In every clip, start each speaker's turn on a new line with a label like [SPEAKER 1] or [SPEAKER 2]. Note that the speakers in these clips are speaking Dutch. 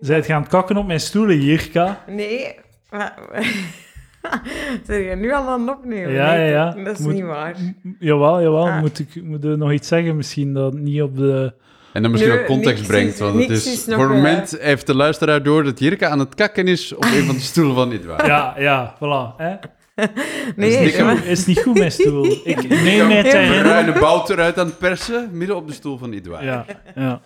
[SPEAKER 1] Zijt gaan kakken op mijn stoelen, Jirka?
[SPEAKER 2] Nee, maar... Zijn je nu al aan het opnemen?
[SPEAKER 1] Ja,
[SPEAKER 2] Nee,
[SPEAKER 1] ja, ja.
[SPEAKER 2] Dat is
[SPEAKER 1] Moet-
[SPEAKER 2] niet waar.
[SPEAKER 1] M- Jawel, jawel.
[SPEAKER 2] Ah.
[SPEAKER 1] Moet ik moet er nog iets zeggen misschien dat niet op de...
[SPEAKER 3] En dan misschien
[SPEAKER 2] Nu,
[SPEAKER 3] ook context
[SPEAKER 2] niks
[SPEAKER 3] brengt.
[SPEAKER 2] is-
[SPEAKER 3] Want het
[SPEAKER 2] niks
[SPEAKER 3] is,
[SPEAKER 2] is nog,
[SPEAKER 3] voor het
[SPEAKER 2] eh,
[SPEAKER 3] moment heeft de luisteraar door dat Jirka aan het kakken is op een van de stoelen van Edouard.
[SPEAKER 1] Ja, ja, voilà. Hè?
[SPEAKER 2] Nee,
[SPEAKER 3] niks
[SPEAKER 2] maar-
[SPEAKER 3] aan-
[SPEAKER 1] Is niet goed, mijn stoel. Ik neem mij te
[SPEAKER 2] Ja.
[SPEAKER 3] Een
[SPEAKER 1] herinneren...
[SPEAKER 3] bruine bout eruit aan het persen, midden op de stoel van Edouard.
[SPEAKER 1] Ja, ja.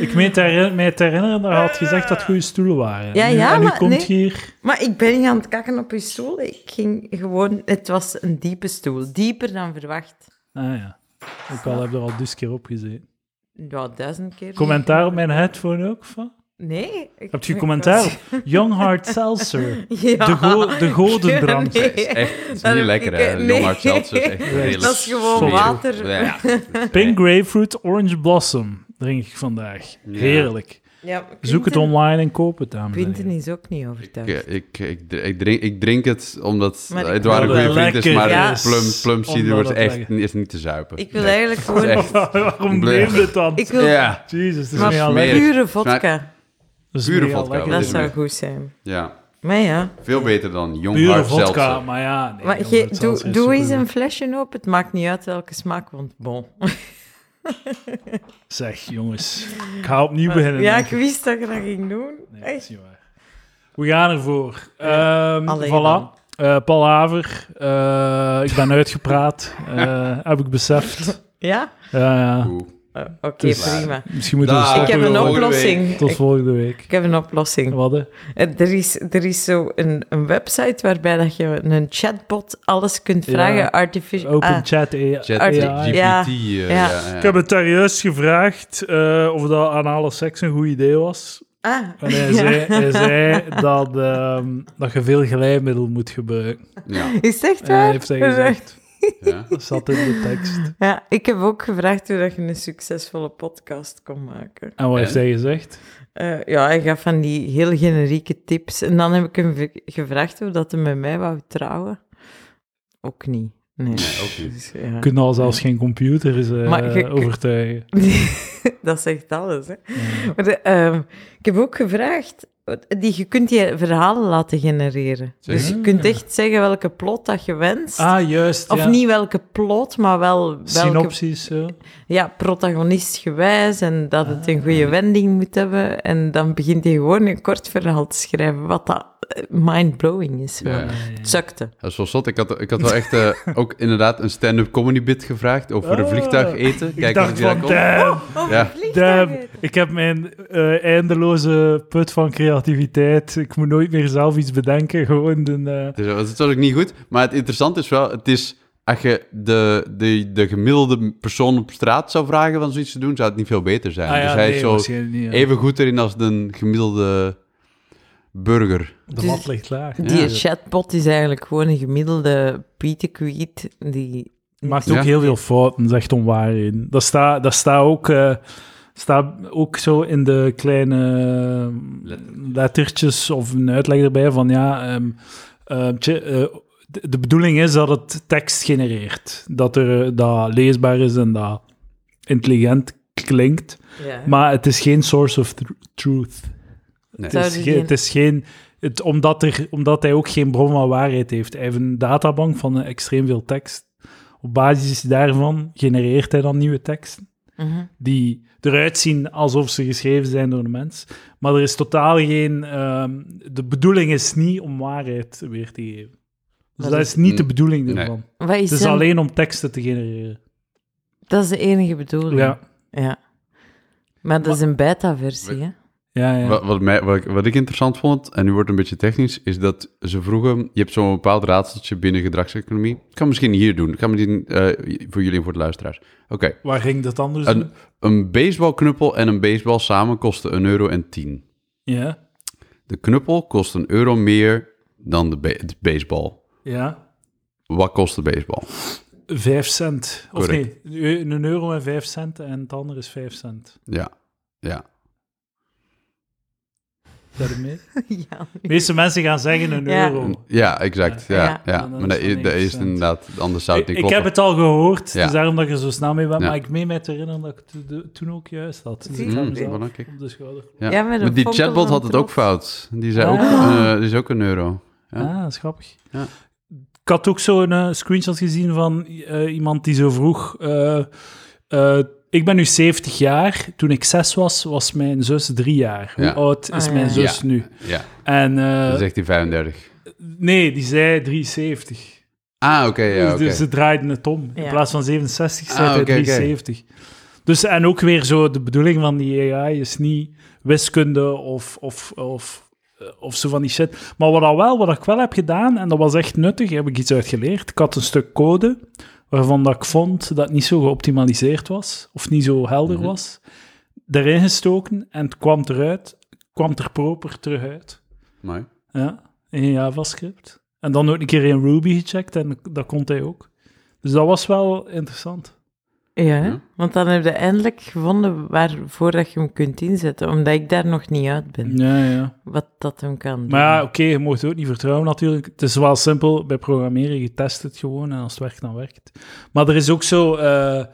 [SPEAKER 1] Ik meen te herinner- mij te herinneren dat je had gezegd dat goede stoelen waren.
[SPEAKER 2] Ja,
[SPEAKER 1] En nu-
[SPEAKER 2] ja,
[SPEAKER 1] En nu
[SPEAKER 2] maar
[SPEAKER 1] komt
[SPEAKER 2] nee.
[SPEAKER 1] je hier...
[SPEAKER 2] Maar ik ben niet aan het kakken op je stoel. Ik ging gewoon... Het was een diepe stoel. Dieper dan verwacht.
[SPEAKER 1] Ah ja. Ook al heb je er al dus keer op gezeten.
[SPEAKER 2] Ja, duizend keer.
[SPEAKER 1] Commentaar op mijn headphone ook? Van?
[SPEAKER 2] Nee. ik-
[SPEAKER 1] Heb je commentaar op? Young Heart Seltzer.
[SPEAKER 2] Ja.
[SPEAKER 1] De, go de godenbrand.
[SPEAKER 2] Nee.
[SPEAKER 3] Is Echt, het is
[SPEAKER 2] Dat
[SPEAKER 3] niet
[SPEAKER 2] heb
[SPEAKER 3] lekker,
[SPEAKER 2] ik,
[SPEAKER 3] hè?
[SPEAKER 2] eh,
[SPEAKER 3] Jong
[SPEAKER 2] nee.
[SPEAKER 3] Hart Seltzer is echt redelijk
[SPEAKER 2] Dat is gewoon
[SPEAKER 3] smerig.
[SPEAKER 2] water.
[SPEAKER 3] Ja.
[SPEAKER 1] Pink Grapefruit Orange Blossom drink ik vandaag.
[SPEAKER 3] Ja.
[SPEAKER 1] Heerlijk.
[SPEAKER 2] Ja,
[SPEAKER 1] Zoek het
[SPEAKER 2] Quinten-
[SPEAKER 1] online en koop het, dames en
[SPEAKER 2] Quinten
[SPEAKER 1] heren.
[SPEAKER 2] is ook niet overtuigd.
[SPEAKER 3] Ik, eh, ik, ik, ik, drink, ik drink het omdat
[SPEAKER 2] Maar ik-
[SPEAKER 3] Edouard een
[SPEAKER 1] Omdat
[SPEAKER 3] goede
[SPEAKER 1] het
[SPEAKER 3] vriend is,
[SPEAKER 1] lekker
[SPEAKER 3] maar
[SPEAKER 2] is.
[SPEAKER 3] plum, plum cider
[SPEAKER 1] Omdat
[SPEAKER 3] wordt
[SPEAKER 1] het
[SPEAKER 3] echt
[SPEAKER 1] lekker-
[SPEAKER 3] niet- is niet te zuipen.
[SPEAKER 2] Ik wil
[SPEAKER 3] eh, Nee.
[SPEAKER 2] eigenlijk gewoon...
[SPEAKER 3] Dat is echt
[SPEAKER 1] Waarom
[SPEAKER 3] Blech.
[SPEAKER 1] neem je het dan?
[SPEAKER 2] Ik wil
[SPEAKER 3] Ja,
[SPEAKER 1] Jezus, het is
[SPEAKER 2] maar
[SPEAKER 1] meer al
[SPEAKER 3] smerig.
[SPEAKER 1] lekker.
[SPEAKER 2] pure vodka.
[SPEAKER 1] Dat is
[SPEAKER 3] Pure
[SPEAKER 1] meer al
[SPEAKER 3] vodka,
[SPEAKER 1] lekker.
[SPEAKER 2] Dat
[SPEAKER 3] wat Oh, is
[SPEAKER 2] zou
[SPEAKER 3] het?
[SPEAKER 2] goed zijn.
[SPEAKER 3] ja,
[SPEAKER 2] Maar ja.
[SPEAKER 3] veel beter dan Jong
[SPEAKER 1] Pure
[SPEAKER 3] Hart
[SPEAKER 1] vodka,
[SPEAKER 3] Seltzer.
[SPEAKER 1] maar ja. nee,
[SPEAKER 2] Maar
[SPEAKER 1] Young
[SPEAKER 2] ge-
[SPEAKER 1] Heart Seltzer
[SPEAKER 2] doe,
[SPEAKER 1] is
[SPEAKER 2] doe eens
[SPEAKER 1] supergoed.
[SPEAKER 2] een flesje op. Het maakt niet uit welke smaak, want bon.
[SPEAKER 1] Zeg, jongens. Ik ga opnieuw beginnen.
[SPEAKER 2] ja,
[SPEAKER 1] denk
[SPEAKER 2] ik wist dat je dat ging doen.
[SPEAKER 1] Nee, dat is
[SPEAKER 2] Echt.
[SPEAKER 1] niet waar. We gaan ervoor. Ehm
[SPEAKER 2] Alleen
[SPEAKER 1] voilà.
[SPEAKER 2] dan.
[SPEAKER 1] Eh palaver. Eh, ik ben uitgepraat. Eh, heb ik beseft.
[SPEAKER 2] Ja?
[SPEAKER 1] Ja, ja.
[SPEAKER 3] Oeh.
[SPEAKER 2] Oh, Oké,
[SPEAKER 1] is waar.
[SPEAKER 2] prima.
[SPEAKER 1] Misschien moeten we
[SPEAKER 3] Dag.
[SPEAKER 1] stoppen.
[SPEAKER 2] Ik heb een
[SPEAKER 1] gewoon.
[SPEAKER 3] volgende
[SPEAKER 2] oplossing.
[SPEAKER 1] Tot
[SPEAKER 2] Ik,
[SPEAKER 1] volgende week.
[SPEAKER 2] ik heb een oplossing.
[SPEAKER 1] Wat, hè?
[SPEAKER 2] Eh, Er is, er is zo een, een website waarbij dat je een chatbot alles kunt
[SPEAKER 1] Ja.
[SPEAKER 2] vragen. Artificial.
[SPEAKER 1] Open
[SPEAKER 2] ah,
[SPEAKER 1] chat. eh.
[SPEAKER 3] Chat
[SPEAKER 2] Art-
[SPEAKER 3] GPT. eh,
[SPEAKER 2] Ja.
[SPEAKER 3] Ja. Ja,
[SPEAKER 2] Ja.
[SPEAKER 1] Ik heb het daar juist gevraagd eh, of dat anale seks een goed idee was.
[SPEAKER 2] ah,
[SPEAKER 1] En hij zei, hij zei dat, ehm, dat je veel glijmiddel moet gebruiken.
[SPEAKER 3] Ja.
[SPEAKER 2] Is het echt
[SPEAKER 1] En hij
[SPEAKER 2] waar?
[SPEAKER 1] heeft hij gezegd.
[SPEAKER 3] Ja.
[SPEAKER 1] Dat zat in de tekst.
[SPEAKER 2] Ja, ik heb ook gevraagd hoe dat je een succesvolle podcast kon maken.
[SPEAKER 1] En wat heeft hij gezegd?
[SPEAKER 2] Eh, ja, hij gaf van die heel generieke tips. En dan heb ik hem v- gevraagd of dat hij met mij wou trouwen. Ook niet. Nee,
[SPEAKER 3] Nee, ook niet.
[SPEAKER 2] Dus, ja.
[SPEAKER 1] We kunnen al nou zelfs geen computers eh,
[SPEAKER 2] Maar je-
[SPEAKER 1] overtuigen.
[SPEAKER 2] dat zegt alles, hè. Maar de, ehm, ik heb ook gevraagd, die, je kunt je verhalen laten genereren.
[SPEAKER 3] Zeker.
[SPEAKER 2] Dus je kunt echt zeggen welke plot dat je wenst.
[SPEAKER 1] Ah, juist.
[SPEAKER 2] of
[SPEAKER 1] ja.
[SPEAKER 2] niet welke plot, maar wel welke
[SPEAKER 1] Synopsis, zo.
[SPEAKER 2] ja, protagonistgewijs en dat het een
[SPEAKER 3] Ah,
[SPEAKER 2] goede wending moet hebben. En dan begint hij gewoon een kort verhaal te schrijven, wat dat eh, mindblowing is.
[SPEAKER 3] Ja,
[SPEAKER 2] wel.
[SPEAKER 3] ja.
[SPEAKER 2] Het zakte.
[SPEAKER 3] Dat is wel zot. Ik had, ik had wel echt eh, ook inderdaad een stand-up comedy bit gevraagd over een
[SPEAKER 1] Ah.
[SPEAKER 3] vliegtuig eten.
[SPEAKER 1] Ik
[SPEAKER 3] Kijken of
[SPEAKER 1] dacht
[SPEAKER 3] die daar
[SPEAKER 1] van, damn,
[SPEAKER 3] komt. Ja.
[SPEAKER 1] damn. Ik heb mijn eh, eindeloze put van creativiteit. Ik moet nooit meer zelf iets bedenken. Gewoon een... eh,
[SPEAKER 3] Dus dat was ook niet goed. Maar het interessante is wel, het is... Als je de, de, de gemiddelde persoon op straat zou vragen van zoiets te doen, zou het niet veel beter zijn.
[SPEAKER 1] ah ja,
[SPEAKER 3] dus hij
[SPEAKER 1] nee,
[SPEAKER 3] is zo
[SPEAKER 1] waarschijnlijk niet, ja.
[SPEAKER 3] even goed erin als de gemiddelde burger.
[SPEAKER 1] De lat ligt laag.
[SPEAKER 2] Die
[SPEAKER 3] Ja.
[SPEAKER 2] chatbot is eigenlijk gewoon een gemiddelde pietekwiet die...
[SPEAKER 1] Maakt
[SPEAKER 3] Ja.
[SPEAKER 1] ook heel veel fouten, dat is echt onwaar in. Dat staat dat staat ook, eh, staat ook zo in de kleine lettertjes of een uitleg erbij van ja, ehm, ehm, tje, eh, de, de bedoeling is dat het tekst genereert. Dat, er, eh, dat leesbaar is en dat intelligent klinkt.
[SPEAKER 2] Ja.
[SPEAKER 1] Eh. Maar het is geen source of tr- truth.
[SPEAKER 3] Nee.
[SPEAKER 1] Het is,
[SPEAKER 2] Zouden
[SPEAKER 1] ge-
[SPEAKER 2] die-
[SPEAKER 1] het is geen... Het, omdat, er, omdat hij ook geen bron van waarheid heeft. Hij heeft een databank van eh, extreem veel tekst. Op basis daarvan genereert hij dan nieuwe teksten.
[SPEAKER 2] Mhm.
[SPEAKER 1] Die eruit zien alsof ze geschreven zijn door een mens. Maar er is totaal geen... ehm, de bedoeling is niet om waarheid weer te geven. Dus
[SPEAKER 2] Dat
[SPEAKER 1] dat,
[SPEAKER 2] is-
[SPEAKER 1] is niet de
[SPEAKER 3] Mm,
[SPEAKER 1] bedoeling
[SPEAKER 3] nee.
[SPEAKER 1] ervan.
[SPEAKER 2] Wat is
[SPEAKER 1] Het is
[SPEAKER 2] hem-
[SPEAKER 1] Dus alleen om teksten te genereren.
[SPEAKER 2] Dat is de enige bedoeling.
[SPEAKER 1] Ja.
[SPEAKER 2] Ja. Maar dat is een beta-versie, hè?
[SPEAKER 1] Ja, ja.
[SPEAKER 3] Wat, wat, mij, wat, ik, wat ik interessant vond, en nu wordt het een beetje technisch, is dat ze vroegen... Je hebt zo'n bepaald raadseltje binnen gedragseconomie. Ik kan misschien hier doen. Ik kan misschien eh, voor jullie en voor de luisteraars. Oké,
[SPEAKER 1] Waar ging dat anders
[SPEAKER 3] een,
[SPEAKER 1] doen?
[SPEAKER 3] een baseballknuppel en een baseball samen kosten een euro en tien.
[SPEAKER 1] Ja.
[SPEAKER 3] De knuppel kost een euro meer dan de, ba- de baseball.
[SPEAKER 1] Ja.
[SPEAKER 3] Wat kost de baseball?
[SPEAKER 1] Vijf cent. Of
[SPEAKER 3] Correct.
[SPEAKER 1] nee, een euro en vijf cent en het andere is vijf cent.
[SPEAKER 3] Ja, ja.
[SPEAKER 1] daarmee.
[SPEAKER 2] ja.
[SPEAKER 1] De meeste mensen gaan zeggen een
[SPEAKER 2] Ja.
[SPEAKER 1] euro.
[SPEAKER 3] Ja, exact. Ja,
[SPEAKER 2] Ja.
[SPEAKER 3] ja.
[SPEAKER 1] Oh. Ja, dan
[SPEAKER 3] Maar dat
[SPEAKER 1] is dat
[SPEAKER 3] is, dat is
[SPEAKER 1] 9%.
[SPEAKER 3] inderdaad, anders zou
[SPEAKER 1] Ik,
[SPEAKER 3] het niet
[SPEAKER 1] ik heb
[SPEAKER 3] kloppen.
[SPEAKER 1] het al gehoord,
[SPEAKER 3] Ja.
[SPEAKER 1] dus daarom dat je zo snel mee bent.
[SPEAKER 3] Ja.
[SPEAKER 1] Maar ik meen mij te herinneren dat ik to- de- toen ook juist had. Dus
[SPEAKER 2] Zie
[SPEAKER 1] ik ga
[SPEAKER 2] je?
[SPEAKER 1] mezelf
[SPEAKER 3] Mm, belangrijk.
[SPEAKER 1] op de schouder.
[SPEAKER 3] Ja.
[SPEAKER 2] Ja, met een
[SPEAKER 3] maar die
[SPEAKER 2] fonkel
[SPEAKER 3] chatbot
[SPEAKER 2] van
[SPEAKER 3] had het ook
[SPEAKER 2] trots.
[SPEAKER 3] fout. Die zei
[SPEAKER 1] Ah.
[SPEAKER 3] ook, eh, die is ook een euro. Ja.
[SPEAKER 1] Ah, dat is grappig.
[SPEAKER 3] Ja.
[SPEAKER 1] Ik had ook zo'n een eh, screenshot gezien van eh, iemand die zo vroeg... eh, eh, ik ben nu 70 jaar. Toen ik 6 was, was mijn zus 3 jaar. Hoe
[SPEAKER 3] Ja.
[SPEAKER 1] oud is
[SPEAKER 2] Ah, ja.
[SPEAKER 1] mijn zus
[SPEAKER 3] Ja.
[SPEAKER 1] nu?
[SPEAKER 3] Ja,
[SPEAKER 1] En eh,
[SPEAKER 3] dan zegt hij 35.
[SPEAKER 1] nee, die zei 73.
[SPEAKER 3] Ah, oké, ja,
[SPEAKER 1] Dus-
[SPEAKER 3] oké.
[SPEAKER 1] Dus ze draaiden het om. In
[SPEAKER 2] Ja.
[SPEAKER 1] plaats van 67 zei
[SPEAKER 3] Ah,
[SPEAKER 1] hij
[SPEAKER 3] oké, oké.
[SPEAKER 1] 73. Dus, en ook weer zo, de bedoeling van die AI is niet wiskunde of, of, of, eh, of zo van die shit. Maar wat, al wel, wat ik wel heb gedaan, en dat was echt nuttig, heb ik iets uitgeleerd. Ik had een stuk code waarvan dat ik vond dat het niet zo geoptimaliseerd was, of niet zo helder
[SPEAKER 3] Mhm.
[SPEAKER 1] was, erin gestoken en het kwam eruit, kwam er proper terug uit.
[SPEAKER 3] Mooi.
[SPEAKER 1] Ja, in JavaScript. En dan ook een keer in Ruby gecheckt en dat kon hij ook. Dus dat was wel interessant.
[SPEAKER 2] Ja,
[SPEAKER 3] Ja.
[SPEAKER 2] want dan heb je eindelijk gevonden waarvoor dat je hem kunt inzetten, omdat ik daar nog niet uit ben,
[SPEAKER 1] Ja, ja.
[SPEAKER 2] wat dat hem kan doen.
[SPEAKER 1] Maar ja, oké, je mocht het ook niet vertrouwen natuurlijk. Het is wel simpel, bij programmeren, je test het gewoon en als het werkt, dan werkt het. Maar er is ook zo eh,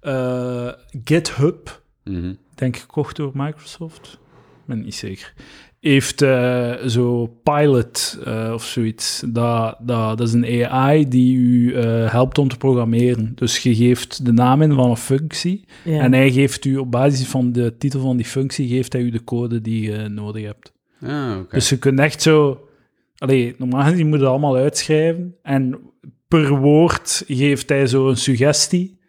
[SPEAKER 1] eh, GitHub,
[SPEAKER 3] Mhm.
[SPEAKER 1] denk ik gekocht door Microsoft. Ik ben niet zeker. Heeft eh, zo Pilot eh, of zoiets. Dat, dat, dat is een AI die u eh, helpt om te programmeren. Dus je geeft de naam in van een functie.
[SPEAKER 2] Ja.
[SPEAKER 1] En hij geeft u op basis van de titel van die functie, geeft hij u de code die je nodig hebt.
[SPEAKER 3] Ah, oké.
[SPEAKER 1] Dus je kunt echt zo... Allee, normaal gezien moet je dat allemaal uitschrijven. En per woord geeft hij zo een suggestie.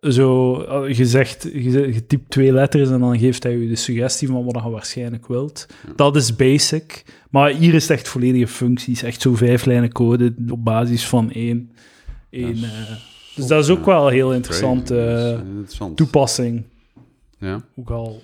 [SPEAKER 1] Zo, eh, je zegt, je zegt- je typt twee letters en dan geeft hij je de suggestie van wat je waarschijnlijk wilt. Dat is basic. Maar hier is het echt volledige functies. Echt zo vijf lijnen code op basis van één. één
[SPEAKER 3] is-
[SPEAKER 1] eh. dus dat is ook wel een heel interessante
[SPEAKER 3] Crazy. Dat
[SPEAKER 1] eh,
[SPEAKER 3] is, eh, interessant.
[SPEAKER 1] toepassing.
[SPEAKER 3] Ja.
[SPEAKER 1] Ook al.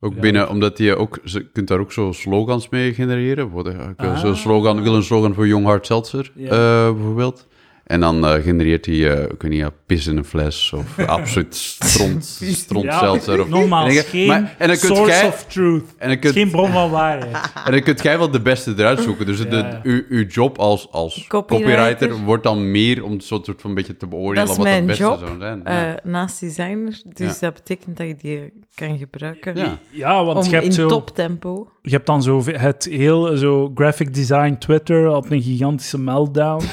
[SPEAKER 3] Ook
[SPEAKER 1] Ja.
[SPEAKER 3] binnen, omdat je ook, ze kunt daar ook zo slogans mee genereren. Bijvoorbeeld, ik wil
[SPEAKER 1] Ah.
[SPEAKER 3] zo'n slogan, ik wil een slogan voor Young Hard Seltzer,
[SPEAKER 1] Ja.
[SPEAKER 3] eh, bijvoorbeeld. En dan eh, genereert hij, eh, ik weet niet, ja, pis in een fles of absoluut stront, stront seltzer. Of,
[SPEAKER 1] nogmaals,
[SPEAKER 3] en dan-
[SPEAKER 1] geen
[SPEAKER 3] maar- en dan kunt
[SPEAKER 1] source
[SPEAKER 3] jij-
[SPEAKER 1] of truth.
[SPEAKER 3] en, dan kunt,
[SPEAKER 1] Geen bron van waarheid.
[SPEAKER 3] en dan kunt jij wel de beste eruit zoeken. Dus de-
[SPEAKER 1] Ja.
[SPEAKER 3] uw, uw job als, als
[SPEAKER 2] Copywriter.
[SPEAKER 3] copywriter. wordt dan meer om een soort van een beetje te beoordelen
[SPEAKER 2] Dat is
[SPEAKER 3] wat
[SPEAKER 2] mijn
[SPEAKER 3] het beste
[SPEAKER 2] job.
[SPEAKER 3] zou zijn.
[SPEAKER 2] Eh,
[SPEAKER 3] ja.
[SPEAKER 2] naast designer, dus
[SPEAKER 3] Ja.
[SPEAKER 2] dat betekent dat je die kan gebruiken
[SPEAKER 3] Ja.
[SPEAKER 1] Ja, want
[SPEAKER 2] om
[SPEAKER 1] je hebt,
[SPEAKER 2] in
[SPEAKER 1] zo,
[SPEAKER 2] toptempo.
[SPEAKER 1] je hebt dan zo het heel zo graphic design Twitter had een gigantische meltdown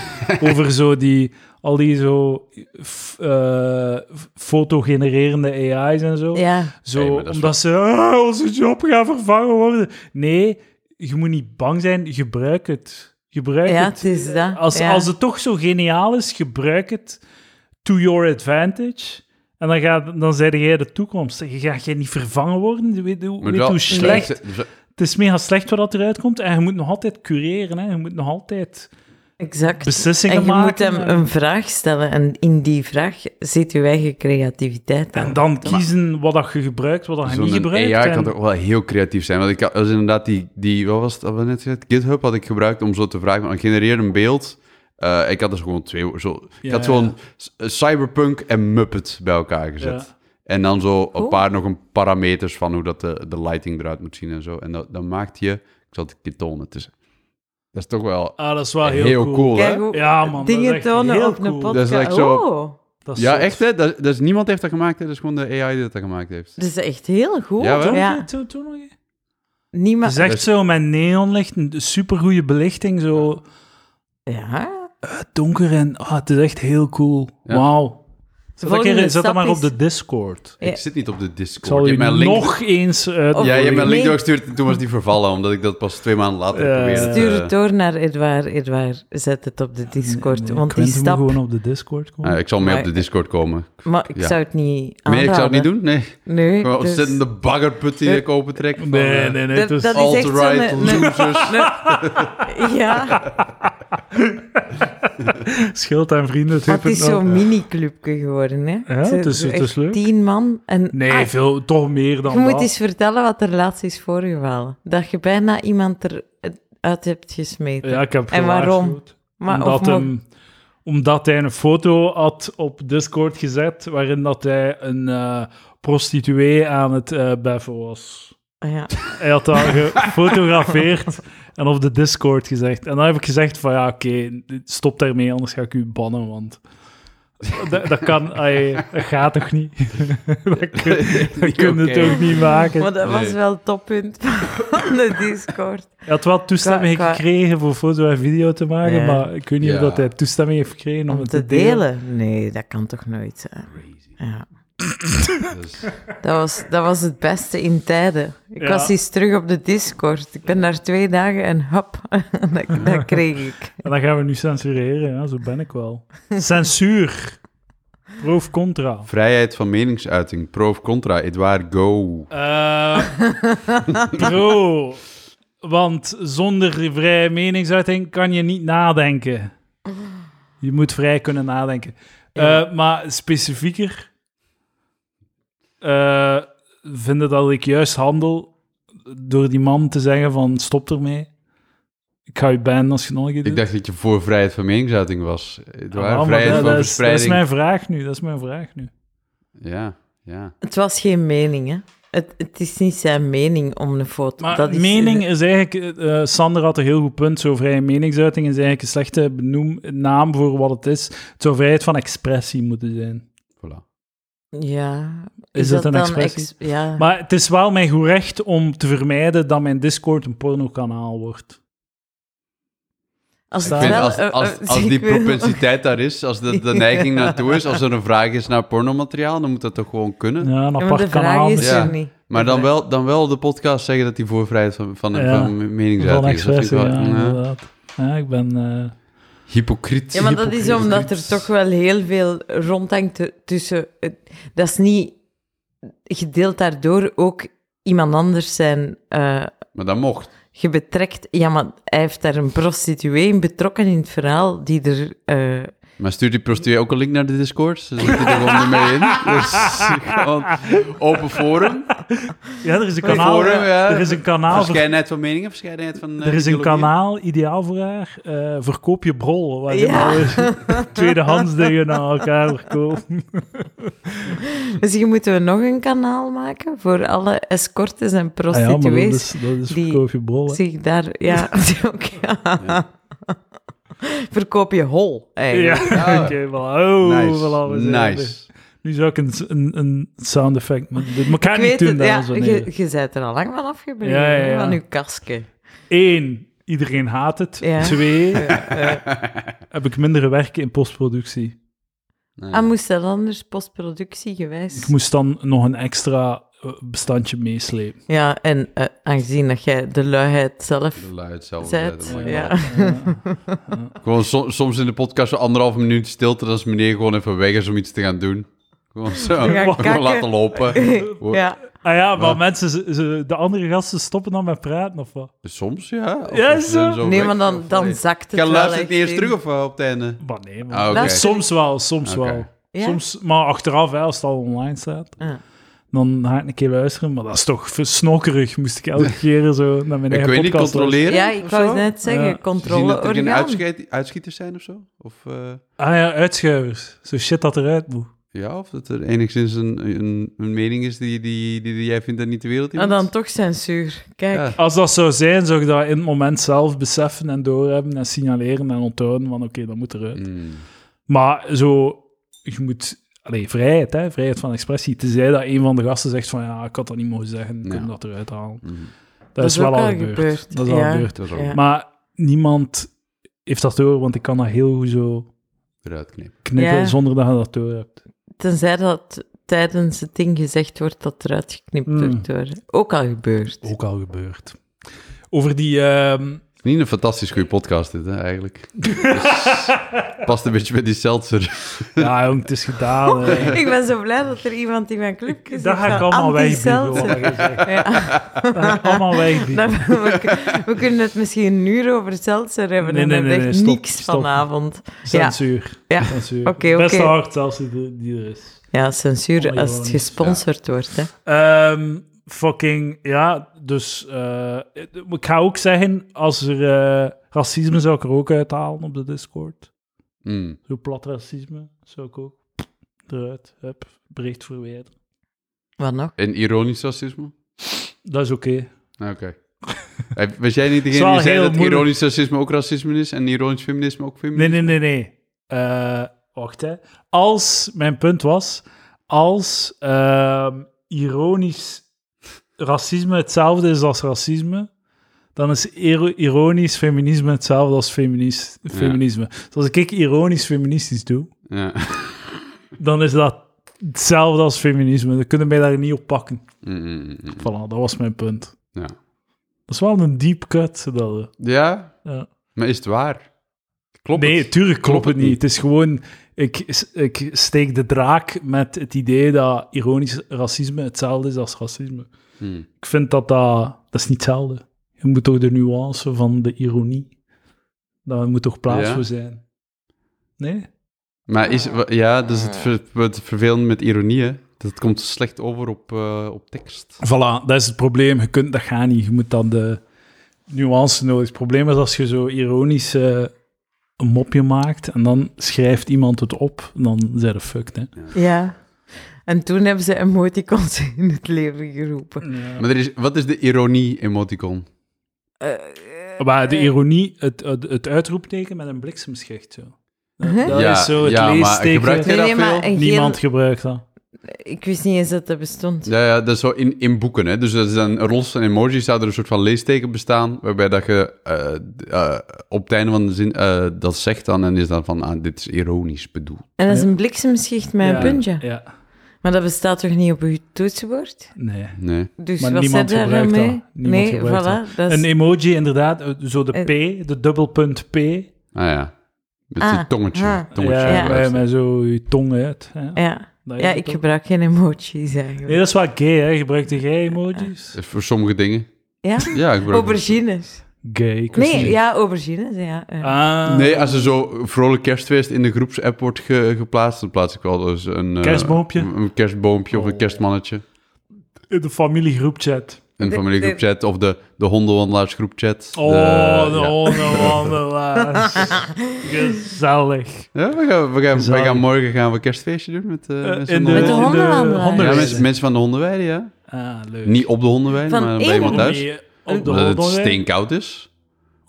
[SPEAKER 1] over zo die al die zo f- eh, f- fotogenererende AI's en zo.
[SPEAKER 2] Ja,
[SPEAKER 1] Zo,
[SPEAKER 3] Nee, maar dat is
[SPEAKER 1] omdat ze "Ah, onze job gaat vervangen worden. Nee, je moet niet bang zijn, gebruik het. Gebruik
[SPEAKER 2] ja
[SPEAKER 1] het.
[SPEAKER 2] het is dat.
[SPEAKER 1] Als,
[SPEAKER 2] ja.
[SPEAKER 1] als het toch zo geniaal is, gebruik het to your advantage. En dan, gaat, dan zei jij de toekomst. Je gaat jij niet vervangen worden. Weet, je-
[SPEAKER 3] Maar
[SPEAKER 1] weet
[SPEAKER 3] wel- dus-
[SPEAKER 1] hoe slecht.
[SPEAKER 3] ze-
[SPEAKER 1] Het is mega slecht wat dat eruit komt. En je moet nog altijd cureren. Hè. Je moet nog altijd
[SPEAKER 2] exact.
[SPEAKER 1] beslissingen
[SPEAKER 2] en je moet
[SPEAKER 1] maken.
[SPEAKER 2] hem een vraag stellen en in die vraag zit je eigen creativiteit aan.
[SPEAKER 1] en dan kiezen wat dat je gebruikt, wat dat je Ah, niet
[SPEAKER 3] Zo'n
[SPEAKER 1] gebruikt.
[SPEAKER 3] AI
[SPEAKER 1] en-
[SPEAKER 3] kan toch wel heel creatief zijn. Want ik had, dat is inderdaad die, die, wat was het, dat we net gezegd? GitHub had ik gebruikt om zo te vragen, van, genereer een beeld. Eh, ik had dus gewoon twee, zo,
[SPEAKER 1] Ja,
[SPEAKER 3] ik had
[SPEAKER 1] ja.
[SPEAKER 3] gewoon s- eh, cyberpunk en Muppet bij elkaar gezet.
[SPEAKER 1] Ja.
[SPEAKER 3] En dan zo
[SPEAKER 2] Cool.
[SPEAKER 3] een paar nog een parameters van hoe dat de, de lighting eruit moet zien en zo. En dat, dan maakt je, ik zat een keer tonen tussen. Dat is toch wel
[SPEAKER 1] Ah, dat is wel heel,
[SPEAKER 3] heel, cool, hè?
[SPEAKER 2] Kijk hoe
[SPEAKER 1] Ja, man, dat is
[SPEAKER 2] dingen
[SPEAKER 1] echt
[SPEAKER 2] tonen
[SPEAKER 1] heel
[SPEAKER 2] op een
[SPEAKER 1] cool. Dat
[SPEAKER 3] is
[SPEAKER 2] podcast.
[SPEAKER 3] like zo-
[SPEAKER 2] Oh,
[SPEAKER 1] Dat is
[SPEAKER 3] Ja,
[SPEAKER 1] zot.
[SPEAKER 3] echt hè? Dat, dat is, niemand heeft dat gemaakt, hè? Dat is gewoon de AI die dat, dat gemaakt heeft.
[SPEAKER 2] dat is echt heel goed.
[SPEAKER 3] Ja,
[SPEAKER 1] Toon
[SPEAKER 3] wel.
[SPEAKER 1] je-
[SPEAKER 2] ja.
[SPEAKER 1] toon- toon nog eens? Het
[SPEAKER 2] Niemand...
[SPEAKER 1] is echt
[SPEAKER 3] Dus-
[SPEAKER 1] zo met neonlicht, een supergoeie belichting, zo
[SPEAKER 2] Ja.
[SPEAKER 1] donker en ah, het is echt heel cool.
[SPEAKER 3] Ja.
[SPEAKER 1] Wauw. Zet dat,
[SPEAKER 2] volgende
[SPEAKER 1] keer- zet dat
[SPEAKER 2] stap
[SPEAKER 1] maar op
[SPEAKER 2] is-
[SPEAKER 1] de Discord.
[SPEAKER 2] Ja.
[SPEAKER 3] Ik zit niet op de Discord.
[SPEAKER 1] Ik zal
[SPEAKER 3] Je
[SPEAKER 1] Oh, je
[SPEAKER 3] hebt mijn link-
[SPEAKER 1] nog eens eh, uit.
[SPEAKER 2] Oh. Of-
[SPEAKER 3] Ja, je hebt
[SPEAKER 2] Nee.
[SPEAKER 3] mijn link doorgestuurd en toen was die vervallen, omdat ik dat pas twee maanden later
[SPEAKER 1] Eh,
[SPEAKER 3] probeerde. te-
[SPEAKER 2] Stuur het door naar Edouard. Edouard, zet het op de Discord.
[SPEAKER 1] Nee,
[SPEAKER 2] want die
[SPEAKER 1] Quentin moet
[SPEAKER 2] stap...
[SPEAKER 1] gewoon op de Discord komen.
[SPEAKER 3] Ah, ik zal mee op de
[SPEAKER 2] Maar-
[SPEAKER 3] Discord komen.
[SPEAKER 2] Maar ik
[SPEAKER 3] Ja.
[SPEAKER 2] zou het niet
[SPEAKER 3] Nee,
[SPEAKER 2] aanraden.
[SPEAKER 3] ik zou het niet doen. Nee.
[SPEAKER 2] Nee,
[SPEAKER 3] Gewoon een
[SPEAKER 2] dus-
[SPEAKER 3] ontzettende baggerput die ik opentrek. van,
[SPEAKER 1] nee,
[SPEAKER 3] eh,
[SPEAKER 1] nee, nee.
[SPEAKER 2] dat,
[SPEAKER 1] Het is,
[SPEAKER 2] dat is echt zo'n... eh,
[SPEAKER 3] alt-right
[SPEAKER 2] een-
[SPEAKER 3] losers.
[SPEAKER 2] een- Ja,
[SPEAKER 1] schild aan vrienden. Het
[SPEAKER 2] maar het is
[SPEAKER 1] heeft het
[SPEAKER 2] zo'n
[SPEAKER 1] nog.
[SPEAKER 2] mini-clubje geworden, hè.
[SPEAKER 1] Ja, het is-
[SPEAKER 2] Zo- zo
[SPEAKER 1] het is
[SPEAKER 2] echt
[SPEAKER 1] leuk.
[SPEAKER 2] Tien man en...
[SPEAKER 1] Nee,
[SPEAKER 2] Ah,
[SPEAKER 1] veel, toch meer dan
[SPEAKER 2] je moet
[SPEAKER 1] dat.
[SPEAKER 2] eens vertellen wat er laatst is voorgevallen. Dat je bijna iemand eruit hebt gesmeten.
[SPEAKER 1] Ja, ik heb
[SPEAKER 2] En waarom?
[SPEAKER 1] gewaarschuwd.
[SPEAKER 2] maar,
[SPEAKER 1] omdat,
[SPEAKER 2] of mo-
[SPEAKER 1] hem- omdat hij een foto had op Discord gezet waarin dat hij een eh, prostituee aan het eh beffen was.
[SPEAKER 2] Ja.
[SPEAKER 1] Hij had dat gefotografeerd en op de Discord gezegd. En dan heb ik gezegd van ja, oké, stop daarmee, anders ga ik u bannen, want dat, dat kan, ai, dat gaat toch niet? dat kun, dat kun je
[SPEAKER 3] Oké.
[SPEAKER 1] toch niet maken?
[SPEAKER 2] Maar dat was
[SPEAKER 3] Nee.
[SPEAKER 2] wel het toppunt van de Discord.
[SPEAKER 1] Hij had wel toestemming
[SPEAKER 2] Qua- qua-
[SPEAKER 1] gekregen voor foto en video te maken,
[SPEAKER 2] Ja.
[SPEAKER 1] maar ik weet niet of
[SPEAKER 3] Ja.
[SPEAKER 1] dat hij toestemming heeft gekregen om,
[SPEAKER 2] Om
[SPEAKER 1] het
[SPEAKER 2] te delen? Nee, dat kan toch nooit zijn?
[SPEAKER 3] Crazy. Dus
[SPEAKER 2] Ja.
[SPEAKER 3] Dat is-
[SPEAKER 2] Dat was, dat was het beste in tijden. Ik
[SPEAKER 1] Ja.
[SPEAKER 2] was eens terug op de Discord. Ik ben daar twee dagen en hop, dat, dat kreeg ik.
[SPEAKER 1] En dan gaan we nu censureren, ja, zo ben ik wel. Censuur. Pro of contra.
[SPEAKER 3] Vrijheid van meningsuiting, pro of contra, Edouard, go.
[SPEAKER 1] Eh, pro. Want zonder vrije meningsuiting kan je niet nadenken. Je moet vrij kunnen nadenken. Eh,
[SPEAKER 2] Ja.
[SPEAKER 1] Maar specifieker eh vinden dat ik juist handel door die man te zeggen van stop ermee. Ik ga je bannen als je het nog een keer doet.
[SPEAKER 3] Ik dacht dat je voor vrijheid van meningsuiting was.
[SPEAKER 1] Ah,
[SPEAKER 3] Edouard,
[SPEAKER 1] maar
[SPEAKER 3] vrijheid
[SPEAKER 1] dat,
[SPEAKER 3] van
[SPEAKER 1] dat is, dat is
[SPEAKER 3] verspreiding.
[SPEAKER 1] mijn vraag nu. Dat is mijn vraag nu.
[SPEAKER 3] Ja, ja.
[SPEAKER 2] Het was geen mening, hè. Het, het is niet zijn mening om een foto...
[SPEAKER 1] Maar
[SPEAKER 2] dat is,
[SPEAKER 1] mening is eigenlijk... eh, eh, Sander had een heel goed punt. Zo vrije meningsuiting is eigenlijk een slechte benoem, naam voor wat het is. Het zou vrijheid van expressie moeten zijn.
[SPEAKER 3] Voilà.
[SPEAKER 2] Ja.
[SPEAKER 1] Is dat een
[SPEAKER 2] dan
[SPEAKER 1] expressie?
[SPEAKER 2] ex- ja.
[SPEAKER 1] Maar het is wel mijn goed recht om te vermijden dat mijn Discord een pornokanaal wordt.
[SPEAKER 2] als
[SPEAKER 1] Ik
[SPEAKER 2] het
[SPEAKER 3] Ik vind
[SPEAKER 2] wel...
[SPEAKER 3] als,
[SPEAKER 2] eh,
[SPEAKER 3] als,
[SPEAKER 2] eh,
[SPEAKER 3] als die
[SPEAKER 2] ik wil-
[SPEAKER 3] propensiteit daar is, als de, de neiging naartoe is, als er een vraag is naar pornomateriaal, dan moet dat toch gewoon kunnen.
[SPEAKER 1] Ja, een
[SPEAKER 2] Ja, maar
[SPEAKER 1] apart
[SPEAKER 2] de vraag
[SPEAKER 1] kanaal
[SPEAKER 2] is
[SPEAKER 3] Ja.
[SPEAKER 2] er niet.
[SPEAKER 3] Maar dan wel, dan wel de podcast zeggen dat die voor vrijheid van, van,
[SPEAKER 1] Ja.
[SPEAKER 3] van
[SPEAKER 1] van
[SPEAKER 3] meningsuiting is. Dat vind ik
[SPEAKER 1] expressie,
[SPEAKER 3] wel
[SPEAKER 1] ja,
[SPEAKER 3] ja.
[SPEAKER 1] inderdaad. Ja, ik ben... eh,
[SPEAKER 3] hypocriet.
[SPEAKER 2] Ja, maar dat is omdat er toch wel heel veel rondhangt tu- tussen... het- Dat is niet gedeeld daardoor ook iemand anders zijn... eh,
[SPEAKER 3] Maar dat mocht.
[SPEAKER 2] je betrekt... Ja, maar hij heeft daar een prostituee in betrokken in het verhaal die er... eh,
[SPEAKER 3] Maar stuur die prostituee ook een link naar de Discord? Ze zit er gewoon niet mee in. Dus gewoon open forum.
[SPEAKER 1] Ja, er is een
[SPEAKER 2] Maar
[SPEAKER 1] kanaal,
[SPEAKER 3] forum, ja.
[SPEAKER 1] er is een kanaal, ver-
[SPEAKER 3] Verscheidenheid van meningen, verscheidenheid van eh,
[SPEAKER 1] Ah, er is een
[SPEAKER 3] ideologieën.
[SPEAKER 1] kanaal ideaal voor haar. Eh, verkoop je brol, waar je
[SPEAKER 2] Ja.
[SPEAKER 1] nou tweedehands dingen aan elkaar verkoopt.
[SPEAKER 2] Misschien moeten we nog een kanaal maken voor alle escortes en
[SPEAKER 1] Ah ja, maar dat
[SPEAKER 2] prostituees.
[SPEAKER 1] is, dat is
[SPEAKER 2] die-
[SPEAKER 1] verkoop je brol, hè.
[SPEAKER 2] Zich daar, ja, die ook, ja. Verkoop je hol,
[SPEAKER 1] Ja,
[SPEAKER 2] eigenlijk.
[SPEAKER 3] Ja.
[SPEAKER 1] oké, voilà. Oh, voilà, we
[SPEAKER 3] Nice.
[SPEAKER 1] zijn er.
[SPEAKER 3] nice.
[SPEAKER 1] Nu zou ik een, een, een sound effect moeten doen. Maar ik ga het
[SPEAKER 2] Ik
[SPEAKER 1] niet
[SPEAKER 2] weet
[SPEAKER 1] doen,
[SPEAKER 2] het, ja,
[SPEAKER 1] dames en
[SPEAKER 2] je,
[SPEAKER 1] heren.
[SPEAKER 2] je bent er al lang van afgebreken,
[SPEAKER 1] Ja, ja, ja.
[SPEAKER 2] van je kastje.
[SPEAKER 1] Eén, iedereen haat het.
[SPEAKER 2] Ja.
[SPEAKER 1] Twee,
[SPEAKER 2] Eh, eh,
[SPEAKER 1] heb ik minder werk in postproductie.
[SPEAKER 3] Nee.
[SPEAKER 2] En Ah, moest dat anders postproductie geweest?
[SPEAKER 1] Ik moest dan nog een extra eh, bestandje meeslepen.
[SPEAKER 2] Ja, en eh, aangezien dat jij de luiheid zelf
[SPEAKER 3] De luid zelf.
[SPEAKER 2] zet,
[SPEAKER 3] Oh my
[SPEAKER 2] ja.
[SPEAKER 3] God. Gewoon so- soms in de podcast zo anderhalf minuut stilte, dat is meneer gewoon even weg is om iets te gaan doen. Gewoon zo.
[SPEAKER 2] Je gaat
[SPEAKER 3] Gewoon
[SPEAKER 2] kakken.
[SPEAKER 3] laten lopen.
[SPEAKER 2] ja.
[SPEAKER 1] Ah ja, maar
[SPEAKER 3] Wat?
[SPEAKER 1] mensen, ze- ze- de andere gasten stoppen dan met praten, of wat?
[SPEAKER 3] Soms, ja. Of-
[SPEAKER 1] Ja,
[SPEAKER 3] of ze
[SPEAKER 1] zo.
[SPEAKER 3] zijn
[SPEAKER 2] Nee,
[SPEAKER 3] weg,
[SPEAKER 2] maar dan,
[SPEAKER 3] of-
[SPEAKER 2] dan
[SPEAKER 3] Nee.
[SPEAKER 2] zakt het
[SPEAKER 3] Ga
[SPEAKER 2] wel
[SPEAKER 3] luisteren het
[SPEAKER 2] echt
[SPEAKER 3] niet eens
[SPEAKER 2] in.
[SPEAKER 3] terug of eh, op het einde?
[SPEAKER 1] Maar nee, man.
[SPEAKER 3] Ah, oké.
[SPEAKER 2] Luister-
[SPEAKER 1] Soms wel, soms
[SPEAKER 3] Oké.
[SPEAKER 1] wel.
[SPEAKER 2] Ja. Ah.
[SPEAKER 1] Soms, maar achteraf, hè, als het al online staat,
[SPEAKER 2] Ja.
[SPEAKER 1] dan ga ik een keer luisteren. Maar dat is toch versnokkerig, moest ik elke keer zo naar mijn
[SPEAKER 3] Ik
[SPEAKER 1] eigen
[SPEAKER 3] weet niet,
[SPEAKER 1] podcast luisteren.
[SPEAKER 3] controleren
[SPEAKER 2] Ja, ik
[SPEAKER 3] of
[SPEAKER 2] wou
[SPEAKER 3] zo?
[SPEAKER 2] net
[SPEAKER 1] Ja.
[SPEAKER 2] zeggen,
[SPEAKER 3] Ze zien dat er geen
[SPEAKER 2] controleorgaan.
[SPEAKER 3] uitschiet- uitschieters zijn of zo? Of, eh,
[SPEAKER 1] Ah ja, uitschuivers. Zo shit dat eruit moet.
[SPEAKER 3] ja, of dat er enigszins een, een, een mening is die, die, die, die jij vindt dat niet de wereld in
[SPEAKER 2] En
[SPEAKER 3] moet?
[SPEAKER 2] Ah, dan toch censuur. Kijk,
[SPEAKER 3] Ja.
[SPEAKER 1] Als dat zou zijn, zou ik dat in het moment zelf beseffen en doorhebben en signaleren en onthouden van oké, dat moet eruit.
[SPEAKER 3] Mm.
[SPEAKER 1] Maar zo, je moet... Allee, vrijheid, hè? vrijheid van expressie. Tenzij dat een van de gasten zegt van ja, ik had dat niet mogen zeggen, ik
[SPEAKER 3] Ja.
[SPEAKER 1] kom dat eruit halen.
[SPEAKER 3] Mhm.
[SPEAKER 1] Dat, is wel al gebeurd. Dat is al
[SPEAKER 2] ja.
[SPEAKER 1] gebeurd.
[SPEAKER 3] Dat is ook
[SPEAKER 2] Ja.
[SPEAKER 1] Maar niemand heeft dat door, want ik kan dat heel goed zo
[SPEAKER 3] eruit knippen.
[SPEAKER 1] knippen
[SPEAKER 2] Ja.
[SPEAKER 1] zonder dat je dat door hebt.
[SPEAKER 2] Tenzij dat tijdens het ding gezegd wordt dat eruit geknipt
[SPEAKER 1] Hmm.
[SPEAKER 2] wordt. door- Ook al gebeurd.
[SPEAKER 1] Ook al gebeurd. Over die... ehm,
[SPEAKER 3] Niet een fantastisch goede podcast dit, hè, eigenlijk. Dus past een beetje bij die seltzer.
[SPEAKER 1] ja, jong, het is gedaan. hè.
[SPEAKER 3] Oh.
[SPEAKER 2] Ik ben zo blij dat er iemand in mijn club is.
[SPEAKER 1] Dat ga ik allemaal wegbieden. wat je zegt.
[SPEAKER 2] Ja,
[SPEAKER 1] Dat ga ik allemaal
[SPEAKER 2] dat-
[SPEAKER 1] wegbieden.
[SPEAKER 2] we, we kunnen het misschien een uur over Seltzer hebben.
[SPEAKER 1] Nee,
[SPEAKER 2] en
[SPEAKER 1] nee,
[SPEAKER 2] dan
[SPEAKER 1] nee,
[SPEAKER 2] heb ik
[SPEAKER 1] nee, stop,
[SPEAKER 2] niks
[SPEAKER 1] stop.
[SPEAKER 2] vanavond.
[SPEAKER 1] Censuur.
[SPEAKER 2] Ja.
[SPEAKER 1] Censuur.
[SPEAKER 2] Oké, oké.
[SPEAKER 1] Best hard zelfs die, die er is.
[SPEAKER 2] Ja,
[SPEAKER 1] Oh
[SPEAKER 2] censuur
[SPEAKER 1] my
[SPEAKER 2] als
[SPEAKER 1] God.
[SPEAKER 2] het gesponsord wordt. Hè.
[SPEAKER 1] Ehm, fucking, ja, dus... eh, ik ga ook zeggen, als er eh, racisme zou ik er ook uithalen op de Discord.
[SPEAKER 3] Mm.
[SPEAKER 1] Zo plat racisme zou ik ook eruit. Hup, bericht verwijderen.
[SPEAKER 2] Wat nog?
[SPEAKER 3] En ironisch racisme?
[SPEAKER 1] Dat is oké.
[SPEAKER 3] Nou, Oké. Hey, Was jij niet
[SPEAKER 1] Het is
[SPEAKER 3] degene
[SPEAKER 1] wel
[SPEAKER 3] die zei
[SPEAKER 1] heel
[SPEAKER 3] dat
[SPEAKER 1] moeilijk.
[SPEAKER 3] ironisch racisme ook racisme is en ironisch feminisme ook feminisme?
[SPEAKER 1] Nee, nee, nee, nee. Eh, wacht, hè. Als, mijn punt was, als ehm, ironisch racisme hetzelfde is als racisme, dan is ero- ironisch feminisme hetzelfde als feminis- feminisme. Dus als ik ironisch feministisch doe,
[SPEAKER 3] Ja.
[SPEAKER 1] dan is dat hetzelfde als feminisme. Dan kunnen mij daar niet op pakken.
[SPEAKER 3] Mm, mm, mm, mm.
[SPEAKER 1] Voilà, dat was mijn punt.
[SPEAKER 3] Ja.
[SPEAKER 1] Dat is wel een deep cut, dat... eh.
[SPEAKER 3] Ja?
[SPEAKER 1] Ja.
[SPEAKER 3] Maar is het waar? Klopt
[SPEAKER 1] nee,
[SPEAKER 3] het?
[SPEAKER 1] tuurlijk klopt
[SPEAKER 3] Klopt
[SPEAKER 1] het
[SPEAKER 3] het
[SPEAKER 1] niet. Het is gewoon, ik, ik steek de draak met het idee dat ironisch racisme hetzelfde is als racisme.
[SPEAKER 3] Mm.
[SPEAKER 1] Ik vind dat dat, dat is niet hetzelfde. Je moet toch de nuance van de ironie, daar moet toch plaats
[SPEAKER 3] Ja.
[SPEAKER 1] voor zijn. Nee?
[SPEAKER 3] Maar is, wa- ja, dus het, ver, het vervelende met ironie, hè, dat het komt slecht over op, eh, op tekst.
[SPEAKER 1] Voilà, dat is het probleem. Je kunt, dat gaat niet. Je moet dan de nuance nodig. Het probleem is als je zo ironisch eh, een mopje maakt en dan schrijft iemand het op, dan zijn de fucked, hè.
[SPEAKER 2] Ja. En toen hebben ze emoticons in het leven geroepen.
[SPEAKER 3] Maar er is, wat is de ironie-emoticon?
[SPEAKER 2] Eh,
[SPEAKER 1] Maar Eh, de ironie, het, het, het uitroepteken met een bliksemschicht. Zo. Dat,
[SPEAKER 2] Huh?
[SPEAKER 1] dat
[SPEAKER 3] Ja,
[SPEAKER 1] is zo het
[SPEAKER 3] ja, maar
[SPEAKER 1] leesteken.
[SPEAKER 3] gebruikt hij dat veel?
[SPEAKER 2] een
[SPEAKER 1] Niemand gebruikt dat.
[SPEAKER 2] geel- Ik wist niet eens dat dat bestond.
[SPEAKER 3] Ja, ja, dat is zo in, in boeken. Hè? Dus dat is dan, los van emojis zou er een soort van leesteken bestaan, waarbij dat je eh, d- eh, op het einde van de zin eh, dat zegt dan en is dan van, ah, dit is ironisch bedoeld.
[SPEAKER 2] En dat is een bliksemschicht met
[SPEAKER 1] Ja,
[SPEAKER 2] een puntje.
[SPEAKER 1] Ja,
[SPEAKER 2] Maar dat bestaat toch niet op uw toetsenbord?
[SPEAKER 1] nee.
[SPEAKER 3] Nee.
[SPEAKER 2] Dus
[SPEAKER 1] Maar
[SPEAKER 2] wat
[SPEAKER 1] niemand
[SPEAKER 2] zit daar dan
[SPEAKER 1] gebruikt
[SPEAKER 2] mee?
[SPEAKER 1] dat. Niemand
[SPEAKER 2] nee,
[SPEAKER 1] gebruikt
[SPEAKER 2] voilà. Dat is...
[SPEAKER 1] Een emoji, inderdaad, eh, zo de
[SPEAKER 2] Eh.
[SPEAKER 1] P, de dubbelpunt P.
[SPEAKER 3] Ah ja. Met
[SPEAKER 2] Ah,
[SPEAKER 3] die tongetje.
[SPEAKER 2] ah.
[SPEAKER 3] tongetje
[SPEAKER 1] ja,
[SPEAKER 2] ja.
[SPEAKER 1] Met,
[SPEAKER 3] eruit.
[SPEAKER 1] met zo je tong uit. hè.
[SPEAKER 2] ja.
[SPEAKER 1] Dat is
[SPEAKER 2] ja,
[SPEAKER 1] het
[SPEAKER 2] ik
[SPEAKER 1] ook.
[SPEAKER 2] gebruik geen emojis eigenlijk.
[SPEAKER 1] Nee, dat is wel gay, hè? Gebruikte jij emojis?
[SPEAKER 3] Eh, Voor sommige dingen.
[SPEAKER 2] Ja?
[SPEAKER 3] Ja, ik gebruik-
[SPEAKER 2] Aubergines.
[SPEAKER 1] Gay, ik wist
[SPEAKER 2] Nee,
[SPEAKER 1] niet.
[SPEAKER 2] ja, aubergines, ja. ja.
[SPEAKER 1] Ah,
[SPEAKER 3] Nee, als er zo vrolijk kerstfeest in de groepsapp wordt ge- geplaatst, dan plaats ik wel eens een... eh,
[SPEAKER 1] Kerstboompje? Oh.
[SPEAKER 3] Een, een kerstboompje of een kerstmannetje.
[SPEAKER 1] in de familiegroepchat.
[SPEAKER 3] Een
[SPEAKER 2] De-
[SPEAKER 3] familiegroepchat of de, de hondenwandelaarsgroepchat.
[SPEAKER 1] Oh,
[SPEAKER 3] De-
[SPEAKER 1] de
[SPEAKER 3] ja.
[SPEAKER 1] hondenwandelaars. Gezellig.
[SPEAKER 3] Ja, we gaan, we gaan,
[SPEAKER 1] Gezellig.
[SPEAKER 3] wij gaan morgen gaan we een kerstfeestje doen met, eh,
[SPEAKER 1] Eh,
[SPEAKER 3] mensen,
[SPEAKER 1] in
[SPEAKER 3] van de,
[SPEAKER 2] Met de
[SPEAKER 1] in
[SPEAKER 2] hondenwandelaars.
[SPEAKER 3] ja,
[SPEAKER 1] hondenweide.
[SPEAKER 3] mensen, mensen van de hondenweide, ja.
[SPEAKER 1] Ah, leuk.
[SPEAKER 3] Niet op de hondenweide,
[SPEAKER 2] Van
[SPEAKER 3] maar bij
[SPEAKER 2] één
[SPEAKER 3] iemand thuis.
[SPEAKER 1] Nee, op de
[SPEAKER 3] Omdat het
[SPEAKER 1] hondenweide.
[SPEAKER 3] steenkoud is.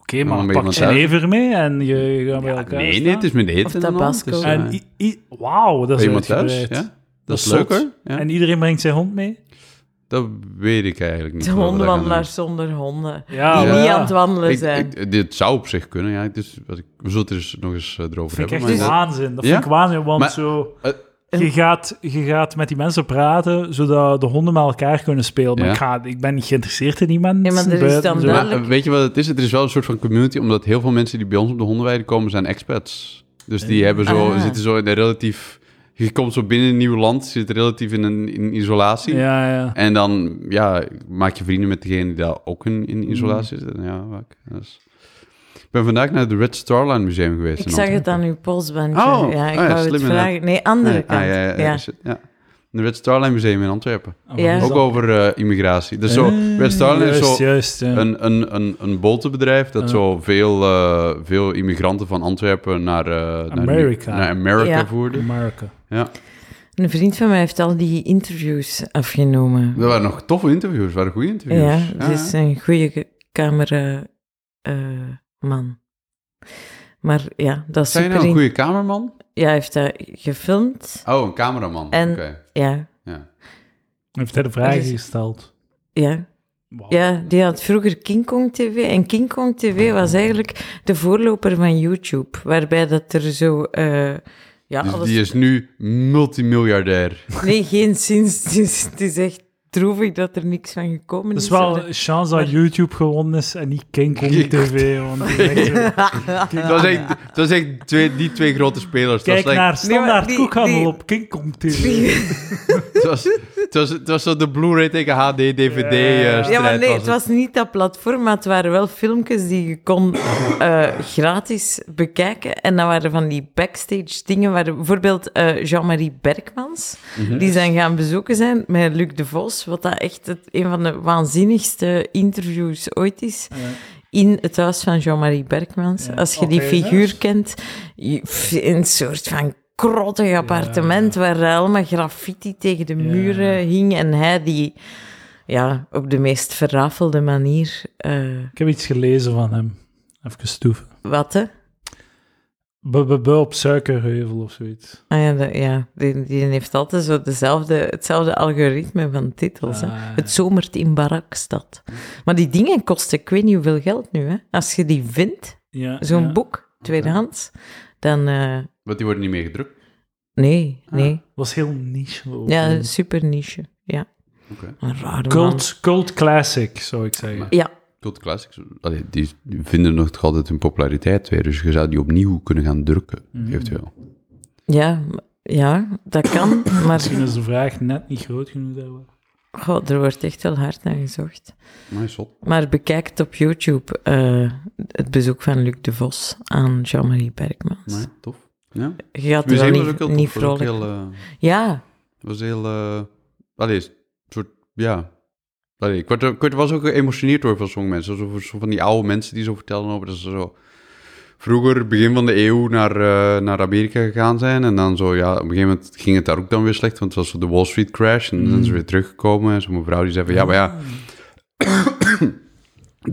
[SPEAKER 1] Oké,
[SPEAKER 3] Dan
[SPEAKER 1] maar
[SPEAKER 3] ben je
[SPEAKER 1] pak
[SPEAKER 3] iemand
[SPEAKER 1] je
[SPEAKER 3] thuis.
[SPEAKER 1] never mee en je, je gaat bij
[SPEAKER 3] Ja,
[SPEAKER 1] elkaar
[SPEAKER 3] nee,
[SPEAKER 1] staan.
[SPEAKER 3] nee, het is met eten.
[SPEAKER 2] Of
[SPEAKER 3] en al,
[SPEAKER 2] Tabasco.
[SPEAKER 3] dus, eh,
[SPEAKER 1] En i- i- wauw, dat
[SPEAKER 3] bij
[SPEAKER 1] is
[SPEAKER 3] iemand thuis,
[SPEAKER 1] uitgebreid.
[SPEAKER 3] ja. Dat, is
[SPEAKER 1] zot.
[SPEAKER 3] leuk, hoor. Ja.
[SPEAKER 1] En iedereen brengt zijn hond mee?
[SPEAKER 3] Dat weet ik eigenlijk niet.
[SPEAKER 2] De
[SPEAKER 3] hoe we dat gaan doen.
[SPEAKER 2] hondenwandelaars zonder honden.
[SPEAKER 1] Ja,
[SPEAKER 2] die
[SPEAKER 3] ja.
[SPEAKER 2] niet aan het wandelen
[SPEAKER 3] Ik-
[SPEAKER 2] zijn.
[SPEAKER 3] ik- dit zou op zich kunnen, ja. Dus, wat ik, we zullen het er eens nog eens eh, erover
[SPEAKER 1] Dat vind ik
[SPEAKER 3] hebben.
[SPEAKER 1] echt
[SPEAKER 3] maar dat-
[SPEAKER 1] waanzin. Dat
[SPEAKER 3] Ja?
[SPEAKER 1] vind ik waanzin, want
[SPEAKER 3] Maar-
[SPEAKER 1] zo...
[SPEAKER 3] eh,
[SPEAKER 1] Je gaat, je gaat met die mensen praten, zodat de honden met elkaar kunnen spelen. Maar
[SPEAKER 3] Ja.
[SPEAKER 1] ik, ga, ik ben niet geïnteresseerd in die mensen.
[SPEAKER 2] Ja, maar er is
[SPEAKER 1] buiten dus-
[SPEAKER 2] dan
[SPEAKER 1] zo.
[SPEAKER 2] wel-
[SPEAKER 3] maar, eh, weet je wat het is? Er is wel een soort van community, omdat heel veel mensen die bij ons op de hondenweide komen, zijn expats. Dus
[SPEAKER 1] Eh,
[SPEAKER 3] die hebben zo,
[SPEAKER 2] Ah.
[SPEAKER 3] zitten zo in een relatief... Je komt zo binnen een nieuw land, zit relatief in een in isolatie.
[SPEAKER 1] Ja, ja.
[SPEAKER 3] En dan ja, maak je vrienden met degene die daar ook in,
[SPEAKER 1] Mm.
[SPEAKER 3] in isolatie zitten. Ja, vaak. Dat is- Ik ben vandaag naar het Red Star Line Museum geweest.
[SPEAKER 2] Ik
[SPEAKER 3] in
[SPEAKER 2] zag
[SPEAKER 3] Antwerpen.
[SPEAKER 2] het aan uw polsbandje.
[SPEAKER 3] Oh,
[SPEAKER 2] ja, ik
[SPEAKER 3] oh ja,
[SPEAKER 2] wou het
[SPEAKER 3] slim inderdaad.
[SPEAKER 2] vragen. Nee, andere
[SPEAKER 3] Nee,
[SPEAKER 2] kant.
[SPEAKER 3] ah, ja, ja, ja, shit, ja. Het Red Star Line Museum in Antwerpen.
[SPEAKER 1] Ah,
[SPEAKER 2] Ja.
[SPEAKER 1] wat is
[SPEAKER 3] Ook
[SPEAKER 1] dat?
[SPEAKER 3] over eh, immigratie. Dus zo,
[SPEAKER 1] Eh,
[SPEAKER 3] Red Star Line is
[SPEAKER 1] juist,
[SPEAKER 3] zo
[SPEAKER 1] Juist, ja.
[SPEAKER 3] een, een, een, een botenbedrijf dat
[SPEAKER 1] Ja.
[SPEAKER 3] zo veel, eh, veel immigranten van Antwerpen naar, eh, naar,
[SPEAKER 1] Amerika.
[SPEAKER 3] naar Amerika
[SPEAKER 2] Ja.
[SPEAKER 3] voerde.
[SPEAKER 1] Amerika.
[SPEAKER 2] Een vriend van mij heeft al die interviews afgenomen.
[SPEAKER 3] Dat waren nog toffe interviews, dat waren goede interviews.
[SPEAKER 2] Ja, dus, eh, het is een goede cameraman. eh, man maar ja, dat is
[SPEAKER 3] Zijn je
[SPEAKER 2] super.
[SPEAKER 3] nou een
[SPEAKER 2] in-
[SPEAKER 3] goede cameraman?
[SPEAKER 2] Ja, hij heeft dat gefilmd.
[SPEAKER 3] Oh, een cameraman.
[SPEAKER 2] En-
[SPEAKER 3] Oké,
[SPEAKER 2] Ja,
[SPEAKER 3] ja.
[SPEAKER 1] Heeft hij de vragen
[SPEAKER 2] Dat is-
[SPEAKER 1] gesteld?
[SPEAKER 2] ja.
[SPEAKER 1] Wauw.
[SPEAKER 2] Ja, die had vroeger King Kong TV. En King Kong TV was eigenlijk de voorloper van YouTube. Waarbij dat er zo... eh, ja,
[SPEAKER 3] Dus
[SPEAKER 2] alles...
[SPEAKER 3] die is nu multimiljardair.
[SPEAKER 2] Nee, geen sinds. Het is, het is echt droevig dat er niks van gekomen
[SPEAKER 1] Het
[SPEAKER 2] is.
[SPEAKER 1] is Dus wel een chance dat
[SPEAKER 2] Maar-
[SPEAKER 1] YouTube gewonnen is en niet King Kong
[SPEAKER 3] King-
[SPEAKER 1] TV. Want die is echt zo-
[SPEAKER 3] Dat was echt, dat was echt twee, die twee grote spelers.
[SPEAKER 1] Kijk
[SPEAKER 3] dat was echt-
[SPEAKER 1] naar standaard
[SPEAKER 2] die-
[SPEAKER 1] koekhandel
[SPEAKER 2] die-
[SPEAKER 1] op King Kong TV.
[SPEAKER 3] Het was, het was, het was zo de Blu-ray tegen HD, DVD eh
[SPEAKER 1] Ja, maar
[SPEAKER 2] Ja,
[SPEAKER 3] strijd
[SPEAKER 2] maar nee,
[SPEAKER 3] was
[SPEAKER 2] het was niet dat platform, maar het waren wel filmpjes die je kon eh, gratis bekijken. En dat waren van die backstage dingen, waar bijvoorbeeld eh, Jean-Marie Berkmans, die zijn gaan bezoeken zijn met Luc de Vos, wat dat echt het, een van de waanzinnigste interviews ooit is. In het huis van Jean-Marie Berkmans.
[SPEAKER 1] Ja.
[SPEAKER 2] Als je die
[SPEAKER 1] Oké, dus.
[SPEAKER 2] figuur kent, je- pff, een soort van krottig appartement waar allemaal graffiti tegen de muren hing en hij die ja, op de meest verrafelde manier. eh,
[SPEAKER 1] Ik heb iets gelezen van hem. Even stoeven.
[SPEAKER 2] wat, hè?
[SPEAKER 1] B-b-b op suikerheuvel of zoiets.
[SPEAKER 2] Ah ja, dat- ja. Die, die heeft altijd zo dezelfde, hetzelfde algoritme van titels. hè.
[SPEAKER 1] Ah.
[SPEAKER 2] Het zomert in barakstad. Maar die dingen kosten, ik weet niet hoeveel geld nu. Hè. Als je die vindt,
[SPEAKER 1] Ja,
[SPEAKER 2] zo'n
[SPEAKER 1] ja.
[SPEAKER 2] boek, tweedehands, dan... eh,
[SPEAKER 3] Want die worden niet meer gedrukt.
[SPEAKER 2] nee,
[SPEAKER 1] Ah.
[SPEAKER 2] nee.
[SPEAKER 1] Was heel niche. ook.
[SPEAKER 2] Ja, super niche. Ja.
[SPEAKER 3] Oké.
[SPEAKER 2] Een rare man.
[SPEAKER 1] Cult, cult classic, zou ik zeggen.
[SPEAKER 2] Ja,
[SPEAKER 3] Cult classics, allee, die die vinden nog toch altijd hun populariteit weer. Dus je zou die opnieuw kunnen gaan drukken, eventueel.
[SPEAKER 2] ja, m- ja, dat kan. Maar
[SPEAKER 1] Misschien is de vraag net niet groot genoeg daarvoor.
[SPEAKER 2] goh, er wordt echt wel hard naar gezocht.
[SPEAKER 3] Maar zot.
[SPEAKER 2] Maar bekijk het op YouTube, eh, het bezoek van Luc de Vos aan Jean-Marie Bergmans.
[SPEAKER 3] Nee, tof. Ja.
[SPEAKER 2] Je gaat
[SPEAKER 3] Het
[SPEAKER 2] er
[SPEAKER 3] museum
[SPEAKER 2] wel
[SPEAKER 3] was ook
[SPEAKER 2] niet,
[SPEAKER 3] heel
[SPEAKER 2] niet
[SPEAKER 3] tof. was ook
[SPEAKER 2] vrolijk.
[SPEAKER 3] heel... eh,
[SPEAKER 2] Ja,
[SPEAKER 3] was heel... eh, allee, een soort... Ja. Allee, ik, werd, er- ik werd- was ook geëmotioneerd door van sommige mensen. Zo, zo van die oude mensen die zo vertelden over dat ze zo... Vroeger, begin van de eeuw, naar, eh, naar Amerika gegaan zijn. En dan zo, ja, op een gegeven moment ging het daar ook dan weer slecht. Want het was zo de Wall Street crash. En dan zijn ze weer teruggekomen. En zo'n mevrouw die zei van, ja, maar ja...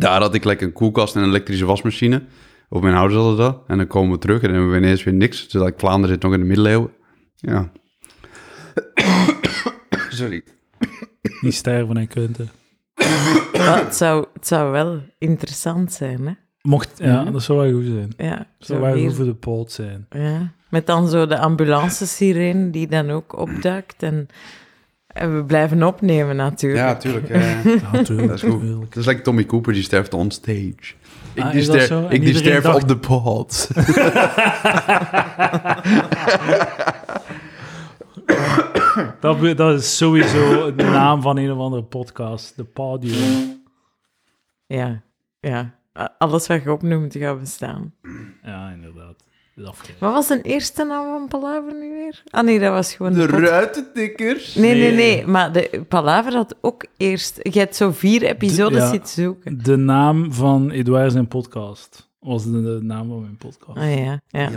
[SPEAKER 3] Daar had ik lekker een koelkast en een elektrische wasmachine. Of mijn ouders hadden dat. En dan komen we terug en dan hebben we ineens weer niks. Dus dat Vlaanderen zit nog in de middeleeuwen. Ja. Sorry.
[SPEAKER 1] Niet sterven en kunten.
[SPEAKER 2] wel, het, zou, het zou wel interessant zijn, hè?
[SPEAKER 1] Mocht, ja, dat zou wel goed zijn.
[SPEAKER 2] Mhm. Ja,
[SPEAKER 1] Dat zou
[SPEAKER 2] zo
[SPEAKER 1] wel
[SPEAKER 2] hier.
[SPEAKER 1] goed voor de poot zijn.
[SPEAKER 2] ja. Met dan zo de ambulancesirene die dan ook opduikt. En, en we blijven opnemen natuurlijk.
[SPEAKER 3] Ja, tuurlijk. ja, ja.
[SPEAKER 1] Ja, tuurlijk,
[SPEAKER 3] Dat is goed.
[SPEAKER 1] tuurlijk.
[SPEAKER 3] Dat is like Tommy Cooper, die sterft on stage. Ik
[SPEAKER 1] Ah,
[SPEAKER 3] die,
[SPEAKER 1] is dat
[SPEAKER 3] ster-
[SPEAKER 1] zo? En
[SPEAKER 3] ik die
[SPEAKER 1] iedereen
[SPEAKER 3] sterf
[SPEAKER 1] dacht-
[SPEAKER 3] op de pot.
[SPEAKER 1] Dat, be- dat is sowieso de naam van een of andere podcast. De Podium.
[SPEAKER 2] ja. ja. A- Alles wat je opnoemt gaat bestaan.
[SPEAKER 1] Ja, inderdaad. Dat is afgelegd.
[SPEAKER 2] Wat was de eerste naam van Palaver nu weer? Ah nee, dat was gewoon
[SPEAKER 3] De
[SPEAKER 2] de podcast.
[SPEAKER 3] ruitentikkers.
[SPEAKER 2] Nee, nee,
[SPEAKER 1] Nee.
[SPEAKER 2] nee. Maar de Palaver had ook eerst... Je hebt zo vier episodes
[SPEAKER 1] ja.
[SPEAKER 2] zitten zoeken.
[SPEAKER 1] De naam van Edouard zijn podcast was de, de naam van mijn podcast.
[SPEAKER 2] Ah ja, ja.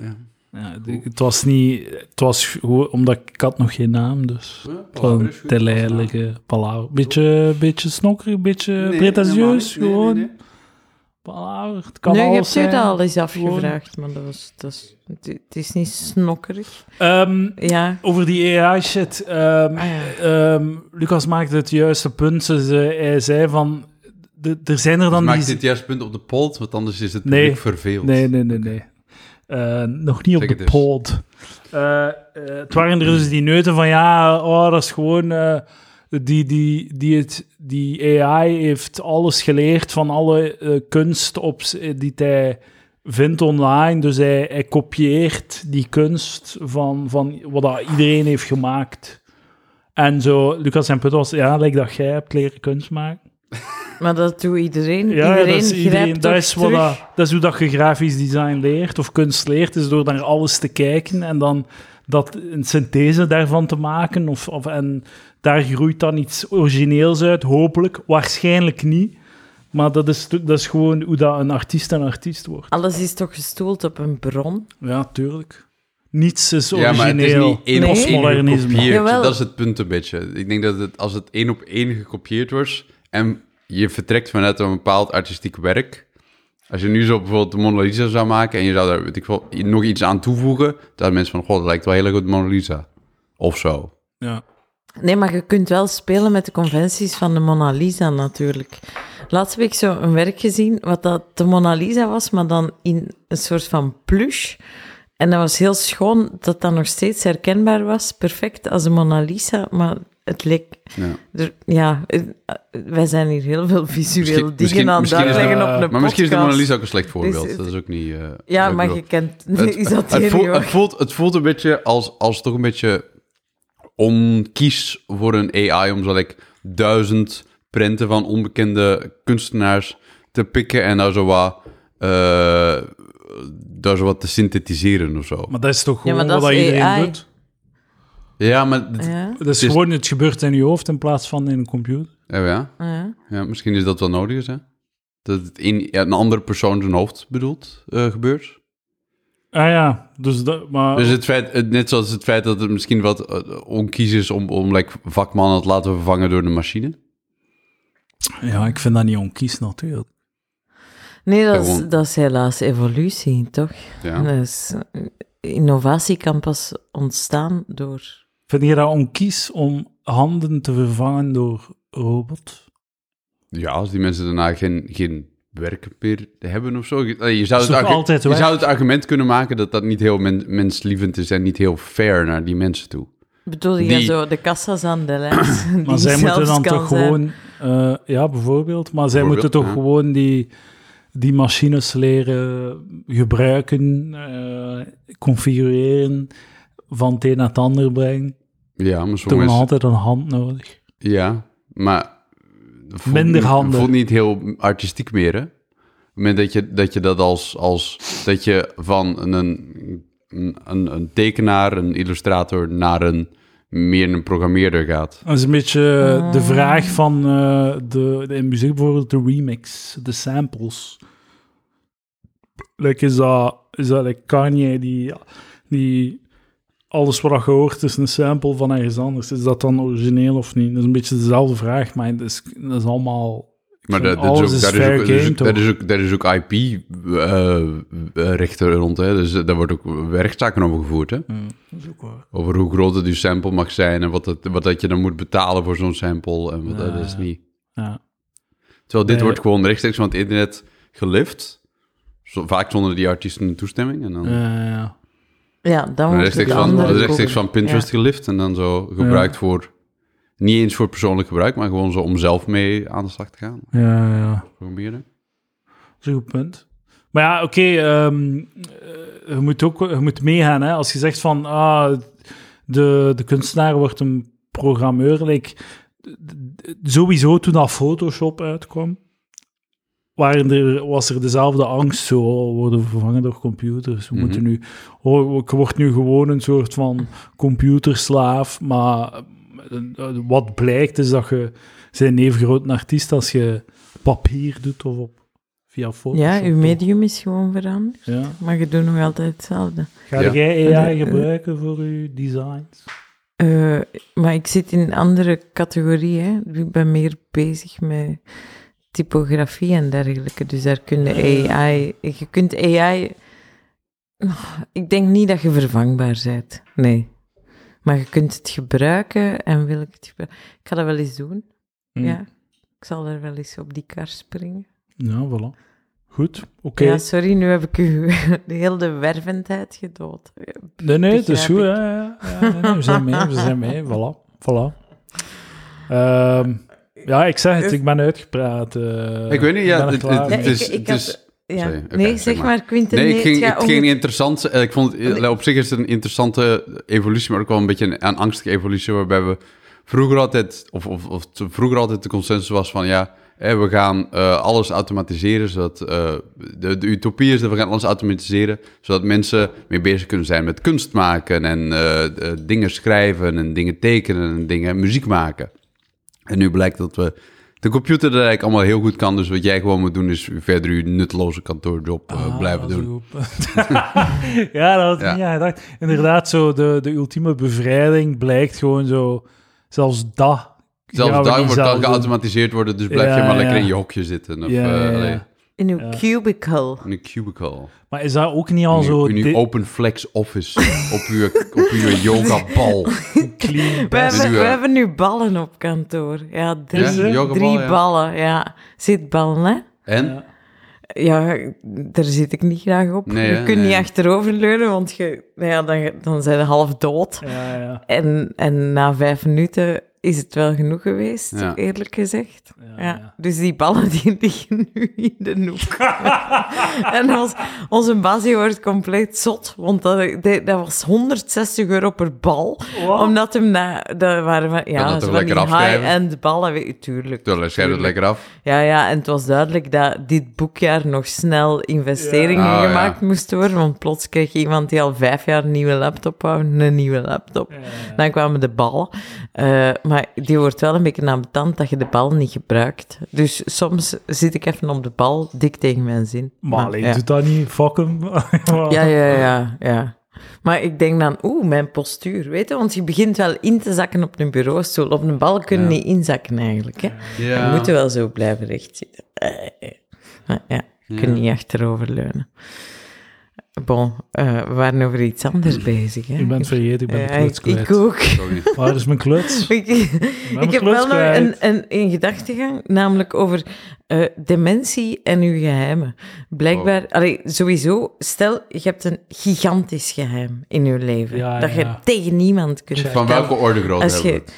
[SPEAKER 3] Ja.
[SPEAKER 1] Ja, de- het was niet... Het was gewoon omdat ik ik had nog geen naam, dus... Het was een teleidelijke palaver. Beetje, beetje snokkerig, beetje pretentieus, eh, gewoon. Palaver, het kan
[SPEAKER 2] nu, je
[SPEAKER 1] alles
[SPEAKER 2] hebt u
[SPEAKER 1] zijn.
[SPEAKER 2] dat al eens
[SPEAKER 1] Gewoon-
[SPEAKER 2] afgevraagd, maar dat was, dat is, het- het is niet snokkerig.
[SPEAKER 1] Ehm,
[SPEAKER 2] Ja,
[SPEAKER 1] over die AI-shit. ehm,
[SPEAKER 2] ah ja.
[SPEAKER 1] Lucas maakte het juiste punt. Ze zei- hij zei van... de- Er zijn er dan
[SPEAKER 3] Maakt
[SPEAKER 1] die...
[SPEAKER 3] dit juist punt op de pot, want anders is het
[SPEAKER 1] Nee.
[SPEAKER 3] publiek verveeld.
[SPEAKER 1] Nee, nee, nee, nee. Eh, nog niet op de
[SPEAKER 3] Zeg het dus. eens.
[SPEAKER 1] pod. Eh, eh, het waren er dus die neuten van ja, oh, dat is gewoon eh, die, die, die, het, die AI heeft alles geleerd van alle eh, kunst op, z- eh, die hij vindt online. Dus hij, hij kopieert die kunst van, van wat dat iedereen heeft gemaakt. En zo, Lucas en Put was, ja, lijkt dat jij hebt leren kunst maken.
[SPEAKER 2] Maar dat doet iedereen.
[SPEAKER 1] Ja, ja,
[SPEAKER 2] iedereen
[SPEAKER 1] dat is, iedereen,
[SPEAKER 2] grijpt
[SPEAKER 1] dat,
[SPEAKER 2] toch
[SPEAKER 1] is wat
[SPEAKER 2] terug.
[SPEAKER 1] dat, dat is hoe dat je grafisch design leert of kunst leert, is door naar alles te kijken en dan dat, een synthese daarvan te maken. Of, of, en daar groeit dan iets origineels uit, hopelijk. Waarschijnlijk niet. Maar dat is, to- dat is gewoon hoe dat een artiest een artiest wordt.
[SPEAKER 2] Alles is toch gestoeld op een bron?
[SPEAKER 1] Ja, tuurlijk. Niets is
[SPEAKER 3] Ja,
[SPEAKER 1] origineel.
[SPEAKER 3] maar het is niet één
[SPEAKER 2] Nee.
[SPEAKER 3] op één
[SPEAKER 1] Postmodernisme.
[SPEAKER 3] gekopieerd.
[SPEAKER 2] Jawel.
[SPEAKER 3] Dat is het punt een beetje. Ik denk dat het, als het één op één gekopieerd wordt en je vertrekt vanuit een bepaald artistiek werk. Als je nu zo bijvoorbeeld de Mona Lisa zou maken en je zou daar weet ik veel, nog iets aan toevoegen, dan mensen van, god, dat lijkt wel heel erg op de Mona Lisa. Of zo.
[SPEAKER 1] Ja.
[SPEAKER 2] Nee, maar je kunt wel spelen met de conventies van de Mona Lisa natuurlijk. Laatst heb ik zo een werk gezien wat dat de Mona Lisa was, maar dan in een soort van plush. En dat was heel schoon dat dat nog steeds herkenbaar was. Perfect als de Mona Lisa, maar het leek...
[SPEAKER 3] Ja.
[SPEAKER 2] er- ja, eh, eh, wij zijn hier heel veel visuele
[SPEAKER 3] Misschien-
[SPEAKER 2] dingen
[SPEAKER 3] misschien-
[SPEAKER 2] aan het
[SPEAKER 3] misschien is
[SPEAKER 2] uitleggen
[SPEAKER 1] dat-
[SPEAKER 2] op een
[SPEAKER 1] Maar
[SPEAKER 3] Maar misschien is de
[SPEAKER 2] podcast.
[SPEAKER 3] Mona Lisa ook een slecht voorbeeld.
[SPEAKER 2] het-
[SPEAKER 3] dat is ook niet... eh,
[SPEAKER 2] Ja,
[SPEAKER 3] wat ik
[SPEAKER 2] maar
[SPEAKER 3] bedoel.
[SPEAKER 2] je kent...
[SPEAKER 3] Het,
[SPEAKER 2] is dat
[SPEAKER 3] het,
[SPEAKER 2] hier
[SPEAKER 3] voelt,
[SPEAKER 2] niet
[SPEAKER 3] het,
[SPEAKER 2] waar?
[SPEAKER 3] voelt, het voelt een beetje als, als toch een beetje onkies voor een AI om zo like, duizend prenten van onbekende kunstenaars te pikken en daar zo wat, eh, daar zo wat te synthetiseren of zo.
[SPEAKER 1] Maar dat is toch
[SPEAKER 2] Ja,
[SPEAKER 1] gewoon
[SPEAKER 2] maar
[SPEAKER 1] wat
[SPEAKER 2] dat is
[SPEAKER 1] iedereen
[SPEAKER 2] AI.
[SPEAKER 1] doet?
[SPEAKER 3] Ja, maar dit-
[SPEAKER 2] Ja,
[SPEAKER 1] Dat is
[SPEAKER 3] Het is-
[SPEAKER 1] gewoon, het gebeurt in je hoofd in plaats van in een computer.
[SPEAKER 3] ja, Oh ja,
[SPEAKER 2] ja.
[SPEAKER 3] ja, misschien is dat wel nodig is, hè? Dat het in ja, een andere persoon zijn hoofd bedoelt, eh, gebeurt.
[SPEAKER 1] Ah ja, dus dat, maar...
[SPEAKER 3] Dus het feit, het- net zoals het feit dat het misschien wat eh, onkies is om, om like, vakmannen te laten vervangen door de machine.
[SPEAKER 1] Ja, ik vind dat niet onkies natuurlijk.
[SPEAKER 2] Nee, dat is,
[SPEAKER 3] Gewoon.
[SPEAKER 2] dat is helaas evolutie, toch?
[SPEAKER 3] Ja.
[SPEAKER 2] Dus innovatie kan pas ontstaan door...
[SPEAKER 1] Vind je dat onkies om handen te vervangen door robots?
[SPEAKER 3] Ja, als die mensen daarna geen, geen werk meer hebben of zo. Je- Je zou,
[SPEAKER 1] Is
[SPEAKER 3] het,
[SPEAKER 1] toch
[SPEAKER 3] argu-
[SPEAKER 1] altijd
[SPEAKER 3] je
[SPEAKER 1] werk?
[SPEAKER 3] zou het argument kunnen maken dat dat niet heel men- menslievend is en niet heel fair naar die mensen toe.
[SPEAKER 2] Bedoel je
[SPEAKER 3] Die-
[SPEAKER 2] zo de kassa's aan de lijst? die
[SPEAKER 1] Maar zij moeten
[SPEAKER 2] zelfs
[SPEAKER 1] dan
[SPEAKER 2] kan
[SPEAKER 1] toch
[SPEAKER 2] zijn?
[SPEAKER 1] gewoon... eh, ja, bijvoorbeeld. Maar zij moeten
[SPEAKER 3] Bijvoorbeeld,
[SPEAKER 1] toch
[SPEAKER 3] ja.
[SPEAKER 1] gewoon die, die machines leren gebruiken, eh, configureren, van het een naar het ander brengen.
[SPEAKER 3] Ja, maar
[SPEAKER 1] Toen
[SPEAKER 3] sommige
[SPEAKER 1] nog
[SPEAKER 3] mensen...
[SPEAKER 1] altijd een hand nodig.
[SPEAKER 3] Ja, maar... dat voelt
[SPEAKER 1] Minder
[SPEAKER 3] niet-
[SPEAKER 1] handen.
[SPEAKER 3] voelt niet heel artistiek meer, hè? Op het moment dat je dat, je dat als, als... Dat je van een, een, een, een tekenaar, een illustrator, naar een meer een programmeerder gaat.
[SPEAKER 1] Dat is een beetje eh, de vraag van eh, de, de, in muziek bijvoorbeeld de remix, de samples. Like, is dat, is dat like Kanye die, die alles wat je hoort is een sample van ergens anders. Is dat dan origineel of niet? Dat is een beetje dezelfde vraag, maar dat is, dat is allemaal... ik
[SPEAKER 3] Maar
[SPEAKER 1] vind
[SPEAKER 3] dat, dat is
[SPEAKER 1] alles
[SPEAKER 3] ook, daar, is
[SPEAKER 1] fair
[SPEAKER 3] ook, daar is
[SPEAKER 1] game,
[SPEAKER 3] ook-
[SPEAKER 1] toch?
[SPEAKER 3] daar is ook, daar is ook IP eh, eh, rechter rond, hè? Dus eh, daar wordt ook rechtszaken over gevoerd, hè?
[SPEAKER 1] Ja, dat is ook waar.
[SPEAKER 3] Over hoe groot het je sample mag zijn en wat, het, wat dat je dan moet betalen voor zo'n sample en wat
[SPEAKER 1] Ja,
[SPEAKER 3] dat is
[SPEAKER 1] ja.
[SPEAKER 3] niet.
[SPEAKER 1] Ja.
[SPEAKER 3] Terwijl dit
[SPEAKER 1] Ah. Nee.
[SPEAKER 3] wordt gewoon rechtstreeks van het internet gelift. Zo- vaak zonder die artiesten hun toestemming. En
[SPEAKER 1] Ja,
[SPEAKER 3] dan
[SPEAKER 1] Oh, ja, ja.
[SPEAKER 2] Ja, dan wordt het
[SPEAKER 3] rechtstreeks,
[SPEAKER 1] de
[SPEAKER 3] van,
[SPEAKER 2] andere
[SPEAKER 3] rechtstreeks
[SPEAKER 2] koek.
[SPEAKER 3] van Pinterest gelift. En dan zo gebruikt voor... Niet eens voor persoonlijk gebruik, maar gewoon zo om zelf mee aan de slag te gaan.
[SPEAKER 1] ja, ja.
[SPEAKER 3] Proberen.
[SPEAKER 1] Dat is een goed punt. Maar ja, oké, ehm, eh, je moet ook je moet meegaan. Hè? Als je zegt van ah, de, de kunstenaar wordt een programmeur. Like, d- d- sowieso toen dat Photoshop uitkwam, waren er, was er dezelfde angst. Zo, oh, we worden vervangen door computers. We
[SPEAKER 3] Mhm.
[SPEAKER 1] moeten nu, oh, ik word nu gewoon een soort van computerslaaf. Maar eh, eh, wat blijkt is dat je zijn even groot een artiest als je papier doet of op, via Photoshop.
[SPEAKER 2] Ja, uw medium is gewoon veranderd.
[SPEAKER 1] Ja.
[SPEAKER 2] Maar je doet nog altijd hetzelfde.
[SPEAKER 1] Ga
[SPEAKER 3] Ja.
[SPEAKER 1] jij AI
[SPEAKER 2] Eh, eh.
[SPEAKER 1] gebruiken voor je designs?
[SPEAKER 2] Eh, maar ik zit in een andere categorie. Hè. Ik ben meer bezig met typografie en dergelijke. Dus daar kun
[SPEAKER 3] Ah,
[SPEAKER 2] je AI... Je kunt AI... Ik denk niet dat je vervangbaar bent. Nee. Maar je kunt het gebruiken en wil ik het gebruiken. Ik ga dat wel eens doen.
[SPEAKER 3] Hmm.
[SPEAKER 2] Ja. Ik zal er wel eens op die kar springen.
[SPEAKER 1] Hm. Ja, voilà. Goed, oké.
[SPEAKER 2] Ja, sorry, nu heb ik u de hele wervendheid gedood.
[SPEAKER 1] Nee, nee, het is goed.
[SPEAKER 2] Begrijp ik.
[SPEAKER 1] Ja, ja, ja. Ja, nee, nee, we zijn mee, we zijn mee. Voilà, voilà. Ehm, ja, ik zeg het, ik ben uitgepraat. eh.
[SPEAKER 3] Ik weet niet,
[SPEAKER 1] ben
[SPEAKER 3] ja,
[SPEAKER 1] er
[SPEAKER 3] het,
[SPEAKER 1] klaar
[SPEAKER 3] het-
[SPEAKER 1] mee.
[SPEAKER 3] het
[SPEAKER 2] Ja,
[SPEAKER 3] is...
[SPEAKER 2] ik- ik
[SPEAKER 3] het
[SPEAKER 2] had-
[SPEAKER 3] is-
[SPEAKER 2] Ja.
[SPEAKER 3] Sorry, oké,
[SPEAKER 2] nee,
[SPEAKER 3] zeg
[SPEAKER 2] zeg
[SPEAKER 3] maar.
[SPEAKER 2] maar, Quinten.
[SPEAKER 3] Nee,
[SPEAKER 2] Nee,
[SPEAKER 3] ik ging,
[SPEAKER 2] het gaat
[SPEAKER 3] het
[SPEAKER 2] om
[SPEAKER 3] ging
[SPEAKER 2] het-
[SPEAKER 3] niet interessant. eh, Ik vond het, eh, op zich is het een interessante evolutie, maar ook wel een beetje een, een angstige evolutie. Waarbij we vroeger altijd, of, of, of te- vroeger altijd de consensus was van ja, hè, we gaan eh, alles automatiseren. Zodat, eh, de, de utopie is dat we gaan alles automatiseren. Zodat mensen mee bezig kunnen zijn met kunst maken en eh, eh, dingen schrijven en dingen tekenen en dingen muziek maken. En nu blijkt dat we. De computer dat eigenlijk allemaal heel goed kan. Dus wat jij gewoon moet doen, is verder je nutteloze kantoorjob eh,
[SPEAKER 1] Ah,
[SPEAKER 3] blijven
[SPEAKER 1] dat is
[SPEAKER 3] doen.
[SPEAKER 1] een goed punt. ja, dat had ik
[SPEAKER 3] Ja.
[SPEAKER 1] niet aan gedacht. Inderdaad, zo de, de ultieme bevrijding blijkt gewoon zo... Zelfs dat...
[SPEAKER 3] Zelfs
[SPEAKER 1] gaan we
[SPEAKER 3] daar
[SPEAKER 1] niet
[SPEAKER 3] wordt
[SPEAKER 1] zelf
[SPEAKER 3] dan
[SPEAKER 1] doen.
[SPEAKER 3] geautomatiseerd worden, dus blijf
[SPEAKER 1] Ja,
[SPEAKER 3] je maar lekker
[SPEAKER 1] ja.
[SPEAKER 3] in je hokje zitten. Of,
[SPEAKER 1] Ja,
[SPEAKER 3] eh,
[SPEAKER 1] ja, ja.
[SPEAKER 3] allee,
[SPEAKER 2] in uw
[SPEAKER 1] Ja.
[SPEAKER 2] cubicle.
[SPEAKER 3] in een cubicle.
[SPEAKER 1] Maar is dat ook niet al
[SPEAKER 3] In uw-
[SPEAKER 1] zo...
[SPEAKER 3] in
[SPEAKER 1] di-
[SPEAKER 3] uw open flex office. op uw, op uw yogabal.
[SPEAKER 1] clean
[SPEAKER 2] We
[SPEAKER 1] best?
[SPEAKER 2] hebben,
[SPEAKER 3] nu,
[SPEAKER 2] we
[SPEAKER 3] eh,
[SPEAKER 2] hebben nu ballen op kantoor. Ja, drie,
[SPEAKER 1] Ja,
[SPEAKER 2] drie
[SPEAKER 3] yogaballen, ja.
[SPEAKER 2] ballen. Ja, zitballen, hè?
[SPEAKER 3] En?
[SPEAKER 1] Ja.
[SPEAKER 2] Ja, daar zit ik niet graag op.
[SPEAKER 3] Nee,
[SPEAKER 2] je
[SPEAKER 3] hè?
[SPEAKER 2] kunt
[SPEAKER 3] Nee.
[SPEAKER 2] niet achterover leunen, want je, nou ja, dan, dan zijn we half dood.
[SPEAKER 1] Ja, ja.
[SPEAKER 2] En, en na vijf minuten is het wel genoeg geweest,
[SPEAKER 3] Ja.
[SPEAKER 2] eerlijk gezegd.
[SPEAKER 1] Ja,
[SPEAKER 2] Ja,
[SPEAKER 1] ja.
[SPEAKER 2] Dus die ballen die liggen nu in de hoek. en ons, onze basie wordt compleet zot, want dat, dat dat was 160 euro per bal.
[SPEAKER 1] Wow.
[SPEAKER 2] Omdat hem na, dat waren van,
[SPEAKER 3] dat
[SPEAKER 2] ja, dat van
[SPEAKER 3] toch
[SPEAKER 2] die
[SPEAKER 3] lekker afschrijven?
[SPEAKER 2] high-end ballen, weet je, tuurlijk.
[SPEAKER 3] Dan schrijf je het
[SPEAKER 2] tuurlijk.
[SPEAKER 3] lekker af.
[SPEAKER 2] Ja, ja, en het was duidelijk dat dit boekjaar nog snel investeringen
[SPEAKER 3] Ja. Oh, ja.
[SPEAKER 2] gemaakt moesten worden, want plots kreeg iemand die al vijf jaar een nieuwe laptop wou, een nieuwe laptop.
[SPEAKER 1] Ja, ja, ja.
[SPEAKER 2] Dan kwamen de ballen. Eh, maar Maar die wordt wel een beetje ambetant dat je de bal niet gebruikt. Dus soms zit ik even op de bal, dik tegen mijn zin.
[SPEAKER 1] Maar alleen
[SPEAKER 2] ja.
[SPEAKER 1] doet dat niet, fuck hem.
[SPEAKER 2] Ja, ja, ja, ja. Maar ik denk dan, oeh, mijn postuur, weet je? Want je begint wel in te zakken op een bureaustoel. Op een bal kunnen
[SPEAKER 3] Ja.
[SPEAKER 2] niet inzakken eigenlijk, hè.
[SPEAKER 3] Ja.
[SPEAKER 2] Je moet wel zo blijven rechtzitten. Eh, eh. Maar ja, je kunt
[SPEAKER 3] Ja.
[SPEAKER 2] niet achteroverleunen. Bon, eh, we waren over iets anders bezig, hè.
[SPEAKER 1] Ik ben het vergeten, ik ben de
[SPEAKER 2] Ja,
[SPEAKER 1] kluts
[SPEAKER 2] ik,
[SPEAKER 1] kwijt.
[SPEAKER 2] ik ook.
[SPEAKER 3] Sorry.
[SPEAKER 1] Waar is mijn kluts?
[SPEAKER 2] Ik,
[SPEAKER 1] mijn
[SPEAKER 2] ik heb wel
[SPEAKER 1] kluts
[SPEAKER 2] nog een,
[SPEAKER 1] kwijt.
[SPEAKER 2] een, een gedachtegang, namelijk over eh, dementie en uw geheimen. Blijkbaar, allee, sowieso, stel je hebt een gigantisch geheim in je leven
[SPEAKER 1] Ja,
[SPEAKER 2] dat
[SPEAKER 1] ja,
[SPEAKER 2] je
[SPEAKER 1] ja.
[SPEAKER 2] tegen niemand kunt
[SPEAKER 1] Van
[SPEAKER 3] Van
[SPEAKER 2] vertellen.
[SPEAKER 3] welke orde groot
[SPEAKER 2] Als
[SPEAKER 3] hebben
[SPEAKER 2] je
[SPEAKER 3] we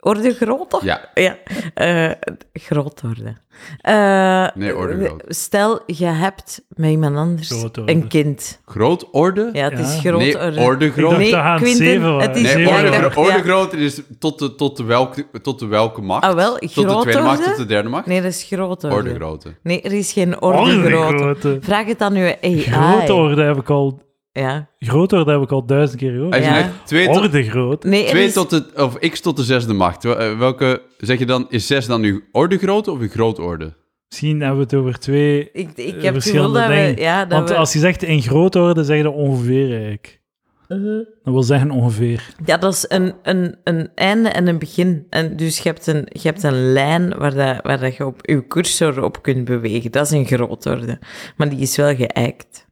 [SPEAKER 2] orde grootte?
[SPEAKER 3] het? Ja.
[SPEAKER 2] Ja, eh, groot orde. Eh,
[SPEAKER 3] Nee, orde groot.
[SPEAKER 2] Stel je hebt met iemand anders
[SPEAKER 1] Groot orde.
[SPEAKER 2] een kind.
[SPEAKER 3] Groot orde?
[SPEAKER 2] Ja, het is
[SPEAKER 1] Ja.
[SPEAKER 2] groot
[SPEAKER 3] nee,
[SPEAKER 2] orde.
[SPEAKER 3] orde
[SPEAKER 1] Ik
[SPEAKER 3] groot.
[SPEAKER 1] dacht
[SPEAKER 2] Nee,
[SPEAKER 1] dat aan het
[SPEAKER 2] Quinten,
[SPEAKER 1] zeven
[SPEAKER 2] het
[SPEAKER 1] waren.
[SPEAKER 2] is-
[SPEAKER 3] Nee,
[SPEAKER 2] Ja,
[SPEAKER 3] orde,
[SPEAKER 2] ik dacht-
[SPEAKER 3] gro- orde
[SPEAKER 2] ja.
[SPEAKER 3] groot is tot de, tot de, welke, tot de welke macht?
[SPEAKER 2] Ah, wel,
[SPEAKER 3] tot de
[SPEAKER 2] groot
[SPEAKER 3] tweede macht,
[SPEAKER 2] orde?
[SPEAKER 3] tot de derde macht?
[SPEAKER 2] Nee, dat is groot orde.
[SPEAKER 3] orde grootte.
[SPEAKER 2] Nee, er is geen
[SPEAKER 1] Orde
[SPEAKER 2] orde grootte.
[SPEAKER 1] grootte.
[SPEAKER 2] Vraag het aan uw AI.
[SPEAKER 1] Grote orde heb ik al...
[SPEAKER 2] Ja.
[SPEAKER 1] Grote orde heb ik al duizend keer gehoord.
[SPEAKER 3] Als je
[SPEAKER 2] Ja.
[SPEAKER 3] zegt 2 tot,
[SPEAKER 1] Orde groot.
[SPEAKER 2] Nee, dus er
[SPEAKER 3] twee
[SPEAKER 2] is-
[SPEAKER 3] tot de, of x tot de zesde macht, wel- eh, welke, zeg je dan, is zes dan uw orde grootte of uw grootorde?
[SPEAKER 1] Misschien hebben we het over twee
[SPEAKER 2] ik,
[SPEAKER 1] eh,
[SPEAKER 2] ik heb het gevoel
[SPEAKER 1] verschillende
[SPEAKER 2] dat
[SPEAKER 1] dingen.
[SPEAKER 2] we... Ja, dat
[SPEAKER 1] Want
[SPEAKER 2] we-
[SPEAKER 1] als je zegt in groot orde, zeg je dat ongeveer eigenlijk.
[SPEAKER 2] Uh-huh.
[SPEAKER 1] Dat wil zeggen ongeveer.
[SPEAKER 2] Ja, dat is een, een, een einde en een begin. En dus je hebt een, je hebt een lijn waar, dat, waar dat je op je cursor op kunt bewegen. Dat is een grootorde. Maar die is wel geëikt.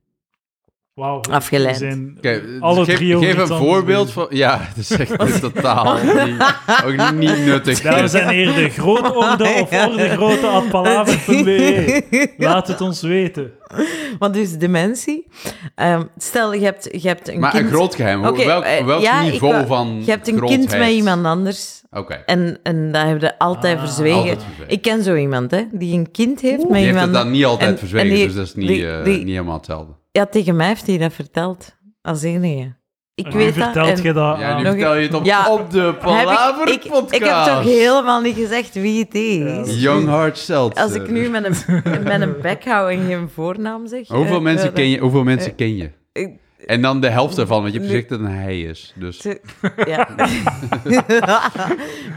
[SPEAKER 1] Wauw.
[SPEAKER 2] Afgeleid.
[SPEAKER 1] we zijn
[SPEAKER 3] Oké, eh,
[SPEAKER 1] alle
[SPEAKER 3] geef,
[SPEAKER 1] drie over
[SPEAKER 3] geef
[SPEAKER 1] iets
[SPEAKER 3] een
[SPEAKER 1] anders
[SPEAKER 3] voorbeeld
[SPEAKER 1] bezig.
[SPEAKER 3] van... Ja, dat is echt totaal niet, ook niet nuttig.
[SPEAKER 1] Dames en heren, de grote orde of orde grote at palaver.be. E. Laat het ons weten.
[SPEAKER 2] Want dus dementie. Ehm, stel, je hebt, je hebt een
[SPEAKER 3] maar
[SPEAKER 2] kind...
[SPEAKER 3] een groot geheim,
[SPEAKER 2] Oké,
[SPEAKER 3] welk,
[SPEAKER 2] eh,
[SPEAKER 3] welk
[SPEAKER 2] ja, ik
[SPEAKER 3] niveau
[SPEAKER 2] wou-
[SPEAKER 3] van
[SPEAKER 2] Je hebt een kind
[SPEAKER 3] grootheid?
[SPEAKER 2] met iemand anders.
[SPEAKER 3] Oké,
[SPEAKER 2] En, en dat hebben we altijd
[SPEAKER 1] Ah.
[SPEAKER 2] verzwegen.
[SPEAKER 3] altijd verzwegen.
[SPEAKER 2] Ik ken zo iemand, hè, die een kind heeft met
[SPEAKER 3] Die heeft het
[SPEAKER 2] iemand...
[SPEAKER 3] dan niet altijd
[SPEAKER 2] en- en
[SPEAKER 3] verzwegen,
[SPEAKER 2] die-
[SPEAKER 3] dus dat is niet,
[SPEAKER 2] die-
[SPEAKER 3] eh,
[SPEAKER 2] die-
[SPEAKER 3] niet helemaal hetzelfde.
[SPEAKER 2] Ja, tegen mij heeft hij dat verteld. Als enige. Ik
[SPEAKER 1] En
[SPEAKER 2] weet
[SPEAKER 1] nu
[SPEAKER 2] dat.
[SPEAKER 1] vertelt
[SPEAKER 2] en-
[SPEAKER 1] je dat
[SPEAKER 3] Ja,
[SPEAKER 1] aan-
[SPEAKER 3] nu
[SPEAKER 2] Nog
[SPEAKER 3] vertel je het op,
[SPEAKER 2] Ja.
[SPEAKER 3] op de
[SPEAKER 2] Heb
[SPEAKER 3] Palaver
[SPEAKER 2] ik, ik,
[SPEAKER 3] podcast.
[SPEAKER 2] ik heb toch helemaal niet gezegd wie het
[SPEAKER 1] Ja,
[SPEAKER 2] is.
[SPEAKER 1] dat
[SPEAKER 3] Young Heart Seltzer.
[SPEAKER 2] Als ik nu met een, met een bek hou en geen voornaam zeg.
[SPEAKER 3] Hoeveel,
[SPEAKER 2] eh,
[SPEAKER 3] mensen
[SPEAKER 2] eh,
[SPEAKER 3] ken je, hoeveel mensen ken je?
[SPEAKER 2] ik-
[SPEAKER 3] En dan de helft ervan, want je hebt
[SPEAKER 2] Nee.
[SPEAKER 3] gezegd dat een hij is. Dus.
[SPEAKER 2] Te- Ja.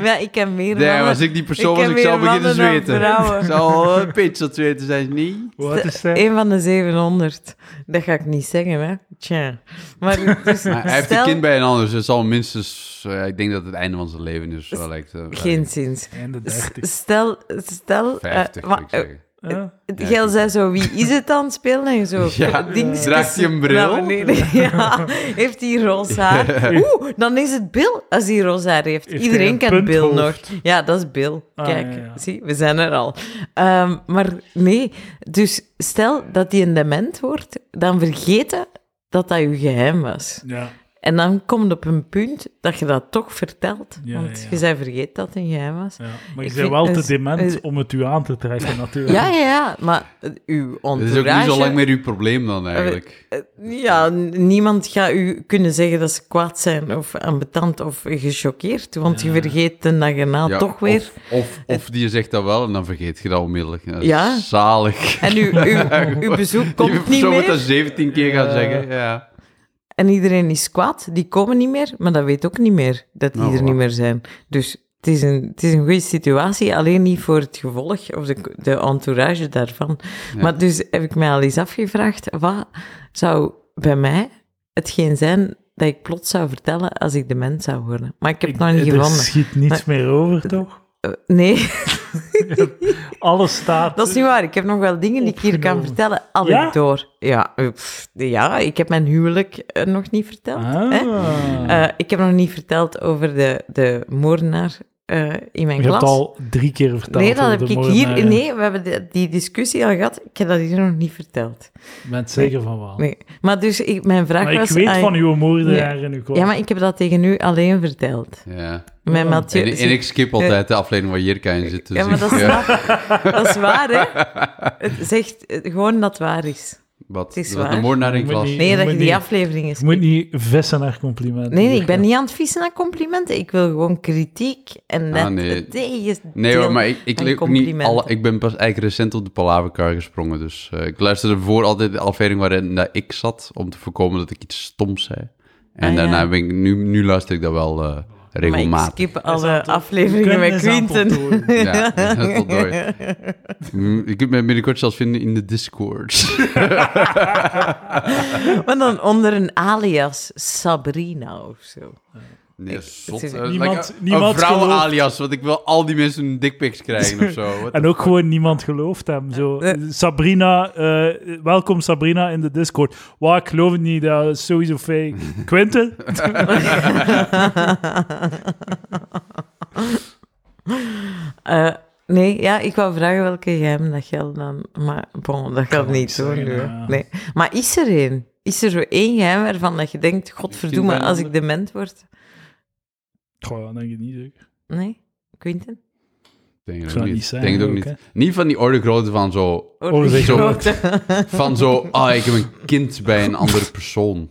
[SPEAKER 2] maar ik ken meer
[SPEAKER 3] Nee,
[SPEAKER 2] mannen.
[SPEAKER 3] was ik die persoon
[SPEAKER 2] Ik
[SPEAKER 3] was,
[SPEAKER 2] ken
[SPEAKER 3] ik zou
[SPEAKER 2] meer
[SPEAKER 3] beginnen
[SPEAKER 2] mannen dan
[SPEAKER 3] zweten.
[SPEAKER 2] vrouwen.
[SPEAKER 3] Ik zou een pitch dat zweten zijn, niet?
[SPEAKER 1] Hoe oud is hij?
[SPEAKER 2] Een van de 700. Dat ga ik niet zeggen, hè. Tja. Maar, dus,
[SPEAKER 3] Maar hij heeft
[SPEAKER 2] stel-
[SPEAKER 3] een kind bij een ander, dus het zal minstens... eh, ik denk dat het einde van zijn leven is, wel lijkt. eh,
[SPEAKER 2] Geen zins.
[SPEAKER 1] Einde
[SPEAKER 2] S-
[SPEAKER 1] 30.
[SPEAKER 2] Stel, stel... eh,
[SPEAKER 3] 50,
[SPEAKER 2] wa-
[SPEAKER 3] zou ik zeggen.
[SPEAKER 1] Ja.
[SPEAKER 2] Jij zei zo, wie is het aan het spelen? En zo,
[SPEAKER 3] Ja,
[SPEAKER 2] dingetjes
[SPEAKER 3] draagt hij een bril?
[SPEAKER 2] naar beneden. Ja, heeft hij roze haar? Oeh, dan is het Bill als hij roze haar heeft.
[SPEAKER 1] Heeft hij
[SPEAKER 2] Iedereen
[SPEAKER 1] een
[SPEAKER 2] kent Bill nog.
[SPEAKER 1] punthoofd?
[SPEAKER 2] Ja, dat is Bill.
[SPEAKER 1] Ah,
[SPEAKER 2] Kijk,
[SPEAKER 1] ja, ja.
[SPEAKER 2] zie, we zijn er al. Ehm, maar nee, dus stel dat hij een dement wordt, dan vergeten dat dat je geheim was.
[SPEAKER 1] Ja.
[SPEAKER 2] En dan komt op een punt dat je dat toch vertelt.
[SPEAKER 1] Ja,
[SPEAKER 2] want
[SPEAKER 1] ja, ja.
[SPEAKER 2] je zei vergeet dat het een geheim was.
[SPEAKER 1] Ja, maar je
[SPEAKER 2] Ik
[SPEAKER 1] bent
[SPEAKER 2] vind- eh,
[SPEAKER 1] wel te
[SPEAKER 2] is-
[SPEAKER 1] dement
[SPEAKER 2] is-
[SPEAKER 1] om het u aan te trekken, natuurlijk.
[SPEAKER 2] Ja, ja, ja, maar eh, uw
[SPEAKER 3] Het
[SPEAKER 2] entourage...
[SPEAKER 3] is ook niet zo lang meer uw probleem dan,
[SPEAKER 2] Eh,
[SPEAKER 3] eigenlijk.
[SPEAKER 2] Ja, n- niemand gaat u kunnen zeggen dat ze kwaad zijn of ambetant of gechoqueerd, want je vergeet de dag erna
[SPEAKER 3] Ja,
[SPEAKER 2] toch weer.
[SPEAKER 3] Of, of, of die zegt dat wel en dan vergeet je dat onmiddellijk. Dat is
[SPEAKER 2] Ja.
[SPEAKER 3] Zalig.
[SPEAKER 2] En uw, uw, uw bezoek
[SPEAKER 3] je
[SPEAKER 2] komt niet
[SPEAKER 3] persoon moet dat
[SPEAKER 2] meer.
[SPEAKER 3] 17 keer gaan
[SPEAKER 1] Ja.
[SPEAKER 3] zeggen. Ja.
[SPEAKER 2] En iedereen is kwaad, die komen niet meer, maar dat weet ook niet meer dat die
[SPEAKER 3] Nou,
[SPEAKER 2] er
[SPEAKER 3] voilà.
[SPEAKER 2] niet meer zijn. Dus het is, een, het is een goede situatie, alleen niet voor het gevolg of de, de entourage daarvan.
[SPEAKER 3] Ja.
[SPEAKER 2] Maar dus heb ik mij al eens afgevraagd, wat zou bij mij hetgeen zijn dat ik plots zou vertellen als ik dement zou worden? Maar ik heb het nog
[SPEAKER 3] dus
[SPEAKER 2] niet
[SPEAKER 1] er
[SPEAKER 2] gevonden.
[SPEAKER 1] schiet niets meer over, toch?
[SPEAKER 2] Eh, Nee,
[SPEAKER 1] Alles staat...
[SPEAKER 2] dat is niet waar. Ik heb nog wel dingen die ik hier kan
[SPEAKER 1] Opgenomen.
[SPEAKER 2] vertellen. Al
[SPEAKER 1] Ja?
[SPEAKER 2] ik door. Ja, eh, pff, ja, ik heb mijn huwelijk eh, nog niet verteld.
[SPEAKER 1] Ah.
[SPEAKER 2] hè. Eh, ik heb nog niet verteld over de, de moordenaar eh, in mijn
[SPEAKER 1] je
[SPEAKER 2] klas.
[SPEAKER 1] hebt al drie keer verteld.
[SPEAKER 2] nee, dat
[SPEAKER 1] over
[SPEAKER 2] heb
[SPEAKER 1] de
[SPEAKER 2] ik
[SPEAKER 1] moordenaar.
[SPEAKER 2] hier... Nee, we hebben de- die discussie al gehad. Ik heb dat hier nog niet verteld.
[SPEAKER 1] Ik ben het zeker van wel.
[SPEAKER 2] Nee. Maar dus, ik, mijn vraag
[SPEAKER 1] Ah. Maar ik
[SPEAKER 2] was...
[SPEAKER 1] weet
[SPEAKER 2] aan-
[SPEAKER 1] van uw moordenaar en uw klas.
[SPEAKER 2] Ja, maar ik heb dat tegen u alleen verteld.
[SPEAKER 3] ja.
[SPEAKER 2] Mijn
[SPEAKER 1] Ja.
[SPEAKER 2] Mathieu... dus
[SPEAKER 3] En, en ik skip altijd de aflevering waar Jirka in zit. dus
[SPEAKER 2] Ja, maar
[SPEAKER 3] ik-
[SPEAKER 2] dat is, waar. dat is waar, hè. Het zegt eh, gewoon dat het waar is.
[SPEAKER 3] Wat?
[SPEAKER 2] Het is
[SPEAKER 3] Dat
[SPEAKER 2] waar.
[SPEAKER 3] de moordenaar in
[SPEAKER 1] Moet
[SPEAKER 3] klas.
[SPEAKER 1] niet-
[SPEAKER 2] Nee,
[SPEAKER 1] Je
[SPEAKER 2] dat
[SPEAKER 1] moet
[SPEAKER 2] je die
[SPEAKER 1] niet-
[SPEAKER 2] aflevering is.
[SPEAKER 1] Je moet niet vissen naar complimenten.
[SPEAKER 2] Nee, nee, ik ben niet aan het vissen naar complimenten. Ik wil gewoon kritiek en net
[SPEAKER 3] Ah, nee.
[SPEAKER 2] het tegendeel.
[SPEAKER 3] Nee hoor, maar ik, ik,
[SPEAKER 2] aan
[SPEAKER 3] leek ook niet
[SPEAKER 2] complimenten.
[SPEAKER 3] alle, ik ben pas eigenlijk recent op de palaverkar gesprongen. Dus eh, ik luisterde voor altijd de aflevering waarin dat ik zat, om te voorkomen dat ik iets stoms zei. En
[SPEAKER 2] Ah, ja.
[SPEAKER 3] daarna ben ik, nu, nu luister ik dat wel eh,
[SPEAKER 2] Maar ik
[SPEAKER 3] regelmatig.
[SPEAKER 2] skip alle afleveringen met Quinten.
[SPEAKER 3] Ja, tot nooit. Mm, Je kunt mij binnenkort zelfs vinden in de Discord.
[SPEAKER 2] Maar dan onder een alias Sabrina of zo.
[SPEAKER 3] Nee, zot.
[SPEAKER 2] het is-
[SPEAKER 3] Eh,
[SPEAKER 1] Niemand-
[SPEAKER 3] like een-
[SPEAKER 1] niemand
[SPEAKER 3] een vrouwen
[SPEAKER 1] gelooft-
[SPEAKER 3] alias, want ik wil al die mensen een dickpics krijgen of zo. What
[SPEAKER 1] En
[SPEAKER 3] the
[SPEAKER 1] ook
[SPEAKER 3] fuck?
[SPEAKER 1] gewoon niemand gelooft hem. Zo.
[SPEAKER 2] Eh.
[SPEAKER 1] Sabrina, eh, welkom Sabrina in de Discord. Waar, ik geloof het niet, dat is sowieso fake. Quinten?
[SPEAKER 2] Eh, nee, ja, ik wou vragen welke geheim dat geldt dan. Maar bon, dat
[SPEAKER 1] Kan
[SPEAKER 2] gaat
[SPEAKER 1] ik
[SPEAKER 2] niet hoor.
[SPEAKER 1] zeggen,
[SPEAKER 2] nu, hè.
[SPEAKER 1] ja.
[SPEAKER 2] Nee. Maar is er één? Is er zo één geheim waarvan dat je denkt, godverdomme,
[SPEAKER 3] bijna
[SPEAKER 2] als ik
[SPEAKER 3] honderd.
[SPEAKER 2] dement word?
[SPEAKER 1] Goh, dat denk ik niet zeker.
[SPEAKER 2] Nee? Quinten?
[SPEAKER 3] Denk
[SPEAKER 1] Ik zou
[SPEAKER 3] het ook
[SPEAKER 1] het niet
[SPEAKER 3] niet.
[SPEAKER 1] zijn.
[SPEAKER 3] Denk het ook
[SPEAKER 1] ook,
[SPEAKER 3] niet. Niet van die orde grootte van zo...
[SPEAKER 1] Overzicht.
[SPEAKER 3] Van zo, ah, ik heb een kind bij een andere persoon.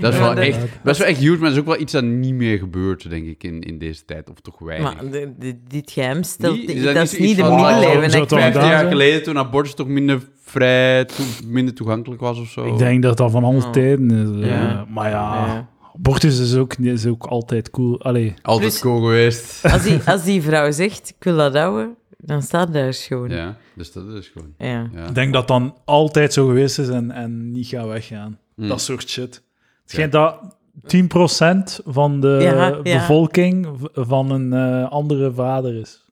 [SPEAKER 3] Dat is
[SPEAKER 2] Ja,
[SPEAKER 3] wel
[SPEAKER 2] dat-
[SPEAKER 3] echt... Dat is wel echt huge, maar dat is ook wel iets dat niet meer gebeurt, denk ik, in, in deze tijd. Of toch weinig.
[SPEAKER 2] Maar de- de- dit geheim stelt...
[SPEAKER 3] Niet-
[SPEAKER 2] dat is
[SPEAKER 3] iets
[SPEAKER 2] niet de
[SPEAKER 3] van, ah,
[SPEAKER 1] wauw,
[SPEAKER 2] middeleeuwen.
[SPEAKER 1] zo
[SPEAKER 2] hè,
[SPEAKER 1] toch
[SPEAKER 2] Quinten?
[SPEAKER 1] gedaan?
[SPEAKER 3] 15 jaar
[SPEAKER 1] hè?
[SPEAKER 3] geleden, toen abortus toch minder vrij, toe- minder toegankelijk was of zo.
[SPEAKER 1] Ik denk dat dat van alle
[SPEAKER 2] Oh.
[SPEAKER 1] tijden is. eh,
[SPEAKER 2] Ja.
[SPEAKER 1] Maar ja,
[SPEAKER 2] Ja.
[SPEAKER 1] abortus is ook, is ook altijd cool. Allee,
[SPEAKER 3] Altijd
[SPEAKER 2] Plus-
[SPEAKER 3] cool geweest.
[SPEAKER 2] Als die, als die vrouw zegt, ik wil dat houden, dan staat daar schoon. Ja.
[SPEAKER 3] Ja, dus dat is gewoon... Ja.
[SPEAKER 1] ik denk dat dan altijd zo geweest is en, en niet gaat weggaan.
[SPEAKER 3] Mm.
[SPEAKER 1] Dat soort shit. Het schijnt dat 10% van de
[SPEAKER 2] Ja, ja.
[SPEAKER 1] bevolking v- van een eh, andere vader is.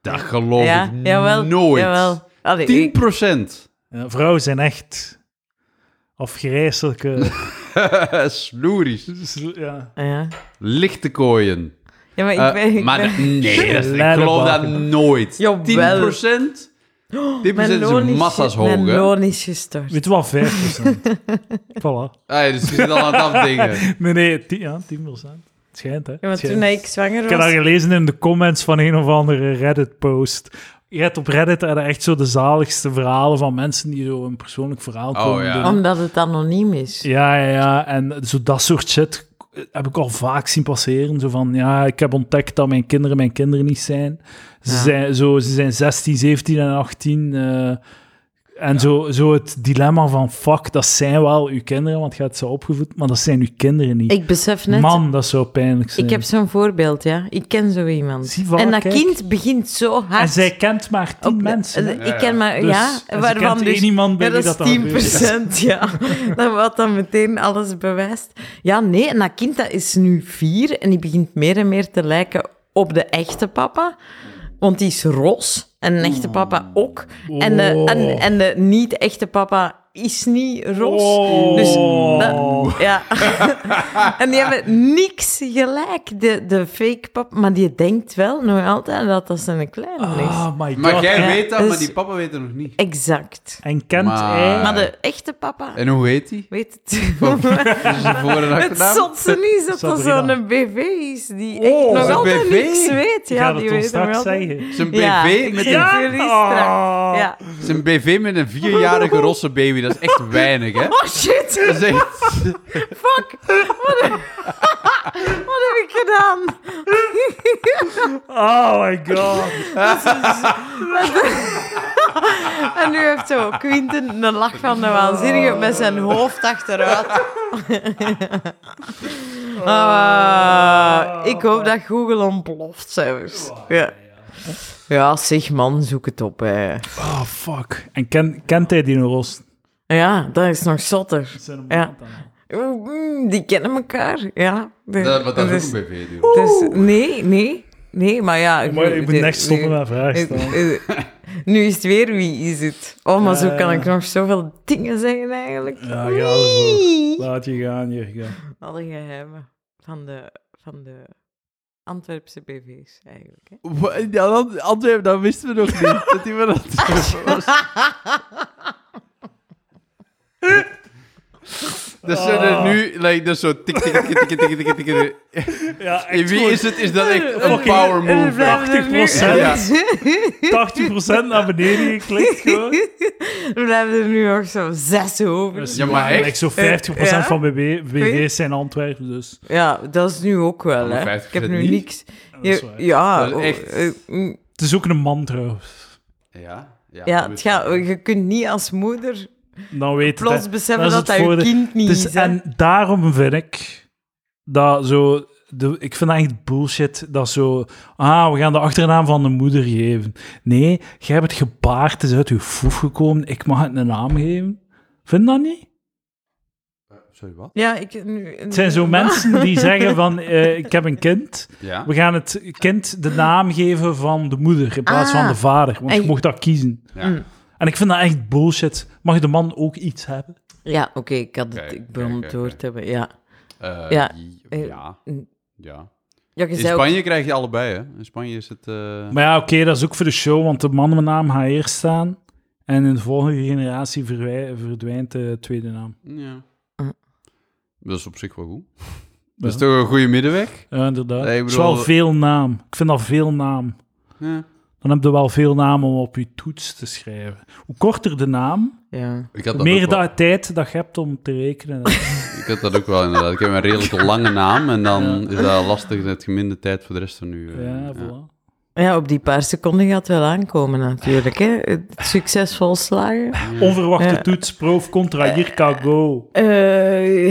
[SPEAKER 3] Dat geloof
[SPEAKER 2] ja,
[SPEAKER 3] ik
[SPEAKER 2] jawel.
[SPEAKER 3] nooit.
[SPEAKER 2] Jawel. Allee,
[SPEAKER 3] 10
[SPEAKER 2] ik-
[SPEAKER 1] Ja, vrouwen zijn echt afgrijzelijke...
[SPEAKER 3] Sloeries.
[SPEAKER 1] ja.
[SPEAKER 2] Ja.
[SPEAKER 3] Lichte kooien.
[SPEAKER 2] ja, maar ik
[SPEAKER 3] Eh,
[SPEAKER 2] ben... ik
[SPEAKER 3] maar
[SPEAKER 2] ben-
[SPEAKER 3] dat- nee, dat is- ik
[SPEAKER 1] Lellebakken.
[SPEAKER 3] geloof dat nooit.
[SPEAKER 2] Jawel. Oh,
[SPEAKER 3] 10%? 10% is massa's hoog,
[SPEAKER 2] mijn
[SPEAKER 3] hè?
[SPEAKER 2] loon is gestort.
[SPEAKER 1] Weet je wat, 5%. voilà.
[SPEAKER 3] Ah, dus je zit al aan het afdingen.
[SPEAKER 1] Nee, nee, 10, ja, 10%. Het schijnt, hè.
[SPEAKER 2] Ja, want
[SPEAKER 1] Het
[SPEAKER 2] toen
[SPEAKER 1] schijnt.
[SPEAKER 2] ik zwanger
[SPEAKER 1] Ik heb dat
[SPEAKER 2] was...
[SPEAKER 1] gelezen in de comments van een of andere Reddit-post. Je hebt op Reddit er echt zo de zaligste verhalen van mensen die zo een persoonlijk verhaal
[SPEAKER 3] Oh,
[SPEAKER 1] komen
[SPEAKER 3] ja.
[SPEAKER 1] doen.
[SPEAKER 2] Omdat het anoniem is.
[SPEAKER 1] Ja, ja, ja. En zo dat soort shit heb ik al vaak zien passeren. Zo van, ja, ik heb ontdekt dat mijn kinderen mijn kinderen niet zijn. Ze,
[SPEAKER 2] Ja.
[SPEAKER 1] zijn, zo, ze zijn 16, 17 en 18. eh, en zo, zo het dilemma van, fuck, dat zijn wel uw kinderen, want je hebt ze opgevoed, maar dat zijn uw kinderen niet.
[SPEAKER 2] Ik besef net...
[SPEAKER 1] Man, dat zou pijnlijk zijn.
[SPEAKER 2] Ik heb zo'n voorbeeld, ja. Ik ken zo iemand.
[SPEAKER 1] Zie, voilà,
[SPEAKER 2] en dat
[SPEAKER 1] kijk.
[SPEAKER 2] kind begint zo hard...
[SPEAKER 1] En zij kent maar tien
[SPEAKER 2] op-
[SPEAKER 1] mensen. hè.
[SPEAKER 2] eh, Ik ken maar...
[SPEAKER 1] Dus,
[SPEAKER 2] ja,
[SPEAKER 1] en ze
[SPEAKER 2] waarvan
[SPEAKER 1] kent
[SPEAKER 2] dus...
[SPEAKER 1] één iemand bij
[SPEAKER 2] Ja,
[SPEAKER 1] wie
[SPEAKER 2] dat
[SPEAKER 1] dat dan gebeurd is.
[SPEAKER 2] is 10%, ja. Dat wat dan meteen alles bewijst. Ja, nee, en dat kind dat is nu vier en die begint meer en meer te lijken op de echte papa. Want die is roze en een echte papa ook. En de,
[SPEAKER 1] Oh.
[SPEAKER 2] en, en de niet-echte papa is niet roze.
[SPEAKER 1] Oh.
[SPEAKER 2] Dus dat- ja. en die hebben niks gelijk, de, de fake papa. Maar die denkt wel nog altijd dat dat zijn kleine is.
[SPEAKER 1] Ah, my god.
[SPEAKER 3] Maar jij
[SPEAKER 2] Ja,
[SPEAKER 3] weet dat,
[SPEAKER 2] dus-
[SPEAKER 3] maar die papa weet dat nog niet.
[SPEAKER 2] Exact.
[SPEAKER 1] En kent
[SPEAKER 3] Maar-
[SPEAKER 1] hij...
[SPEAKER 2] Maar de echte papa...
[SPEAKER 3] En hoe heet die?
[SPEAKER 2] Weet
[SPEAKER 3] Van-
[SPEAKER 2] het.
[SPEAKER 3] Is het voor en
[SPEAKER 2] Het
[SPEAKER 3] achternaam?
[SPEAKER 2] zotste is dat dat
[SPEAKER 1] Sabrina.
[SPEAKER 2] zo'n BV is die echt nog
[SPEAKER 3] een
[SPEAKER 2] altijd
[SPEAKER 3] BV?
[SPEAKER 2] niks weet.
[SPEAKER 1] Je
[SPEAKER 2] Ja,
[SPEAKER 1] gaat
[SPEAKER 2] die
[SPEAKER 1] het ons
[SPEAKER 2] weet nog
[SPEAKER 1] straks
[SPEAKER 2] altijd.
[SPEAKER 1] zeggen. Oh, Ah.
[SPEAKER 3] Het is een
[SPEAKER 2] Ja,
[SPEAKER 3] BV
[SPEAKER 2] ik
[SPEAKER 3] met een,
[SPEAKER 2] zie jullie straks. Ja.
[SPEAKER 3] het is een BV met een vierjarige rosse baby. Dat is echt weinig, hè?
[SPEAKER 2] Oh shit,
[SPEAKER 3] Dat is echt...
[SPEAKER 2] fuck. Wat heb, Wat heb ik gedaan?
[SPEAKER 1] Oh my god.
[SPEAKER 2] En nu heeft zo Quinten een lach van de waanzinnige met zijn hoofd achteruit. Ah, ik hoop dat Google ontploft zelfs. Ja. ja, zeg man, zoek het op. Hè.
[SPEAKER 1] Oh fuck. En ken, kent hij die roos?
[SPEAKER 2] Ja, dat is nog zotter. Ja. Oeh, mm, Die kennen elkaar, ja. De-
[SPEAKER 3] Dat, maar dat is
[SPEAKER 2] dus-
[SPEAKER 3] ook een BV, dude.
[SPEAKER 2] dus- nee, nee, nee, maar ja...
[SPEAKER 1] Maar ik moet
[SPEAKER 2] de-
[SPEAKER 1] echt stoppen
[SPEAKER 2] nu-
[SPEAKER 1] met vragen stellen.
[SPEAKER 2] eh, eh, Nu is het weer wie is het. Oh, maar zo
[SPEAKER 1] Ja,
[SPEAKER 2] kan
[SPEAKER 1] ja.
[SPEAKER 2] ik nog zoveel dingen zeggen eigenlijk.
[SPEAKER 1] Ja, ga ervoor. Laat je gaan, Jurgen.
[SPEAKER 2] Alle geheimen van de, van de Antwerpse BV's eigenlijk. Hè?
[SPEAKER 3] Ja, dat, Antwerpen, dat wisten we nog niet. Dat die dat... Dat zijn er Dus nu, like, dat is zo tik, tik, tik, tik, tik, tik, tik, tik, tik.
[SPEAKER 1] Ja,
[SPEAKER 3] In wie is het, is dat echt een
[SPEAKER 1] Oké.
[SPEAKER 3] power
[SPEAKER 2] En we
[SPEAKER 3] move?
[SPEAKER 2] blijven er nu-
[SPEAKER 1] 80%.
[SPEAKER 3] Ja.
[SPEAKER 1] 80% naar beneden geklikt gewoon.
[SPEAKER 2] We blijven er nu nog zo zes over.
[SPEAKER 3] Ja, maar echt?
[SPEAKER 1] Like Zo'n 50% van BB, BB's zijn Antwerpen, dus...
[SPEAKER 2] Ja, dat is nu ook wel.
[SPEAKER 3] maar
[SPEAKER 2] Hè.
[SPEAKER 3] 50%
[SPEAKER 2] Ik heb nu
[SPEAKER 3] niet.
[SPEAKER 2] niks.
[SPEAKER 1] dat is
[SPEAKER 2] Ja,
[SPEAKER 1] waar.
[SPEAKER 2] ja,
[SPEAKER 3] Dat is echt-
[SPEAKER 2] eh, mm,
[SPEAKER 1] Het is ook een man trouwens.
[SPEAKER 3] Ja,
[SPEAKER 2] Ja, het gaat- je kunt niet als moeder
[SPEAKER 1] Dan Nou weet het, hè.
[SPEAKER 2] plots beseffen
[SPEAKER 1] is
[SPEAKER 2] dat
[SPEAKER 1] het
[SPEAKER 2] dat je
[SPEAKER 1] voordeel.
[SPEAKER 2] kind niet
[SPEAKER 1] Dus,
[SPEAKER 2] is. hè.
[SPEAKER 1] en daarom vind ik dat zo de, ik vind dat echt bullshit dat zo... Ah, we gaan de achternaam van de moeder geven. Nee, jij hebt het gebaard, het is uit je foef gekomen, ik mag het een naam geven. Vind je dat niet?
[SPEAKER 3] Sorry, wat?
[SPEAKER 2] Ja, ik... Nu,
[SPEAKER 1] Het zijn zo mensen die zeggen van, eh, ik heb een kind,
[SPEAKER 3] Ja.
[SPEAKER 1] we gaan het kind de naam geven van de moeder in plaats van
[SPEAKER 2] Ah.
[SPEAKER 1] de vader, want
[SPEAKER 2] En
[SPEAKER 1] je
[SPEAKER 2] je-
[SPEAKER 1] mocht dat kiezen.
[SPEAKER 3] ja.
[SPEAKER 2] Mm.
[SPEAKER 1] En ik vind dat echt bullshit. Mag de man ook iets hebben?
[SPEAKER 2] Ja, oké, ik had het...
[SPEAKER 3] Kijk,
[SPEAKER 2] ik begon
[SPEAKER 3] kijk,
[SPEAKER 2] het
[SPEAKER 3] kijk,
[SPEAKER 2] door
[SPEAKER 3] kijk.
[SPEAKER 2] te hebben, ja.
[SPEAKER 3] Eh,
[SPEAKER 2] Ja. Eh,
[SPEAKER 3] ja.
[SPEAKER 2] mm.
[SPEAKER 3] Ja.
[SPEAKER 2] Ja, je
[SPEAKER 3] In
[SPEAKER 2] zei ook-
[SPEAKER 3] Spanje krijg je allebei, hè? In Spanje is het. eh,
[SPEAKER 1] Maar ja, oké, dat is ook voor de show, want de mannennaam gaat eerst staan. En in de volgende generatie verwij- verdwijnt de tweede naam.
[SPEAKER 3] Ja.
[SPEAKER 2] Hm.
[SPEAKER 3] Dat is op zich wel goed.
[SPEAKER 1] Ja.
[SPEAKER 3] Dat is toch een goede middenweg?
[SPEAKER 1] Ja, inderdaad.
[SPEAKER 3] Nee, ik
[SPEAKER 1] Het is wel
[SPEAKER 3] bedoel- eh,
[SPEAKER 1] veel naam. Ik vind dat veel naam.
[SPEAKER 3] Ja.
[SPEAKER 1] Dan heb je wel veel naam om op je toets te schrijven. Hoe korter de naam,
[SPEAKER 2] Ja.
[SPEAKER 3] Ik had
[SPEAKER 1] hoe
[SPEAKER 3] dat
[SPEAKER 1] meer
[SPEAKER 3] ook wel.
[SPEAKER 1] da- tijd dat je hebt om te rekenen.
[SPEAKER 3] Ik had dat ook wel inderdaad. Ik heb een redelijk lange naam en dan is dat lastig met geminde tijd voor de rest van nu. eh,
[SPEAKER 1] ja,
[SPEAKER 3] ja.
[SPEAKER 1] voilà.
[SPEAKER 2] ja, op die paar seconden gaat het wel aankomen natuurlijk, hè. Het Succesvol slagen.
[SPEAKER 1] Onverwachte
[SPEAKER 2] Ja.
[SPEAKER 1] toets, proof, contra, jirka, go.
[SPEAKER 2] Eh,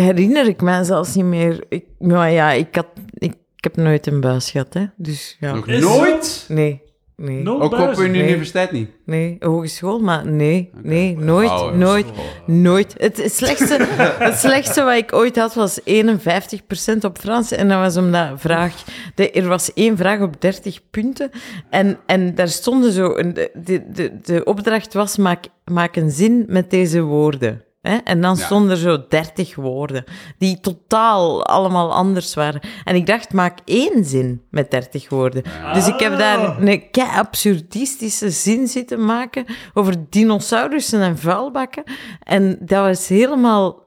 [SPEAKER 2] herinner ik mij zelfs niet meer. Ik, maar ja, ik, had, ik, ik heb nooit een buis gehad, hè. Dus ja.
[SPEAKER 3] Nog
[SPEAKER 1] Is-
[SPEAKER 3] nooit?
[SPEAKER 2] Nee, nee,
[SPEAKER 1] No
[SPEAKER 3] Ook op
[SPEAKER 1] buizen.
[SPEAKER 3] een
[SPEAKER 2] Nee.
[SPEAKER 3] universiteit niet.
[SPEAKER 2] nee. Hogeschool, maar nee, nee, nooit,
[SPEAKER 3] Oh, ja.
[SPEAKER 2] nooit, nooit. Het, slechtste, het slechtste wat ik ooit had was 51% op Frans. En dat was omdat vraag... De, er was één vraag op 30 punten. En, en daar stonden zo... een- de, de, de, de opdracht was, maak, maak een zin met deze woorden. Hè? En dan
[SPEAKER 3] Ja.
[SPEAKER 2] stonden er zo 30 woorden, die totaal allemaal anders waren. En ik dacht, maak één zin met 30 woorden.
[SPEAKER 3] Ah.
[SPEAKER 2] Dus ik heb daar een kei-absurdistische zin zitten maken over dinosaurussen en vuilbakken. En dat was helemaal...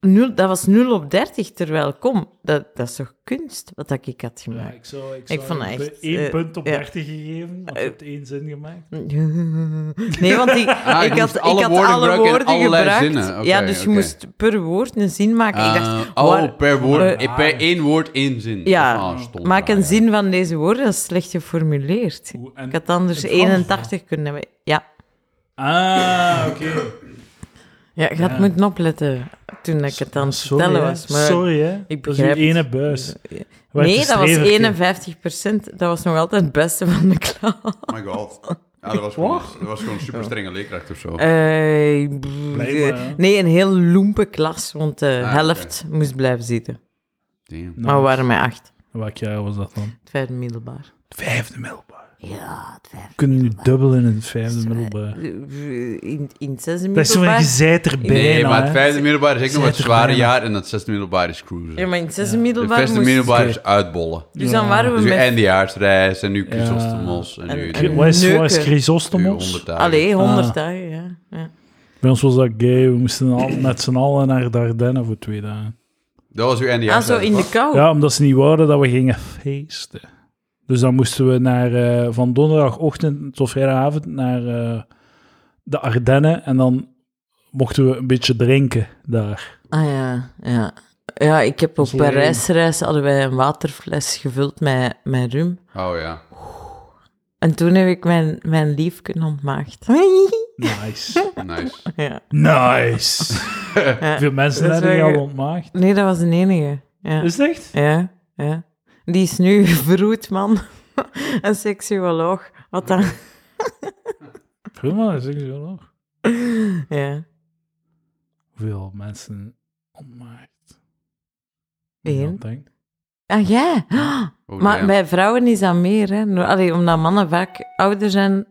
[SPEAKER 2] Nul, dat was 0 op 30, terwijl, kom, dat, dat is toch kunst, wat dat ik had
[SPEAKER 1] Ja,
[SPEAKER 2] gemaakt.
[SPEAKER 1] ik zou, ik
[SPEAKER 2] Ik
[SPEAKER 1] zou
[SPEAKER 2] vond dat
[SPEAKER 1] je
[SPEAKER 2] echt,
[SPEAKER 1] één
[SPEAKER 2] eh,
[SPEAKER 1] punt op
[SPEAKER 2] ja.
[SPEAKER 1] 30 gegeven, want je hebt één zin gemaakt.
[SPEAKER 2] Nee, want ik,
[SPEAKER 3] Ah, je
[SPEAKER 2] ik had
[SPEAKER 3] moest alle
[SPEAKER 2] alle ik woorden had alle
[SPEAKER 3] woorden gebruiken en
[SPEAKER 2] woorden
[SPEAKER 3] allerlei
[SPEAKER 2] gebruikt.
[SPEAKER 3] zinnen. Oké,
[SPEAKER 2] ja, dus
[SPEAKER 3] oké.
[SPEAKER 2] je moest per woord een zin maken. ik
[SPEAKER 3] Eh,
[SPEAKER 2] dacht,
[SPEAKER 3] oh,
[SPEAKER 2] waar-
[SPEAKER 3] per woord.
[SPEAKER 1] Eh,
[SPEAKER 3] per één woord één zin.
[SPEAKER 2] Ja,
[SPEAKER 3] Dat is wel ah, stom,
[SPEAKER 2] maak
[SPEAKER 3] maar
[SPEAKER 2] een
[SPEAKER 3] ja.
[SPEAKER 2] zin van deze woorden, dat is slecht geformuleerd.
[SPEAKER 1] Hoe- en-
[SPEAKER 2] Ik had anders
[SPEAKER 1] in het Frans,
[SPEAKER 2] 81 kunnen hebben. Ja,
[SPEAKER 1] Ah, oké.
[SPEAKER 2] ja je had
[SPEAKER 1] Ja.
[SPEAKER 2] moeten opletten toen ik het aan het
[SPEAKER 1] Sorry,
[SPEAKER 2] vertellen
[SPEAKER 1] hè.
[SPEAKER 2] was. Maar
[SPEAKER 1] Sorry, hè.
[SPEAKER 2] ik
[SPEAKER 1] Dat is uw
[SPEAKER 2] begrijp het.
[SPEAKER 1] ene buis. Waar
[SPEAKER 2] Nee,
[SPEAKER 1] het
[SPEAKER 2] dat was
[SPEAKER 1] streverke.
[SPEAKER 2] 51 Dat was nog altijd het beste van de klas.
[SPEAKER 3] Oh my god. Ja, dat was gewoon, dat was gewoon een super strenge leerkracht of zo.
[SPEAKER 2] Eh, brrr,
[SPEAKER 1] Blijkbaar, hè.
[SPEAKER 2] nee, een heel loempe klas, want de
[SPEAKER 3] Ah,
[SPEAKER 2] helft moest blijven zitten.
[SPEAKER 3] Damn.
[SPEAKER 2] Maar we waren met acht.
[SPEAKER 1] Nou, Welk jaar was dat dan?
[SPEAKER 2] Het vijfde middelbaar.
[SPEAKER 1] Het vijfde middelbaar.
[SPEAKER 2] Ja, het vijfde. Eh,
[SPEAKER 1] We kunnen nu dubbel in het vijfde middelbaar.
[SPEAKER 2] In, in het zesde
[SPEAKER 1] Dat is zo van,
[SPEAKER 2] middelbaar.
[SPEAKER 1] je zijt er bijna,
[SPEAKER 3] Nee, maar het
[SPEAKER 1] hè.
[SPEAKER 3] vijfde middelbaar is echt nog
[SPEAKER 1] Zet
[SPEAKER 3] het
[SPEAKER 1] er
[SPEAKER 3] zware
[SPEAKER 1] bijna.
[SPEAKER 3] jaar en het zesde middelbaar is cruisen.
[SPEAKER 2] Ja, maar in het zesde middelbaar
[SPEAKER 3] het zesde
[SPEAKER 2] moest-
[SPEAKER 3] middelbaar is uitbollen.
[SPEAKER 2] Dus dan waren we
[SPEAKER 3] Dus nu
[SPEAKER 2] met
[SPEAKER 3] eindejaarsreis en nu Chrysostomos en nu...
[SPEAKER 2] En-
[SPEAKER 1] Gri-
[SPEAKER 2] en-
[SPEAKER 1] Wat is, wat is
[SPEAKER 2] neuken.
[SPEAKER 3] nu
[SPEAKER 1] Chrysostomos?
[SPEAKER 3] 100 dagen.
[SPEAKER 2] Allee, 100
[SPEAKER 1] Ah.
[SPEAKER 2] dagen, ja. ja.
[SPEAKER 1] Bij ons was dat gay. We moesten al, met z'n allen naar Dardenne voor twee dagen.
[SPEAKER 3] Dat was uw
[SPEAKER 2] Ah,
[SPEAKER 3] eindejaarsreis.
[SPEAKER 2] zo in de
[SPEAKER 3] toch?
[SPEAKER 2] kou.
[SPEAKER 1] Ja, omdat ze niet wouden dat we gingen feesten. Dus dan moesten we naar, eh, van donderdagochtend tot vrijdagavond naar eh, de Ardennen. En dan mochten we een beetje drinken daar.
[SPEAKER 2] Ah ja, ja. Ja, ik heb op
[SPEAKER 1] is leuk.
[SPEAKER 2] Parijsreis hadden wij een waterfles gevuld met, met rum.
[SPEAKER 3] Oh ja.
[SPEAKER 2] En toen heb ik mijn, mijn liefje ontmaagd.
[SPEAKER 1] Nice.
[SPEAKER 3] Nice.
[SPEAKER 2] ja.
[SPEAKER 1] nice. Veel mensen
[SPEAKER 2] Dat is
[SPEAKER 1] hebben die
[SPEAKER 2] wel-
[SPEAKER 1] al ontmaagd.
[SPEAKER 2] Nee, dat was de enige. Ja,
[SPEAKER 1] Is het echt?
[SPEAKER 2] ja. ja. Die is nu verroet, man. een seksuoloog. Wat dan?
[SPEAKER 1] Veel mensen, ik zeg zo nog.
[SPEAKER 2] Ja.
[SPEAKER 1] Hoeveel mensen ontmaagd?
[SPEAKER 2] Eén.
[SPEAKER 1] Dat denk ik.
[SPEAKER 2] Ah, jij?
[SPEAKER 3] Oh,
[SPEAKER 2] Maar
[SPEAKER 3] damn.
[SPEAKER 2] bij vrouwen is dat meer, hè. Nou, Allee, omdat mannen vaak ouder zijn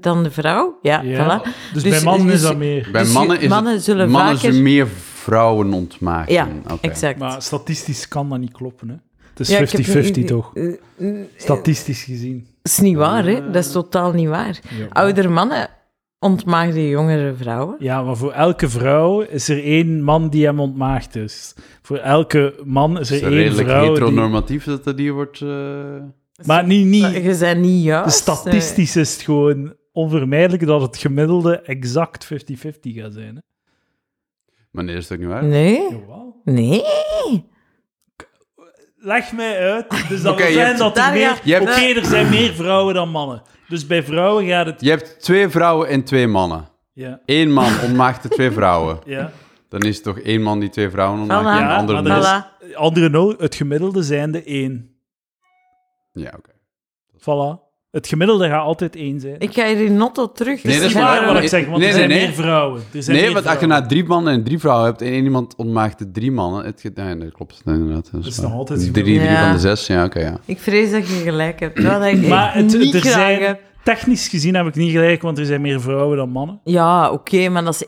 [SPEAKER 2] dan de vrouw. Ja,
[SPEAKER 1] Ja.
[SPEAKER 2] voilà.
[SPEAKER 1] Dus,
[SPEAKER 2] Dus-
[SPEAKER 1] bij mannen
[SPEAKER 2] dus-
[SPEAKER 1] is dat meer.
[SPEAKER 3] Bij
[SPEAKER 2] Dus
[SPEAKER 3] mannen is
[SPEAKER 2] mannen
[SPEAKER 3] het,
[SPEAKER 2] zullen
[SPEAKER 3] mannen
[SPEAKER 2] vaker-
[SPEAKER 3] zullen meer vrouwen ontmaken.
[SPEAKER 2] Ja,
[SPEAKER 3] Oké.
[SPEAKER 2] exact.
[SPEAKER 1] Maar statistisch kan dat niet kloppen, hè? Het is
[SPEAKER 2] Ja, ik
[SPEAKER 1] 50-50
[SPEAKER 2] heb nu-
[SPEAKER 1] toch?
[SPEAKER 2] eh, eh,
[SPEAKER 1] Statistisch gezien.
[SPEAKER 2] Dat is niet waar, hè? Dat is totaal niet waar. Oudere mannen ontmaagden jongere vrouwen.
[SPEAKER 1] Ja, maar voor elke vrouw is er één man die hem ontmaagd is. Voor elke man is
[SPEAKER 3] Het
[SPEAKER 1] er
[SPEAKER 3] is een
[SPEAKER 1] één
[SPEAKER 3] redelijk
[SPEAKER 1] vrouw. Die...
[SPEAKER 3] heteronormatief dat dat hier wordt... eh,
[SPEAKER 1] Maar niet, niet.
[SPEAKER 2] Je bent niet juist. eh.
[SPEAKER 1] Statistisch is het gewoon onvermijdelijk dat het gemiddelde exact 50-50 gaat zijn. Hè?
[SPEAKER 3] Maar nee, dat is toch niet waar?
[SPEAKER 2] eh. Nee,
[SPEAKER 1] Jawel.
[SPEAKER 2] nee.
[SPEAKER 1] Leg mij uit. Dus dat
[SPEAKER 3] Oké,
[SPEAKER 1] wil
[SPEAKER 3] je
[SPEAKER 1] zijn
[SPEAKER 3] hebt-
[SPEAKER 1] dat er
[SPEAKER 2] Daar
[SPEAKER 1] meer...
[SPEAKER 2] gaat-
[SPEAKER 1] Oké,
[SPEAKER 3] je hebt-
[SPEAKER 1] er zijn meer vrouwen dan mannen. Dus bij vrouwen gaat het...
[SPEAKER 3] Je hebt twee vrouwen en twee mannen.
[SPEAKER 1] Ja,
[SPEAKER 3] Eén man ontmaakte twee vrouwen.
[SPEAKER 1] ja.
[SPEAKER 3] Dan is het toch één man die twee vrouwen ontmaakt
[SPEAKER 2] Voilà.
[SPEAKER 3] en een
[SPEAKER 1] Ja,
[SPEAKER 3] andere
[SPEAKER 1] maar dat
[SPEAKER 3] mist.
[SPEAKER 1] is-
[SPEAKER 2] Voilà.
[SPEAKER 1] Andere nul, het gemiddelde zijn de één.
[SPEAKER 3] Ja, oké.
[SPEAKER 1] Voilà. Het gemiddelde gaat altijd één zijn.
[SPEAKER 2] Ik ga hier in Notto terug.
[SPEAKER 3] Nee, dat is
[SPEAKER 1] niet
[SPEAKER 3] waar,
[SPEAKER 1] waar
[SPEAKER 3] maar-
[SPEAKER 1] wat ik zeg, want
[SPEAKER 3] Nee,
[SPEAKER 1] er
[SPEAKER 3] nee,
[SPEAKER 1] zijn
[SPEAKER 3] nee.
[SPEAKER 1] meer vrouwen. Er zijn
[SPEAKER 3] Nee,
[SPEAKER 1] meer
[SPEAKER 3] want als je
[SPEAKER 1] vrouwen.
[SPEAKER 3] na drie mannen en drie vrouwen hebt en één iemand ontmaakt de drie mannen... Het, ge- nee, dat klopt inderdaad. Dat
[SPEAKER 1] is
[SPEAKER 3] waar.
[SPEAKER 1] nog altijd
[SPEAKER 3] Drie, drie
[SPEAKER 2] Ja.
[SPEAKER 3] van de zes, ja, oké, ja.
[SPEAKER 2] Ik vrees dat je gelijk hebt. Wat ik
[SPEAKER 1] Maar
[SPEAKER 2] echt
[SPEAKER 1] het,
[SPEAKER 2] niet
[SPEAKER 1] er
[SPEAKER 2] graag
[SPEAKER 1] zijn,
[SPEAKER 2] heb.
[SPEAKER 1] technisch gezien heb ik niet gelijk, want er zijn meer vrouwen dan mannen.
[SPEAKER 2] Ja, oké, maar dat is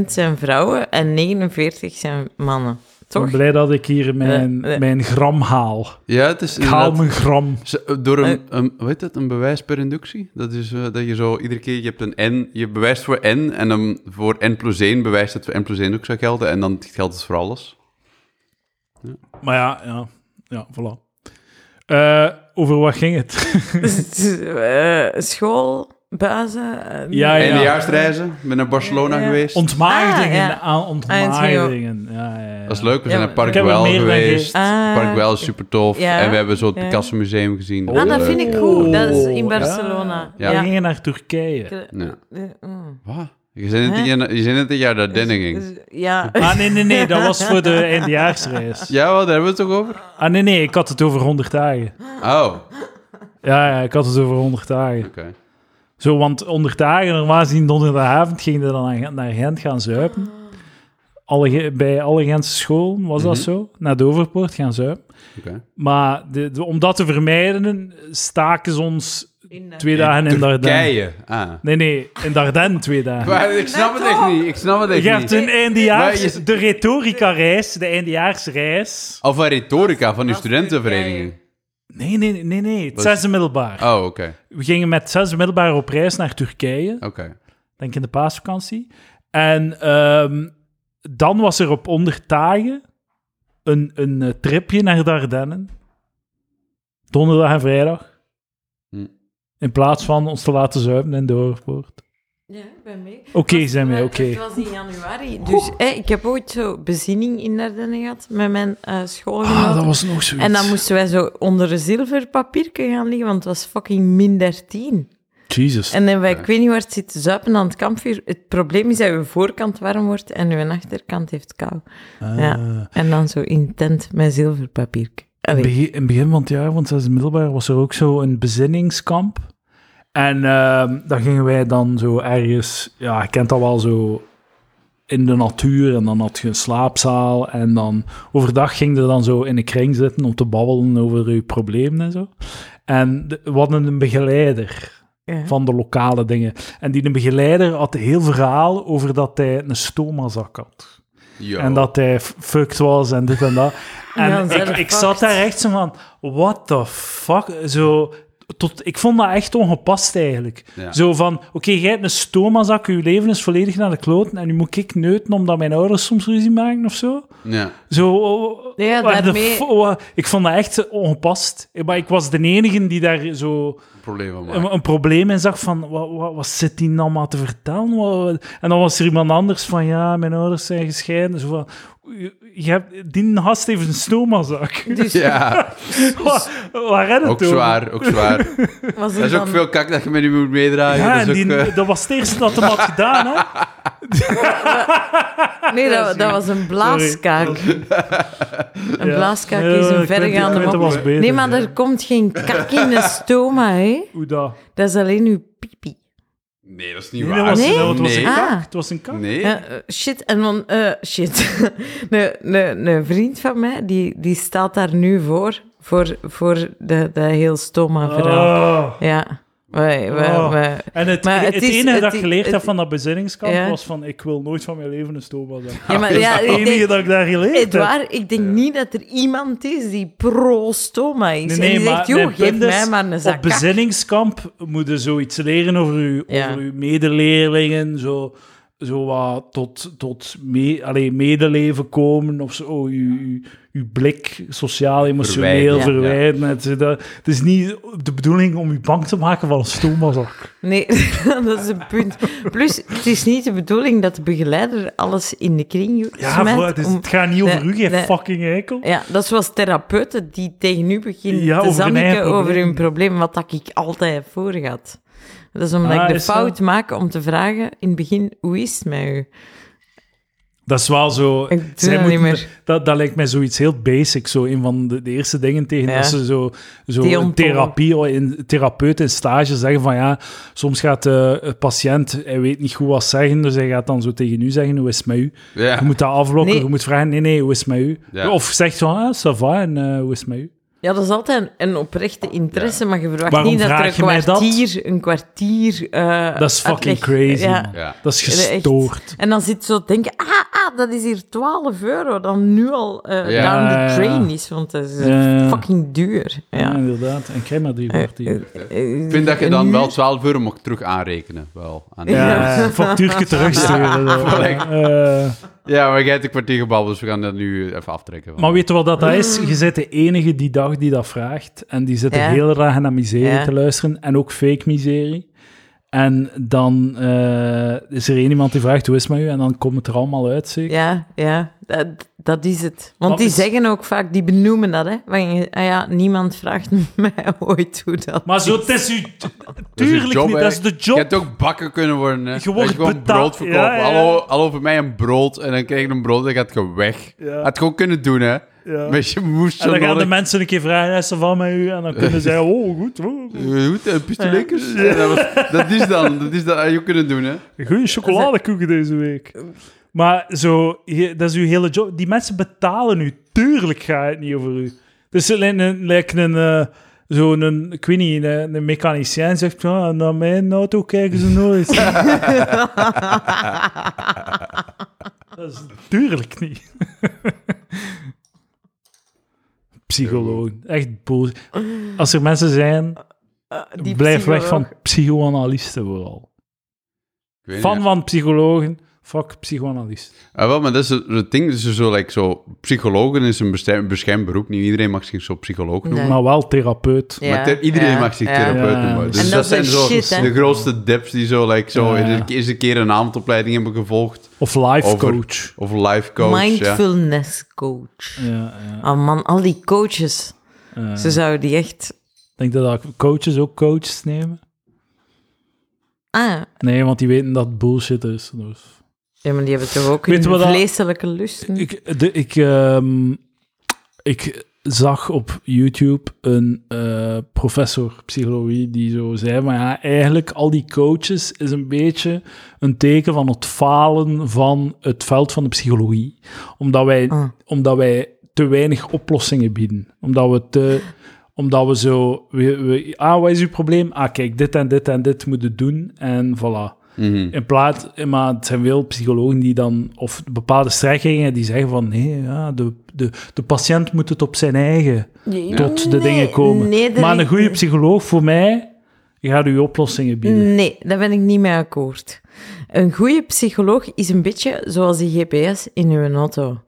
[SPEAKER 2] 51% zijn vrouwen en 49% zijn mannen.
[SPEAKER 1] Ik ben
[SPEAKER 2] Toch?
[SPEAKER 1] blij dat ik hier mijn,
[SPEAKER 2] Eh, eh.
[SPEAKER 1] mijn gram haal.
[SPEAKER 3] Ja, het is
[SPEAKER 1] Ik haal
[SPEAKER 3] inderdaad...
[SPEAKER 1] mijn gram.
[SPEAKER 3] Ze- eh, Door een, een, hoe heet dat, een bewijs per inductie? Dat is eh, dat je zo iedere keer, je hebt een n, je bewijst voor n en dan voor n plus 1 bewijst dat voor n plus 1 ook zou gelden en dan geldt het voor alles.
[SPEAKER 1] Maar ja, ja, ja voilà. Eh, over wat ging het?
[SPEAKER 2] Dus Eh, school, buizen. eh,
[SPEAKER 1] Ah, Ja, ja.
[SPEAKER 3] Eindejaarsreizen, ik ben naar Barcelona
[SPEAKER 2] Ja, ja.
[SPEAKER 3] geweest.
[SPEAKER 1] Ontmaagdingen.
[SPEAKER 2] Ah, ja.
[SPEAKER 1] aan ontmaagdingen. Ja, ja, ja.
[SPEAKER 3] Dat is leuk, we
[SPEAKER 2] Ja,
[SPEAKER 3] zijn
[SPEAKER 2] maar-
[SPEAKER 3] naar Park
[SPEAKER 1] Ik heb er
[SPEAKER 3] Güell
[SPEAKER 1] meer dan
[SPEAKER 3] geweest.
[SPEAKER 2] ge-
[SPEAKER 3] Park
[SPEAKER 2] Ah,
[SPEAKER 3] Güell is super tof.
[SPEAKER 2] Ja,
[SPEAKER 3] En we hebben zo het
[SPEAKER 2] ja.
[SPEAKER 3] Picasso Museum gezien. Eh,
[SPEAKER 2] Ah, dat
[SPEAKER 3] was
[SPEAKER 2] vind
[SPEAKER 3] leuk.
[SPEAKER 2] ik goed. Dat is in
[SPEAKER 1] Oh,
[SPEAKER 2] Barcelona.
[SPEAKER 1] Ja.
[SPEAKER 3] Ja.
[SPEAKER 1] We gingen naar Turkije.
[SPEAKER 3] Ja.
[SPEAKER 2] Eh, mm.
[SPEAKER 3] Wat? Je bent
[SPEAKER 2] Hè?
[SPEAKER 3] het jaar, je bent het jaar dat Denning ging.
[SPEAKER 2] Dus- Ja.
[SPEAKER 1] Ah, nee, nee, nee, dat was voor de eindejaarsreis.
[SPEAKER 3] Ja, wel, daar hebben we het toch over?
[SPEAKER 1] Ah, nee, nee, ik had het over 100 dagen.
[SPEAKER 2] Ah.
[SPEAKER 3] Oh, oké.
[SPEAKER 1] Ja, ja, ik had het over 100 dagen. Zo, want 100 dagen, normaal gezien donderdagavond, gingen we dan aan Gent- naar Gent gaan zuipen. Alle, Ge- bij alle Gentse school was dat
[SPEAKER 3] Mhm.
[SPEAKER 1] zo. Naar Doverpoort gaan zuipen.
[SPEAKER 3] oké.
[SPEAKER 1] Maar de, de- om dat te vermijden, staken ze ons
[SPEAKER 2] In, eh,
[SPEAKER 1] twee dagen in Dardenne.
[SPEAKER 3] Turkije. Ah.
[SPEAKER 1] Nee, nee, in Dardenne twee dagen.
[SPEAKER 3] Maar ik snap het echt niet. Ik snap het echt
[SPEAKER 1] Je hebt
[SPEAKER 3] niet.
[SPEAKER 1] een eindejaars,
[SPEAKER 3] Maar je-
[SPEAKER 1] de retorica-reis, de eindejaarsreis.
[SPEAKER 3] Of een retorica van die
[SPEAKER 2] Dat is
[SPEAKER 3] studentenvereniging.
[SPEAKER 1] Nee, nee, nee, nee, het
[SPEAKER 3] Wat is-
[SPEAKER 1] zesde middelbaar.
[SPEAKER 3] Oh, oké.
[SPEAKER 1] We gingen met het zesde middelbaar op reis naar Turkije,
[SPEAKER 3] Oké.
[SPEAKER 1] denk in de paasvakantie. En ehm, dan was er op 100 dagen een, een eh, tripje naar Dardennen. Donderdag en vrijdag.
[SPEAKER 3] Hm.
[SPEAKER 1] In plaats van ons te laten zuipen in Doorpoort.
[SPEAKER 2] Ja, ik ben mee.
[SPEAKER 1] Oké,
[SPEAKER 2] Maar-
[SPEAKER 1] zijn wij,
[SPEAKER 2] maar
[SPEAKER 1] oké.
[SPEAKER 2] Het was in januari, dus hè, ik heb ooit zo bezinning in Dardenne gehad met mijn eh schoolgenoten.
[SPEAKER 1] Ah, was nog zoiets.
[SPEAKER 2] En dan moesten wij zo onder een zilverpapierke gaan liggen, want het was fucking min 13.
[SPEAKER 1] Jesus.
[SPEAKER 2] En dan wij,
[SPEAKER 3] Ja.
[SPEAKER 2] ik weet niet waar het zit, te zuipen aan het kampvuur. Het probleem is dat uw voorkant warm wordt en uw achterkant heeft kou.
[SPEAKER 1] Ah. Eh.
[SPEAKER 2] ja. En dan zo intent met zilverpapierke. Allee.
[SPEAKER 1] Begi- in het begin van het jaar, want dat is middelbaar, was er ook zo een bezinningskamp. En ehm, dan gingen wij dan zo ergens, ja, je kent dat wel zo, in de natuur. En dan had je een slaapzaal. En dan overdag ging je dan zo in een kring zitten om te babbelen over je problemen en zo. En de- we hadden een begeleider
[SPEAKER 2] Ja.
[SPEAKER 1] van de lokale dingen. En die een begeleider had een heel verhaal over dat hij een stomazak had.
[SPEAKER 3] Yo.
[SPEAKER 1] En dat hij f- fucked was en dit en dat. En
[SPEAKER 2] Ja,
[SPEAKER 1] ik,
[SPEAKER 2] zelf
[SPEAKER 1] ik zat
[SPEAKER 2] fucked.
[SPEAKER 1] daar echt zo van, what the fuck? Zo, tot, ik vond dat echt ongepast eigenlijk.
[SPEAKER 3] Ja.
[SPEAKER 1] Zo van, oké, jij hebt een stomazak, je leven is volledig naar de kloten en nu moet ik neuten omdat mijn ouders soms ruzie maken of zo.
[SPEAKER 3] Ja.
[SPEAKER 1] Zo, oh,
[SPEAKER 2] Ja,
[SPEAKER 1] what the
[SPEAKER 2] daarmee-
[SPEAKER 1] fu- wa- ik vond dat echt ongepast. Maar ik was de enige die daar zo
[SPEAKER 3] Probleem van maken.
[SPEAKER 1] een, een probleem in zag van, wat, wat, wat zit die nou maar te vertellen? Wat- wat- En dan was er iemand anders van, ja, mijn ouders zijn gescheiden. Zo van, je- je hebt, die gast heeft een stomazak.
[SPEAKER 2] Dus
[SPEAKER 3] Ja,
[SPEAKER 1] Wa- Waar redt het
[SPEAKER 3] ook
[SPEAKER 1] over?
[SPEAKER 3] zwaar, ook zwaar.
[SPEAKER 2] was er
[SPEAKER 3] Dat is
[SPEAKER 2] dan...
[SPEAKER 3] ook veel kak dat je met je moet meedraaien.
[SPEAKER 1] Ja,
[SPEAKER 3] dat
[SPEAKER 1] en
[SPEAKER 3] is ook,
[SPEAKER 1] die,
[SPEAKER 3] eh,
[SPEAKER 1] dat was het eerste dat hem had gedaan, hè.
[SPEAKER 2] Nee, dat, dat was een blaaskaak. Een
[SPEAKER 1] Ja.
[SPEAKER 2] blaaskaak
[SPEAKER 1] Nee,
[SPEAKER 2] is
[SPEAKER 1] ik
[SPEAKER 2] een
[SPEAKER 1] weet-
[SPEAKER 2] verregaande
[SPEAKER 1] ik weet het
[SPEAKER 2] mop.
[SPEAKER 1] was beter,
[SPEAKER 2] Nee, maar
[SPEAKER 1] ja.
[SPEAKER 2] er komt geen kak in de stoma, hè.
[SPEAKER 1] Hoe dat?
[SPEAKER 2] Dat is alleen uw pipi.
[SPEAKER 3] Nee, dat is niet
[SPEAKER 1] Nee,
[SPEAKER 3] waar.
[SPEAKER 1] dat was,
[SPEAKER 2] Nee?
[SPEAKER 1] dat was een
[SPEAKER 3] Nee.
[SPEAKER 1] kak.
[SPEAKER 2] Ah.
[SPEAKER 1] Het was een kak.
[SPEAKER 3] Nee.
[SPEAKER 2] Ja, eh, shit, en dan... eh, shit. Een- Een een vriend van mij, die, die staat daar nu voor. Voor, voor dat de heel stoma verhaal.
[SPEAKER 1] Ah.
[SPEAKER 2] Ja. Wij, wij,
[SPEAKER 1] Oh.
[SPEAKER 2] wij-
[SPEAKER 1] En het,
[SPEAKER 2] Maar
[SPEAKER 1] het,
[SPEAKER 2] het is-
[SPEAKER 1] enige
[SPEAKER 2] het
[SPEAKER 1] dat
[SPEAKER 2] is-
[SPEAKER 1] ik geleerd heb
[SPEAKER 2] het-
[SPEAKER 1] van dat bezinningskamp
[SPEAKER 2] Ja.
[SPEAKER 1] was van, ik wil nooit van mijn leven een stomazak.
[SPEAKER 2] Ja, maar ja,
[SPEAKER 1] Het
[SPEAKER 2] ik
[SPEAKER 1] enige
[SPEAKER 2] denk,
[SPEAKER 1] Ah, dus dat ik daar geleerd heb.
[SPEAKER 2] Edouard, ik denk niet dat er iemand is die pro-stoma is. en die zegt, joh,
[SPEAKER 1] mijn
[SPEAKER 2] geef
[SPEAKER 1] punt is,
[SPEAKER 2] mij maar een zak
[SPEAKER 1] Op
[SPEAKER 2] kak.
[SPEAKER 1] bezinningskamp moet je zoiets leren over uw
[SPEAKER 2] Ja.
[SPEAKER 1] over uw medeleerlingen, zo, zo wat tot, tot me, allee, medeleven komen of zo, uw, uw, uw blik sociaal-emotioneel
[SPEAKER 3] Verwijderen, ja.
[SPEAKER 1] verwijderen. Het, is- dat- het is niet de bedoeling om u bang te maken van een stomazak.
[SPEAKER 2] Nee, dat is een punt. Plus, het is niet de bedoeling dat de begeleider alles in de kring
[SPEAKER 1] Ja, dus
[SPEAKER 2] smijt.
[SPEAKER 1] voor, het, is-
[SPEAKER 2] om-
[SPEAKER 1] het gaat niet over
[SPEAKER 2] Nee,
[SPEAKER 1] u, geen
[SPEAKER 2] nee.
[SPEAKER 1] fucking eikel.
[SPEAKER 2] Ja, dat is zoals therapeuten die tegen nu beginnen
[SPEAKER 1] Ja,
[SPEAKER 2] te
[SPEAKER 1] over hun
[SPEAKER 2] zaniken
[SPEAKER 1] eigen
[SPEAKER 2] over
[SPEAKER 1] probleem.
[SPEAKER 2] hun probleem, wat dat ik altijd heb voorgehad. Dat is omdat
[SPEAKER 1] Ah,
[SPEAKER 2] ik de
[SPEAKER 1] is dat?
[SPEAKER 2] fout maak om te vragen in het begin, hoe is het met u?
[SPEAKER 1] Dat is wel zo.
[SPEAKER 2] Ik doe
[SPEAKER 1] zij
[SPEAKER 2] dat
[SPEAKER 1] moeten-
[SPEAKER 2] niet meer.
[SPEAKER 1] Dat, dat lijkt mij zoiets heel basic. Zo een van de, de eerste dingen tegen
[SPEAKER 2] Ja.
[SPEAKER 1] dat ze zo, zo
[SPEAKER 2] Die
[SPEAKER 1] een
[SPEAKER 2] ontdooien.
[SPEAKER 1] therapie, oh, een therapeut in stage zeggen van ja, soms gaat de eh, patiënt, hij weet niet goed wat zeggen, dus hij gaat dan zo tegen u zeggen, hoe is het met u?
[SPEAKER 3] Ja.
[SPEAKER 1] Je moet dat aflokken,
[SPEAKER 2] Nee.
[SPEAKER 1] je moet vragen, nee, nee, hoe is het met u?
[SPEAKER 3] Ja.
[SPEAKER 1] Of zegt van, ah, ça va, en eh, hoe is het met u?
[SPEAKER 2] Ja, dat is altijd een, een oprechte interesse, maar je verwacht
[SPEAKER 1] Waarom
[SPEAKER 2] niet dat er
[SPEAKER 1] vraag
[SPEAKER 2] een
[SPEAKER 1] je mij dat?
[SPEAKER 2] kwartier, een kwartier... eh,
[SPEAKER 1] Dat is fucking
[SPEAKER 2] uitleg-
[SPEAKER 1] crazy,
[SPEAKER 2] ja.
[SPEAKER 1] man.
[SPEAKER 3] Ja.
[SPEAKER 1] Dat is
[SPEAKER 2] Echt.
[SPEAKER 1] gestoord.
[SPEAKER 2] En dan zit zo te denken, ah, ah, dat is hier 12 euro, dan nu al eh
[SPEAKER 3] Ja.
[SPEAKER 2] down
[SPEAKER 1] Ja, ja,
[SPEAKER 2] the
[SPEAKER 1] ja.
[SPEAKER 2] train is, want dat is eh,
[SPEAKER 1] Ja.
[SPEAKER 2] fucking duur.
[SPEAKER 1] Ja.
[SPEAKER 2] Ja. Eh,
[SPEAKER 1] inderdaad. En krijg maar drie kwartier.
[SPEAKER 3] Ik vind dat je dan wel 12 euro mag terug aanrekenen. Wel, aan die-
[SPEAKER 1] Ja,
[SPEAKER 2] Ja.
[SPEAKER 1] een factuurtje terugsturen. zo. Eh,
[SPEAKER 3] ja, maar jij hebt een kwartier gebabbeld, dus we gaan dat nu even aftrekken. van.
[SPEAKER 1] Maar weet je wat dat is? Je bent de enige die dag die dat vraagt. En die zit
[SPEAKER 2] Mm. Ja.
[SPEAKER 1] er heel graag naar miserie
[SPEAKER 2] Ja.
[SPEAKER 1] te luisteren. En ook fake miserie. En dan eh, is er één iemand die vraagt, hoe is het met u? En dan komt het er allemaal uit, zeker?
[SPEAKER 2] Ja, ja, dat, dat is het. Want
[SPEAKER 1] Wat
[SPEAKER 2] die
[SPEAKER 1] is-
[SPEAKER 2] zeggen ook vaak, die benoemen dat, hè. Van, je- ah ja, niemand vraagt mij ooit hoe dat...
[SPEAKER 1] Maar zo, het is u...
[SPEAKER 3] Dat is je
[SPEAKER 1] Tuurlijk
[SPEAKER 3] job,
[SPEAKER 1] niet,
[SPEAKER 3] hè.
[SPEAKER 1] dat is de
[SPEAKER 3] Je
[SPEAKER 1] job.
[SPEAKER 3] hebt ook bakker kunnen worden. hè.
[SPEAKER 1] Je
[SPEAKER 3] Dat Je
[SPEAKER 1] wordt
[SPEAKER 3] gewoon
[SPEAKER 1] betaald,
[SPEAKER 3] brood verkopen.
[SPEAKER 1] ja, ja.
[SPEAKER 3] Hallo, hallo, voor mij een brood. En dan krijg je een brood en gaat je weg.
[SPEAKER 1] Ja.
[SPEAKER 3] Had je gewoon kunnen doen, hè?
[SPEAKER 1] Ja.
[SPEAKER 3] Maar je moest
[SPEAKER 1] En
[SPEAKER 3] zo
[SPEAKER 1] dan gaan de
[SPEAKER 3] nodig...
[SPEAKER 1] mensen een keer vragen, is er van met u? En dan kunnen zij, oh, goed, oh,
[SPEAKER 3] Goed, eh, pistolekers. Ja, dat, was- dat is dan, dat is dan, had je ook kunnen doen, hè?
[SPEAKER 1] Goeie chocoladekoeken deze week. Maar zo, je- dat is uw hele job. Die mensen betalen u. Tuurlijk gaat het niet over u. Dus het lijkt een, lijkt een eh, zo'n, een, ik weet niet, een, een mechanicien zegt, "Ja, naar mijn auto kijken ze nooit. dat is tuurlijk niet. Psycholoog. Echt boos. Als er mensen zijn,
[SPEAKER 2] eh, die
[SPEAKER 1] blijf weg
[SPEAKER 2] psycholoog.
[SPEAKER 1] van psychoanalisten vooral.
[SPEAKER 3] Ik weet
[SPEAKER 1] Fan
[SPEAKER 3] niet.
[SPEAKER 1] van psychologen, fuck psychoanalist.
[SPEAKER 3] Ah, wel, maar dat is het het ding. Dus zo, like, zo, psychologen is een bestem- beschermd beroep. Niet iedereen mag zich zo psycholoog noemen.
[SPEAKER 2] Nee.
[SPEAKER 1] Maar wel therapeut.
[SPEAKER 2] Ja,
[SPEAKER 3] maar ter- iedereen
[SPEAKER 2] ja,
[SPEAKER 3] mag zich
[SPEAKER 2] ja.
[SPEAKER 3] therapeut
[SPEAKER 1] Ja.
[SPEAKER 3] noemen. Dus
[SPEAKER 1] En
[SPEAKER 3] dat,
[SPEAKER 2] dat is
[SPEAKER 3] zijn
[SPEAKER 2] echt
[SPEAKER 3] zo
[SPEAKER 2] shit, hè?
[SPEAKER 3] de grootste dips die zo, like, zo
[SPEAKER 1] Ja.
[SPEAKER 3] in de eerste keer een avondopleiding hebben gevolgd.
[SPEAKER 1] Of life
[SPEAKER 3] Over-
[SPEAKER 1] coach.
[SPEAKER 3] Of life coach. ja.
[SPEAKER 2] Mindfulness coach.
[SPEAKER 1] Ja, ja.
[SPEAKER 2] Oh man, al die coaches.
[SPEAKER 1] Eh.
[SPEAKER 2] Ze zouden die echt...
[SPEAKER 1] Ik denk dat coaches ook coaches nemen.
[SPEAKER 2] Ah,
[SPEAKER 1] Nee, want die weten dat het bullshit is. Dus.
[SPEAKER 2] ja, maar die hebben toch ook
[SPEAKER 1] Weet
[SPEAKER 2] een
[SPEAKER 1] je wat dat-
[SPEAKER 2] vleeselijke lust.
[SPEAKER 1] Ik, de, ik, ehm, ik zag op YouTube een eh, professor psychologie die zo zei, maar ja, eigenlijk al die coaches is een beetje een teken van het falen van het veld van de psychologie. Omdat wij,
[SPEAKER 2] Ah.
[SPEAKER 1] omdat wij te weinig oplossingen bieden. Omdat we te omdat we zo... We, we- ah, wat is uw probleem? Ah, kijk, dit en dit en dit moeten doen. En voilà.
[SPEAKER 3] Mhm.
[SPEAKER 1] In plaats, maar het zijn veel psychologen die dan, of bepaalde strijkingen die zeggen van nee, ja, de, de, de patiënt moet het op zijn eigen
[SPEAKER 2] Nee,
[SPEAKER 1] tot de
[SPEAKER 2] nee,
[SPEAKER 1] dingen komen.
[SPEAKER 2] nee, daar
[SPEAKER 1] maar
[SPEAKER 2] ben
[SPEAKER 1] een
[SPEAKER 2] ik-
[SPEAKER 1] goede psycholoog voor mij gaat u oplossingen bieden.
[SPEAKER 2] Nee, daar ben ik niet mee akkoord. Een goede psycholoog is een beetje zoals die GPS in uw auto.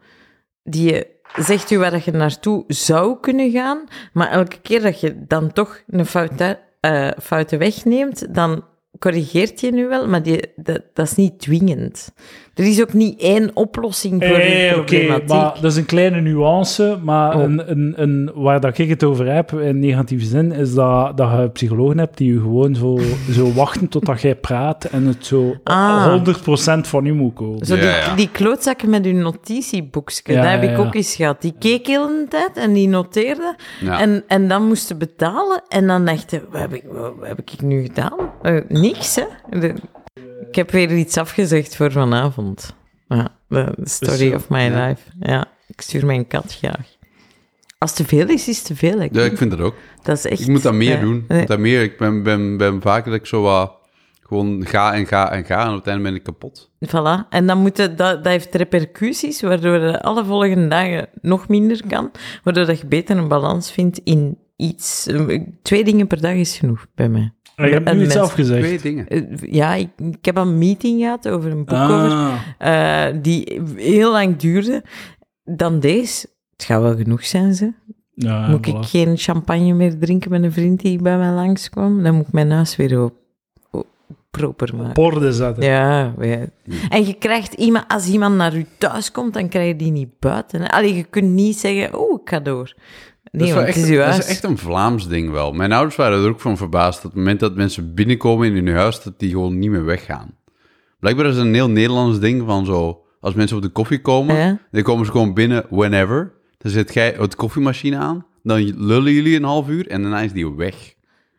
[SPEAKER 2] Die eh, zegt u waar dat je naartoe zou kunnen gaan, maar elke keer dat je dan toch een foute, eh foute weg neemt, dan corrigeert je nu wel, maar die, dat, dat is niet dwingend. Er is ook niet één oplossing voor
[SPEAKER 1] Eh,
[SPEAKER 2] de
[SPEAKER 1] oké,
[SPEAKER 2] problematiek.
[SPEAKER 1] maar dat is een kleine nuance, maar
[SPEAKER 2] Oh.
[SPEAKER 1] een, een, een, waar dat ik het over heb, in negatieve zin, is dat, dat je psychologen hebt die je gewoon zo, zo wachten totdat jij praat en het zo
[SPEAKER 2] Ah.
[SPEAKER 1] 100% van u moet komen.
[SPEAKER 2] Zo
[SPEAKER 3] Ja,
[SPEAKER 2] die,
[SPEAKER 3] ja.
[SPEAKER 2] die klootzakken met hun notitieboekje,
[SPEAKER 1] Ja,
[SPEAKER 2] dat heb
[SPEAKER 1] ja,
[SPEAKER 2] ik
[SPEAKER 1] ja.
[SPEAKER 2] ook eens gehad. Die keek heel een tijd en die noteerde.
[SPEAKER 3] Ja.
[SPEAKER 2] En, en dan moesten betalen. En dan dacht ik, wat heb ik, wat heb ik nu gedaan? Eh, niks, hè. De- ik heb weer iets afgezegd voor vanavond. Ja, de de story
[SPEAKER 1] Dus,
[SPEAKER 2] of my
[SPEAKER 3] ja.
[SPEAKER 2] life. Ja, ik stuur mijn kat graag. Als het te veel is, is het te veel. hè.
[SPEAKER 3] Ja, ik vind dat ook.
[SPEAKER 2] dat is echt,
[SPEAKER 3] Ik moet dat meer
[SPEAKER 2] ja.
[SPEAKER 3] doen. Ik,
[SPEAKER 2] Nee.
[SPEAKER 3] moet dat meer. ik ben, ben, ben vaker dat ik zo wat gewoon ga en ga en ga en op het einde ben ik kapot.
[SPEAKER 2] Voilà. En dan moet je- dat, dat heeft repercussies, waardoor je alle volgende dagen nog minder kan. Waardoor dat je beter een balans vindt in iets. Eh, Twee dingen per dag is genoeg bij mij.
[SPEAKER 1] Maar je hebt
[SPEAKER 2] En
[SPEAKER 1] nu iets
[SPEAKER 2] mensen-
[SPEAKER 1] afgezegd.
[SPEAKER 3] Twee dingen.
[SPEAKER 2] Eh, Ja, ik, ik heb een meeting gehad over een boekcover
[SPEAKER 1] Ah.
[SPEAKER 2] eh, die heel lang duurde. Dan deze. Het gaat wel genoeg zijn, ze.
[SPEAKER 1] Ja,
[SPEAKER 2] moet
[SPEAKER 1] Ah, voilà.
[SPEAKER 2] ik geen champagne meer drinken met een vriend die bij mij langskwam? Dan moet ik mijn huis weer op, op- proper maken.
[SPEAKER 1] op orde zetten.
[SPEAKER 2] eh, Ja, ja. en je krijgt iemand, als iemand naar je thuis komt, dan krijg je die niet buiten. hè. Allee, je kunt niet zeggen, oh, ik ga door.
[SPEAKER 3] Dat
[SPEAKER 2] Nee, want
[SPEAKER 3] is, wel
[SPEAKER 2] het
[SPEAKER 3] echt,
[SPEAKER 2] is je
[SPEAKER 3] dat
[SPEAKER 2] huis.
[SPEAKER 3] is echt een Vlaams ding wel. Mijn ouders waren er ook van verbaasd dat op het moment dat mensen binnenkomen in hun huis, dat die gewoon niet meer weggaan. Blijkbaar is het een heel Nederlands ding van zo, als mensen op de koffie komen,
[SPEAKER 2] Ja.
[SPEAKER 3] dan komen ze gewoon binnen whenever. Dan zet jij het koffiemachine aan, dan lullen jullie een half uur en daarna is die weg.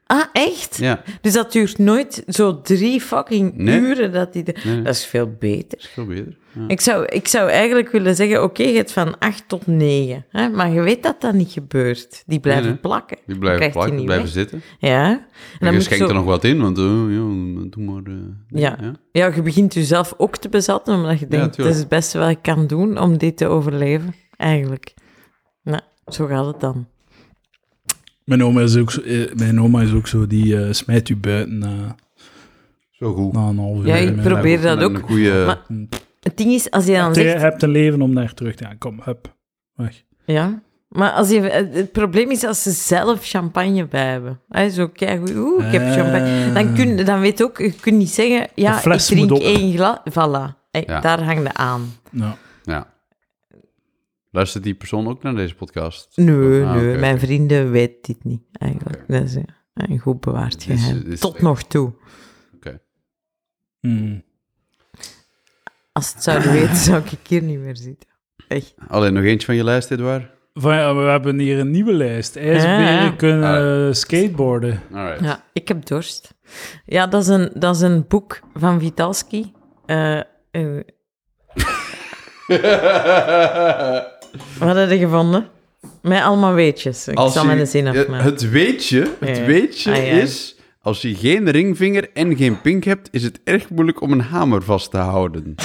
[SPEAKER 2] Ah, echt?
[SPEAKER 3] Ja,
[SPEAKER 2] Dus dat duurt nooit zo drie fucking
[SPEAKER 3] Nee.
[SPEAKER 2] uren dat die... de-
[SPEAKER 3] Nee.
[SPEAKER 2] Dat is veel beter.
[SPEAKER 3] veel beter. Ja.
[SPEAKER 2] Ik zou, ik zou eigenlijk willen zeggen, oké, je hebt van acht tot negen. Hè? Maar je weet dat dat niet gebeurt. Die blijven
[SPEAKER 3] Nee, nee.
[SPEAKER 2] plakken.
[SPEAKER 3] Die
[SPEAKER 2] Dan
[SPEAKER 3] blijven
[SPEAKER 2] krijgt die
[SPEAKER 3] plakken,
[SPEAKER 2] niet
[SPEAKER 3] blijven
[SPEAKER 2] weg.
[SPEAKER 3] zitten.
[SPEAKER 2] Ja. En
[SPEAKER 3] En
[SPEAKER 2] moet
[SPEAKER 3] je
[SPEAKER 2] ik
[SPEAKER 3] schenkt
[SPEAKER 2] zo-
[SPEAKER 3] er nog wat in, want eh, ja, doe maar. eh,
[SPEAKER 2] Ja. Ja, je begint jezelf ook te bezatten, omdat je denkt, dat
[SPEAKER 3] tuurlijk.
[SPEAKER 2] is het beste wat ik kan doen om dit te overleven, eigenlijk. Nou, zo gaat het dan.
[SPEAKER 1] Mijn oma is ook zo, eh, mijn oma is ook zo die eh, smijt u buiten na,
[SPEAKER 3] Zo goed.
[SPEAKER 1] na een half uur.
[SPEAKER 2] Ja, ik
[SPEAKER 1] Mijn-
[SPEAKER 2] probeer- dat
[SPEAKER 3] Met Een
[SPEAKER 2] ook.
[SPEAKER 3] goede...
[SPEAKER 2] Maar- Het ding is, als je
[SPEAKER 1] Je
[SPEAKER 2] dan zegt...
[SPEAKER 1] hebt een leven om naar terug te gaan. Kom, hup, weg.
[SPEAKER 2] Ja, maar als je, het het probleem is als ze zelf champagne bij hebben. Hè, zo kijk, oeh, ik heb
[SPEAKER 3] Ah.
[SPEAKER 1] Eh.
[SPEAKER 2] champagne. Dan, kun, dan weet je ook, je kunt niet zeggen,
[SPEAKER 1] De
[SPEAKER 2] ja, ik
[SPEAKER 1] fles moet
[SPEAKER 2] drink
[SPEAKER 1] op.
[SPEAKER 2] één glas. Voilà, Hé,
[SPEAKER 3] Ja.
[SPEAKER 2] daar hangt het aan.
[SPEAKER 1] Ja.
[SPEAKER 3] Ja. Luistert die persoon ook naar deze podcast?
[SPEAKER 2] Nee,
[SPEAKER 3] Ah,
[SPEAKER 2] nee,
[SPEAKER 3] oké.
[SPEAKER 2] mijn vrienden weten dit niet, eigenlijk. Dat is eh, een goed bewaard
[SPEAKER 3] Dit is-
[SPEAKER 2] geheim.
[SPEAKER 3] dit is
[SPEAKER 2] Tot
[SPEAKER 3] echt-
[SPEAKER 2] nog toe.
[SPEAKER 1] Mm.
[SPEAKER 2] Als het zouden weten, zou ik hier niet meer zitten. Echt.
[SPEAKER 3] Alleen nog eentje van je lijst, Edouard?
[SPEAKER 1] Van, ja, we hebben hier een nieuwe lijst. IJsberen
[SPEAKER 2] Ah, Ja, ja.
[SPEAKER 1] kunnen
[SPEAKER 3] Ah.
[SPEAKER 1] eh, skateboarden.
[SPEAKER 3] Alright.
[SPEAKER 2] Ja, ik heb dorst. Ja, dat is een, dat is een boek van Vitalski. Eh, eh, wat heb je gevonden? Met allemaal weetjes. Ik zal
[SPEAKER 3] je-
[SPEAKER 2] mijn zin
[SPEAKER 3] ja,
[SPEAKER 2] afmaken.
[SPEAKER 3] Het weetje, het
[SPEAKER 2] Ja.
[SPEAKER 3] weetje
[SPEAKER 2] Ah, ja.
[SPEAKER 3] is... Als je geen ringvinger en geen pink hebt, is het erg moeilijk om een hamer vast te houden.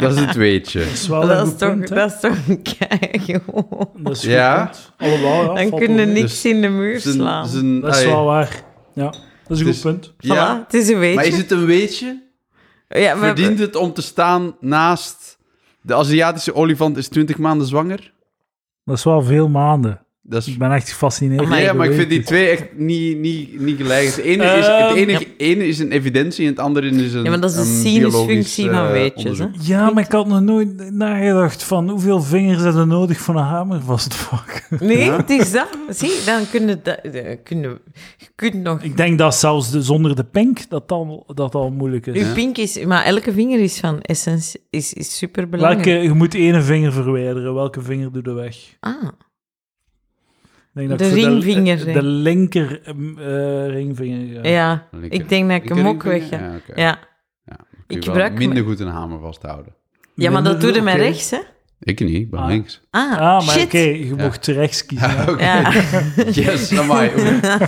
[SPEAKER 3] dat is het weetje.
[SPEAKER 1] Dat is wel een
[SPEAKER 2] dat, is
[SPEAKER 1] goed
[SPEAKER 2] toch,
[SPEAKER 1] punt, hè?
[SPEAKER 2] dat is toch een kei goed.
[SPEAKER 1] Dat is
[SPEAKER 3] Ja.
[SPEAKER 1] ja. Allemaal, ja.
[SPEAKER 2] Dan
[SPEAKER 1] valt
[SPEAKER 2] kun je
[SPEAKER 1] wel.
[SPEAKER 2] niks
[SPEAKER 3] Dus
[SPEAKER 2] in de muur
[SPEAKER 3] Het is een-
[SPEAKER 2] slaan.
[SPEAKER 3] het is een-
[SPEAKER 1] Dat is
[SPEAKER 3] allee,
[SPEAKER 1] wel waar. Ja, dat is een
[SPEAKER 3] Dus-
[SPEAKER 1] goed punt.
[SPEAKER 2] Voilà,
[SPEAKER 3] ah, ja.
[SPEAKER 2] het is een weetje.
[SPEAKER 3] Maar is het een weetje?
[SPEAKER 2] ja, we hebben-
[SPEAKER 3] Verdient het om te staan naast... De Aziatische olifant is 20 maanden zwanger?
[SPEAKER 1] Dat is wel veel maanden.
[SPEAKER 3] Dat is
[SPEAKER 1] Ik ben echt gefascineerd.
[SPEAKER 2] Amai.
[SPEAKER 1] door
[SPEAKER 3] ja, maar ik
[SPEAKER 1] die
[SPEAKER 3] vind die twee echt niet, niet, niet gelijk. Het ene is, het
[SPEAKER 1] Ehm,
[SPEAKER 3] enige, ene is een evidentie en het andere is een.
[SPEAKER 2] Ja, maar dat is de
[SPEAKER 3] een
[SPEAKER 2] sinusfunctie
[SPEAKER 3] biologisch,
[SPEAKER 2] van
[SPEAKER 3] eh,
[SPEAKER 2] weetjes. Hè?
[SPEAKER 3] onderzoek.
[SPEAKER 1] Ja, maar ik had nog nooit nagedacht van hoeveel vingers hebben we nodig voor een hamer vast te pakken.
[SPEAKER 2] Nee, het is dat. Zie, dan kun je, dat, eh, kun je, je kunt nog
[SPEAKER 1] Ik denk dat zelfs de, zonder de pink dat al, dat al moeilijk is.
[SPEAKER 3] Dus,
[SPEAKER 2] Uw pink is, maar elke vinger is van essentie, is, is superbelangrijk.
[SPEAKER 1] Welke, je moet ene vinger verwijderen. Welke vinger doet de weg?
[SPEAKER 2] Ah,
[SPEAKER 1] Ik denk dat
[SPEAKER 2] De
[SPEAKER 1] ik voor
[SPEAKER 2] ringvinger,
[SPEAKER 1] De,
[SPEAKER 2] hè?
[SPEAKER 1] de linker ehm, eh, ringvinger. ja.
[SPEAKER 2] ja.
[SPEAKER 3] Linker-
[SPEAKER 2] Ik denk dat ik hem ook
[SPEAKER 3] linkerringvinger?
[SPEAKER 2] weg heb. Ja,
[SPEAKER 3] Ja, oké.
[SPEAKER 2] ja.
[SPEAKER 3] Kun je
[SPEAKER 2] Ik
[SPEAKER 3] wel
[SPEAKER 2] gebruik
[SPEAKER 3] minder goed een hamer vasthouden.
[SPEAKER 2] maar dat
[SPEAKER 1] Minder,
[SPEAKER 2] doe je met
[SPEAKER 1] oké.
[SPEAKER 2] rechts, hè?
[SPEAKER 3] Ik niet, ik ben
[SPEAKER 1] Ah.
[SPEAKER 3] links.
[SPEAKER 2] Ah,
[SPEAKER 1] Ah, maar oké,
[SPEAKER 2] shit.
[SPEAKER 1] je mocht rechts kiezen.
[SPEAKER 3] Ah,
[SPEAKER 1] ja.
[SPEAKER 3] oké.
[SPEAKER 2] Ja.
[SPEAKER 3] Yes, amai. Oeh.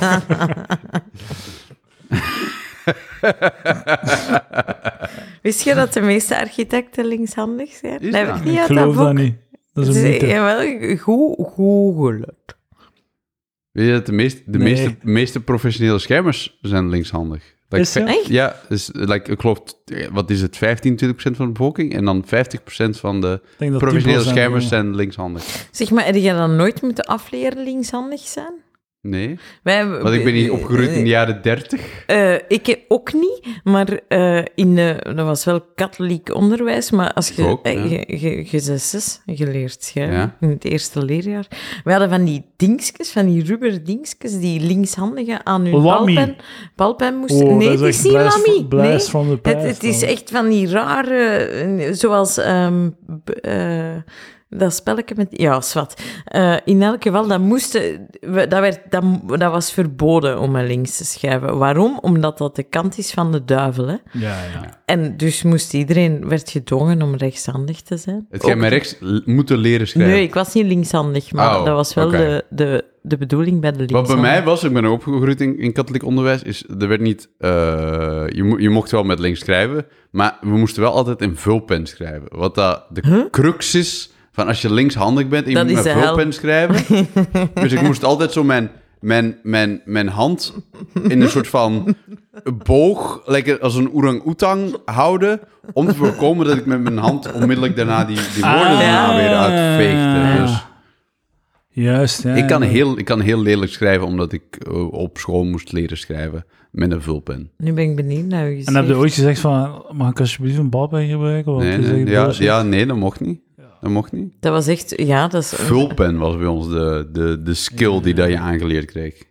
[SPEAKER 2] Wist je dat de meeste architecten linkshandig zijn?
[SPEAKER 3] Is
[SPEAKER 2] dat heb
[SPEAKER 3] dat?
[SPEAKER 2] ik niet
[SPEAKER 1] ik
[SPEAKER 2] uit
[SPEAKER 1] geloof dat
[SPEAKER 2] boek.
[SPEAKER 1] niet. Dat is
[SPEAKER 2] Dus,
[SPEAKER 1] een mythe.
[SPEAKER 2] jawel, goed, googelen.
[SPEAKER 3] Weet je dat de, meest, de
[SPEAKER 1] Nee.
[SPEAKER 3] meeste, meeste professionele schermers zijn linkshandig? Like,
[SPEAKER 1] Is dat?
[SPEAKER 3] ve-
[SPEAKER 2] Echt?
[SPEAKER 3] Ja, dus, like, ik geloof, eh, wat is het, 15, 20 van de bevolking? En dan 50 van de
[SPEAKER 1] Ik denk dat
[SPEAKER 3] professionele
[SPEAKER 1] 10%
[SPEAKER 3] schermers
[SPEAKER 1] doen.
[SPEAKER 3] zijn linkshandig.
[SPEAKER 2] Zeg maar, heb je dan nooit moeten afleren linkshandig zijn?
[SPEAKER 3] Nee,
[SPEAKER 2] Wij, hebben-
[SPEAKER 3] want ik ben hier opgegroeid in de jaren 30.
[SPEAKER 2] Eh, ik heb ook niet, maar eh, in de, dat was wel katholiek onderwijs, maar als je,
[SPEAKER 3] Ik ook,
[SPEAKER 2] eh,
[SPEAKER 3] ja.
[SPEAKER 2] je, je, je zes, zes geleerd schrijven
[SPEAKER 3] Ja.
[SPEAKER 2] in het eerste leerjaar. We hadden van die dingetjes, van die rubber dingetjes, die linkshandigen aan hun
[SPEAKER 1] Lammy.
[SPEAKER 2] balpen, balpen moesten...
[SPEAKER 1] Oh,
[SPEAKER 2] nee,
[SPEAKER 1] dat
[SPEAKER 2] het
[SPEAKER 1] is echt
[SPEAKER 2] is niet
[SPEAKER 1] blijs,
[SPEAKER 2] lammy.
[SPEAKER 1] blijs
[SPEAKER 2] Nee.
[SPEAKER 1] van de
[SPEAKER 2] Het,
[SPEAKER 1] pijs.
[SPEAKER 2] het is
[SPEAKER 1] dan.
[SPEAKER 2] echt van die rare, eh, zoals ehm, b- eh, dat spelletje met. Ja, zwart. Eh, in elk geval, dat, moesten, we- dat, werd, dat, m- dat was verboden om naar links te schrijven. Waarom? Omdat dat de kant is van de duivel. Hè?
[SPEAKER 1] Ja, ja.
[SPEAKER 2] En dus moest iedereen, werd gedwongen om rechtshandig te zijn.
[SPEAKER 3] Het jij
[SPEAKER 2] Ook-
[SPEAKER 3] met rechts l- moeten leren schrijven.
[SPEAKER 2] Nee, ik was niet linkshandig, maar
[SPEAKER 3] Oh,
[SPEAKER 2] dat was wel
[SPEAKER 3] oké.
[SPEAKER 2] de, de, de bedoeling bij de
[SPEAKER 3] Wat bij
[SPEAKER 2] linkshandig.
[SPEAKER 3] mij was, ik ben opgegroeid in, in katholiek onderwijs, is er werd niet. eh, je, mo- je mocht wel met links schrijven, maar we moesten wel altijd in vulpen schrijven. Wat dat de crux is van als je linkshandig bent en je
[SPEAKER 2] Dat
[SPEAKER 3] moet
[SPEAKER 2] is
[SPEAKER 3] met
[SPEAKER 2] de hel.
[SPEAKER 3] vulpen schrijven. dus ik moest altijd zo mijn, mijn, mijn, mijn hand in een soort van boog, lekker als een orang-oetang houden, om te voorkomen dat ik met mijn hand onmiddellijk daarna die, die woorden
[SPEAKER 1] Ah.
[SPEAKER 3] daarna weer uitveegde. Dus.
[SPEAKER 1] Juist, ja.
[SPEAKER 3] Ik kan,
[SPEAKER 1] ja.
[SPEAKER 3] heel, ik kan heel lelijk schrijven, omdat ik eh, op school moest leren schrijven met een vulpen.
[SPEAKER 2] Nu ben ik benieuwd naar uw
[SPEAKER 1] En heb je
[SPEAKER 2] gezicht.
[SPEAKER 1] ooit gezegd van, mag ik alsjeblieft een balpen gebruiken? Want
[SPEAKER 3] Nee,
[SPEAKER 1] het is
[SPEAKER 3] nee,
[SPEAKER 1] echt
[SPEAKER 3] ja,
[SPEAKER 1] bullshit.
[SPEAKER 3] ja, nee, dat mocht niet. Dat mocht niet.
[SPEAKER 2] Dat was echt, ja, dat is...
[SPEAKER 3] Vulpen was bij ons de, de, de skill die dat je aangeleerd kreeg.
[SPEAKER 1] En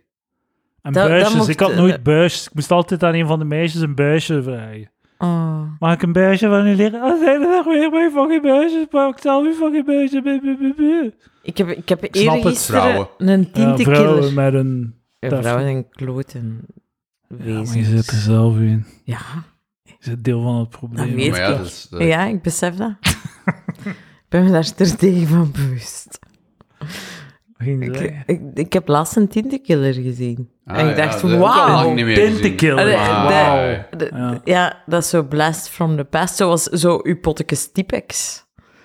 [SPEAKER 2] Dat- dat
[SPEAKER 1] buisjes,
[SPEAKER 2] mocht-
[SPEAKER 1] ik had nooit buisjes. Ik moest altijd aan een van de meisjes een buisje vragen.
[SPEAKER 2] Oh.
[SPEAKER 1] Mag ik een beestje van u liggen? Oh, de hele dag weer mijn fucking beestjes. Pak ik al uw fucking beestjes. Bu, bu, bu, bu.
[SPEAKER 2] Ik heb, ik heb
[SPEAKER 3] snap het,
[SPEAKER 2] eergisteren een
[SPEAKER 1] Ja,
[SPEAKER 2] tintenkiller.
[SPEAKER 1] vrouwen met een...
[SPEAKER 2] Ja,
[SPEAKER 1] Dat-
[SPEAKER 2] vrouwen zijn kloten.
[SPEAKER 1] Ja,
[SPEAKER 2] Wezens.
[SPEAKER 1] maar je zit er zelf in.
[SPEAKER 2] Ja.
[SPEAKER 1] Je zit deel van het probleem.
[SPEAKER 2] Dat weet
[SPEAKER 3] Maar ja, dat is, dat-
[SPEAKER 2] ja, ik besef dat. ik ben me daar sterdegen van bewust.
[SPEAKER 1] Ging ze
[SPEAKER 2] Ik,
[SPEAKER 1] zeggen.
[SPEAKER 2] ik, ik heb laatst een tintenkiller gezien.
[SPEAKER 3] Ah,
[SPEAKER 2] en ik
[SPEAKER 3] ja,
[SPEAKER 2] dacht,
[SPEAKER 3] dat heb ik al
[SPEAKER 2] wauw.
[SPEAKER 3] lang niet meer gezien. Ah,
[SPEAKER 1] Tintenkiller.
[SPEAKER 2] Allee,
[SPEAKER 3] Wauw.
[SPEAKER 2] de- De-
[SPEAKER 1] Ja.
[SPEAKER 2] ja. dat is zo blast from the past. Zoals zo uw pottekes Tipex.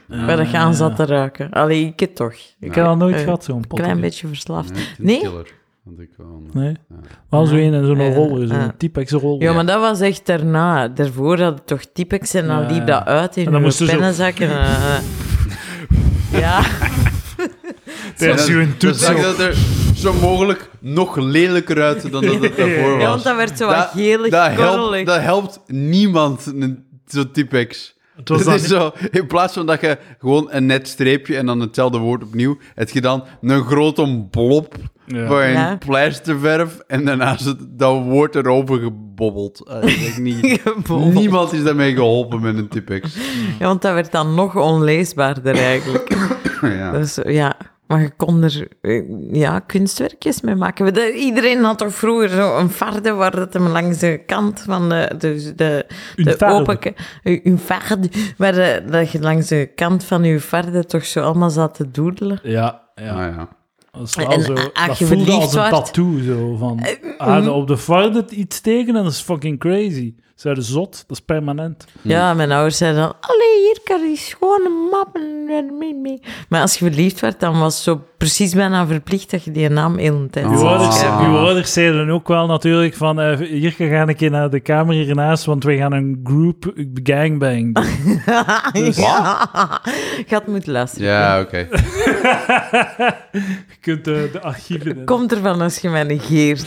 [SPEAKER 2] waar dat je aan zat te ruiken. Allee, ik het toch. Een
[SPEAKER 1] Ah, Ik heb dat nooit
[SPEAKER 2] Eh,
[SPEAKER 1] gehad, zo'n pot.
[SPEAKER 2] klein beetje verslaafd.
[SPEAKER 3] Nee, het is
[SPEAKER 2] Nee?
[SPEAKER 3] een killer. Want ik wel een-
[SPEAKER 1] Nee. Maar zo een en zo'n
[SPEAKER 2] Ja,
[SPEAKER 1] rol, zo'n
[SPEAKER 2] ja.
[SPEAKER 1] typex rol.
[SPEAKER 2] Ja, maar dat was echt daarna. Daarvoor had het toch Tipex en dan
[SPEAKER 1] Ja,
[SPEAKER 2] liep
[SPEAKER 1] ja.
[SPEAKER 2] dat uit in
[SPEAKER 1] En dan
[SPEAKER 2] een
[SPEAKER 1] moesten ze-
[SPEAKER 2] pennenzak. En, eh, eh. ja.
[SPEAKER 1] Dat is een
[SPEAKER 3] Dan
[SPEAKER 1] toetsen.
[SPEAKER 3] zag je dat er zo mogelijk nog lelijker uit dan dat het daarvoor was.
[SPEAKER 2] ja, want dat werd zo
[SPEAKER 3] Dat-
[SPEAKER 2] wat gelig,
[SPEAKER 3] dat helpt,
[SPEAKER 2] korrelig.
[SPEAKER 3] dat helpt niemand, een- zo'n typex.
[SPEAKER 1] Het was
[SPEAKER 3] Het
[SPEAKER 1] dan
[SPEAKER 3] is zo, in plaats van dat je gewoon een net streepje en dan hetzelfde woord opnieuw, heb je dan een grote blob
[SPEAKER 1] Ja.
[SPEAKER 3] van
[SPEAKER 2] Ja.
[SPEAKER 3] pleisterverf en daarna is het, dat woord erover gebobbeld. Eh, dat is niet,
[SPEAKER 2] Gebobbeld.
[SPEAKER 3] niemand is daarmee geholpen met een typex.
[SPEAKER 2] Ja, want dat werd dan nog onleesbaarder eigenlijk.
[SPEAKER 3] ja.
[SPEAKER 2] Dus ja, maar je kon er eh, ja, kunstwerkjes mee maken. Dat- Iedereen had toch vroeger zo'n farde waar dat hem langs de kant van de, de, de,
[SPEAKER 1] Een
[SPEAKER 2] de
[SPEAKER 1] farde.
[SPEAKER 2] open... ke- eh, Een farde. Maar eh, dat je langs de kant van je farde toch zo allemaal zat te doedelen.
[SPEAKER 1] Ja, ja.
[SPEAKER 3] Ah, ja.
[SPEAKER 1] Dat, is wel
[SPEAKER 2] En
[SPEAKER 1] zo,
[SPEAKER 2] a- als
[SPEAKER 1] dat
[SPEAKER 2] je
[SPEAKER 1] voelde als
[SPEAKER 2] verliefd
[SPEAKER 1] een
[SPEAKER 2] wordt- Eh, mm.
[SPEAKER 1] tattoo. Zo, van, ah, de- op de varden iets tekenen, dat is fucking crazy. Ze zot, dat is permanent.
[SPEAKER 3] Hm.
[SPEAKER 2] Ja, mijn ouders zeiden dan... Allee, hier kan die schone mappen. eh, mee, mee." Maar als je verliefd werd, dan was het zo precies bijna verplicht dat je die naam heel een tijd
[SPEAKER 3] Oh.
[SPEAKER 1] Uw
[SPEAKER 2] zou
[SPEAKER 1] ouders,
[SPEAKER 2] schrijven.
[SPEAKER 1] uw ouders zeiden ook wel natuurlijk van... eh hier ga ik naar de kamer hiernaast, want wij gaan een group gangbang doen. Dus
[SPEAKER 2] ja. Je had moeten luisteren.
[SPEAKER 3] Ja, oké.
[SPEAKER 1] Je kunt eh, de archieven... in.
[SPEAKER 2] Komt ervan als je mij negeert.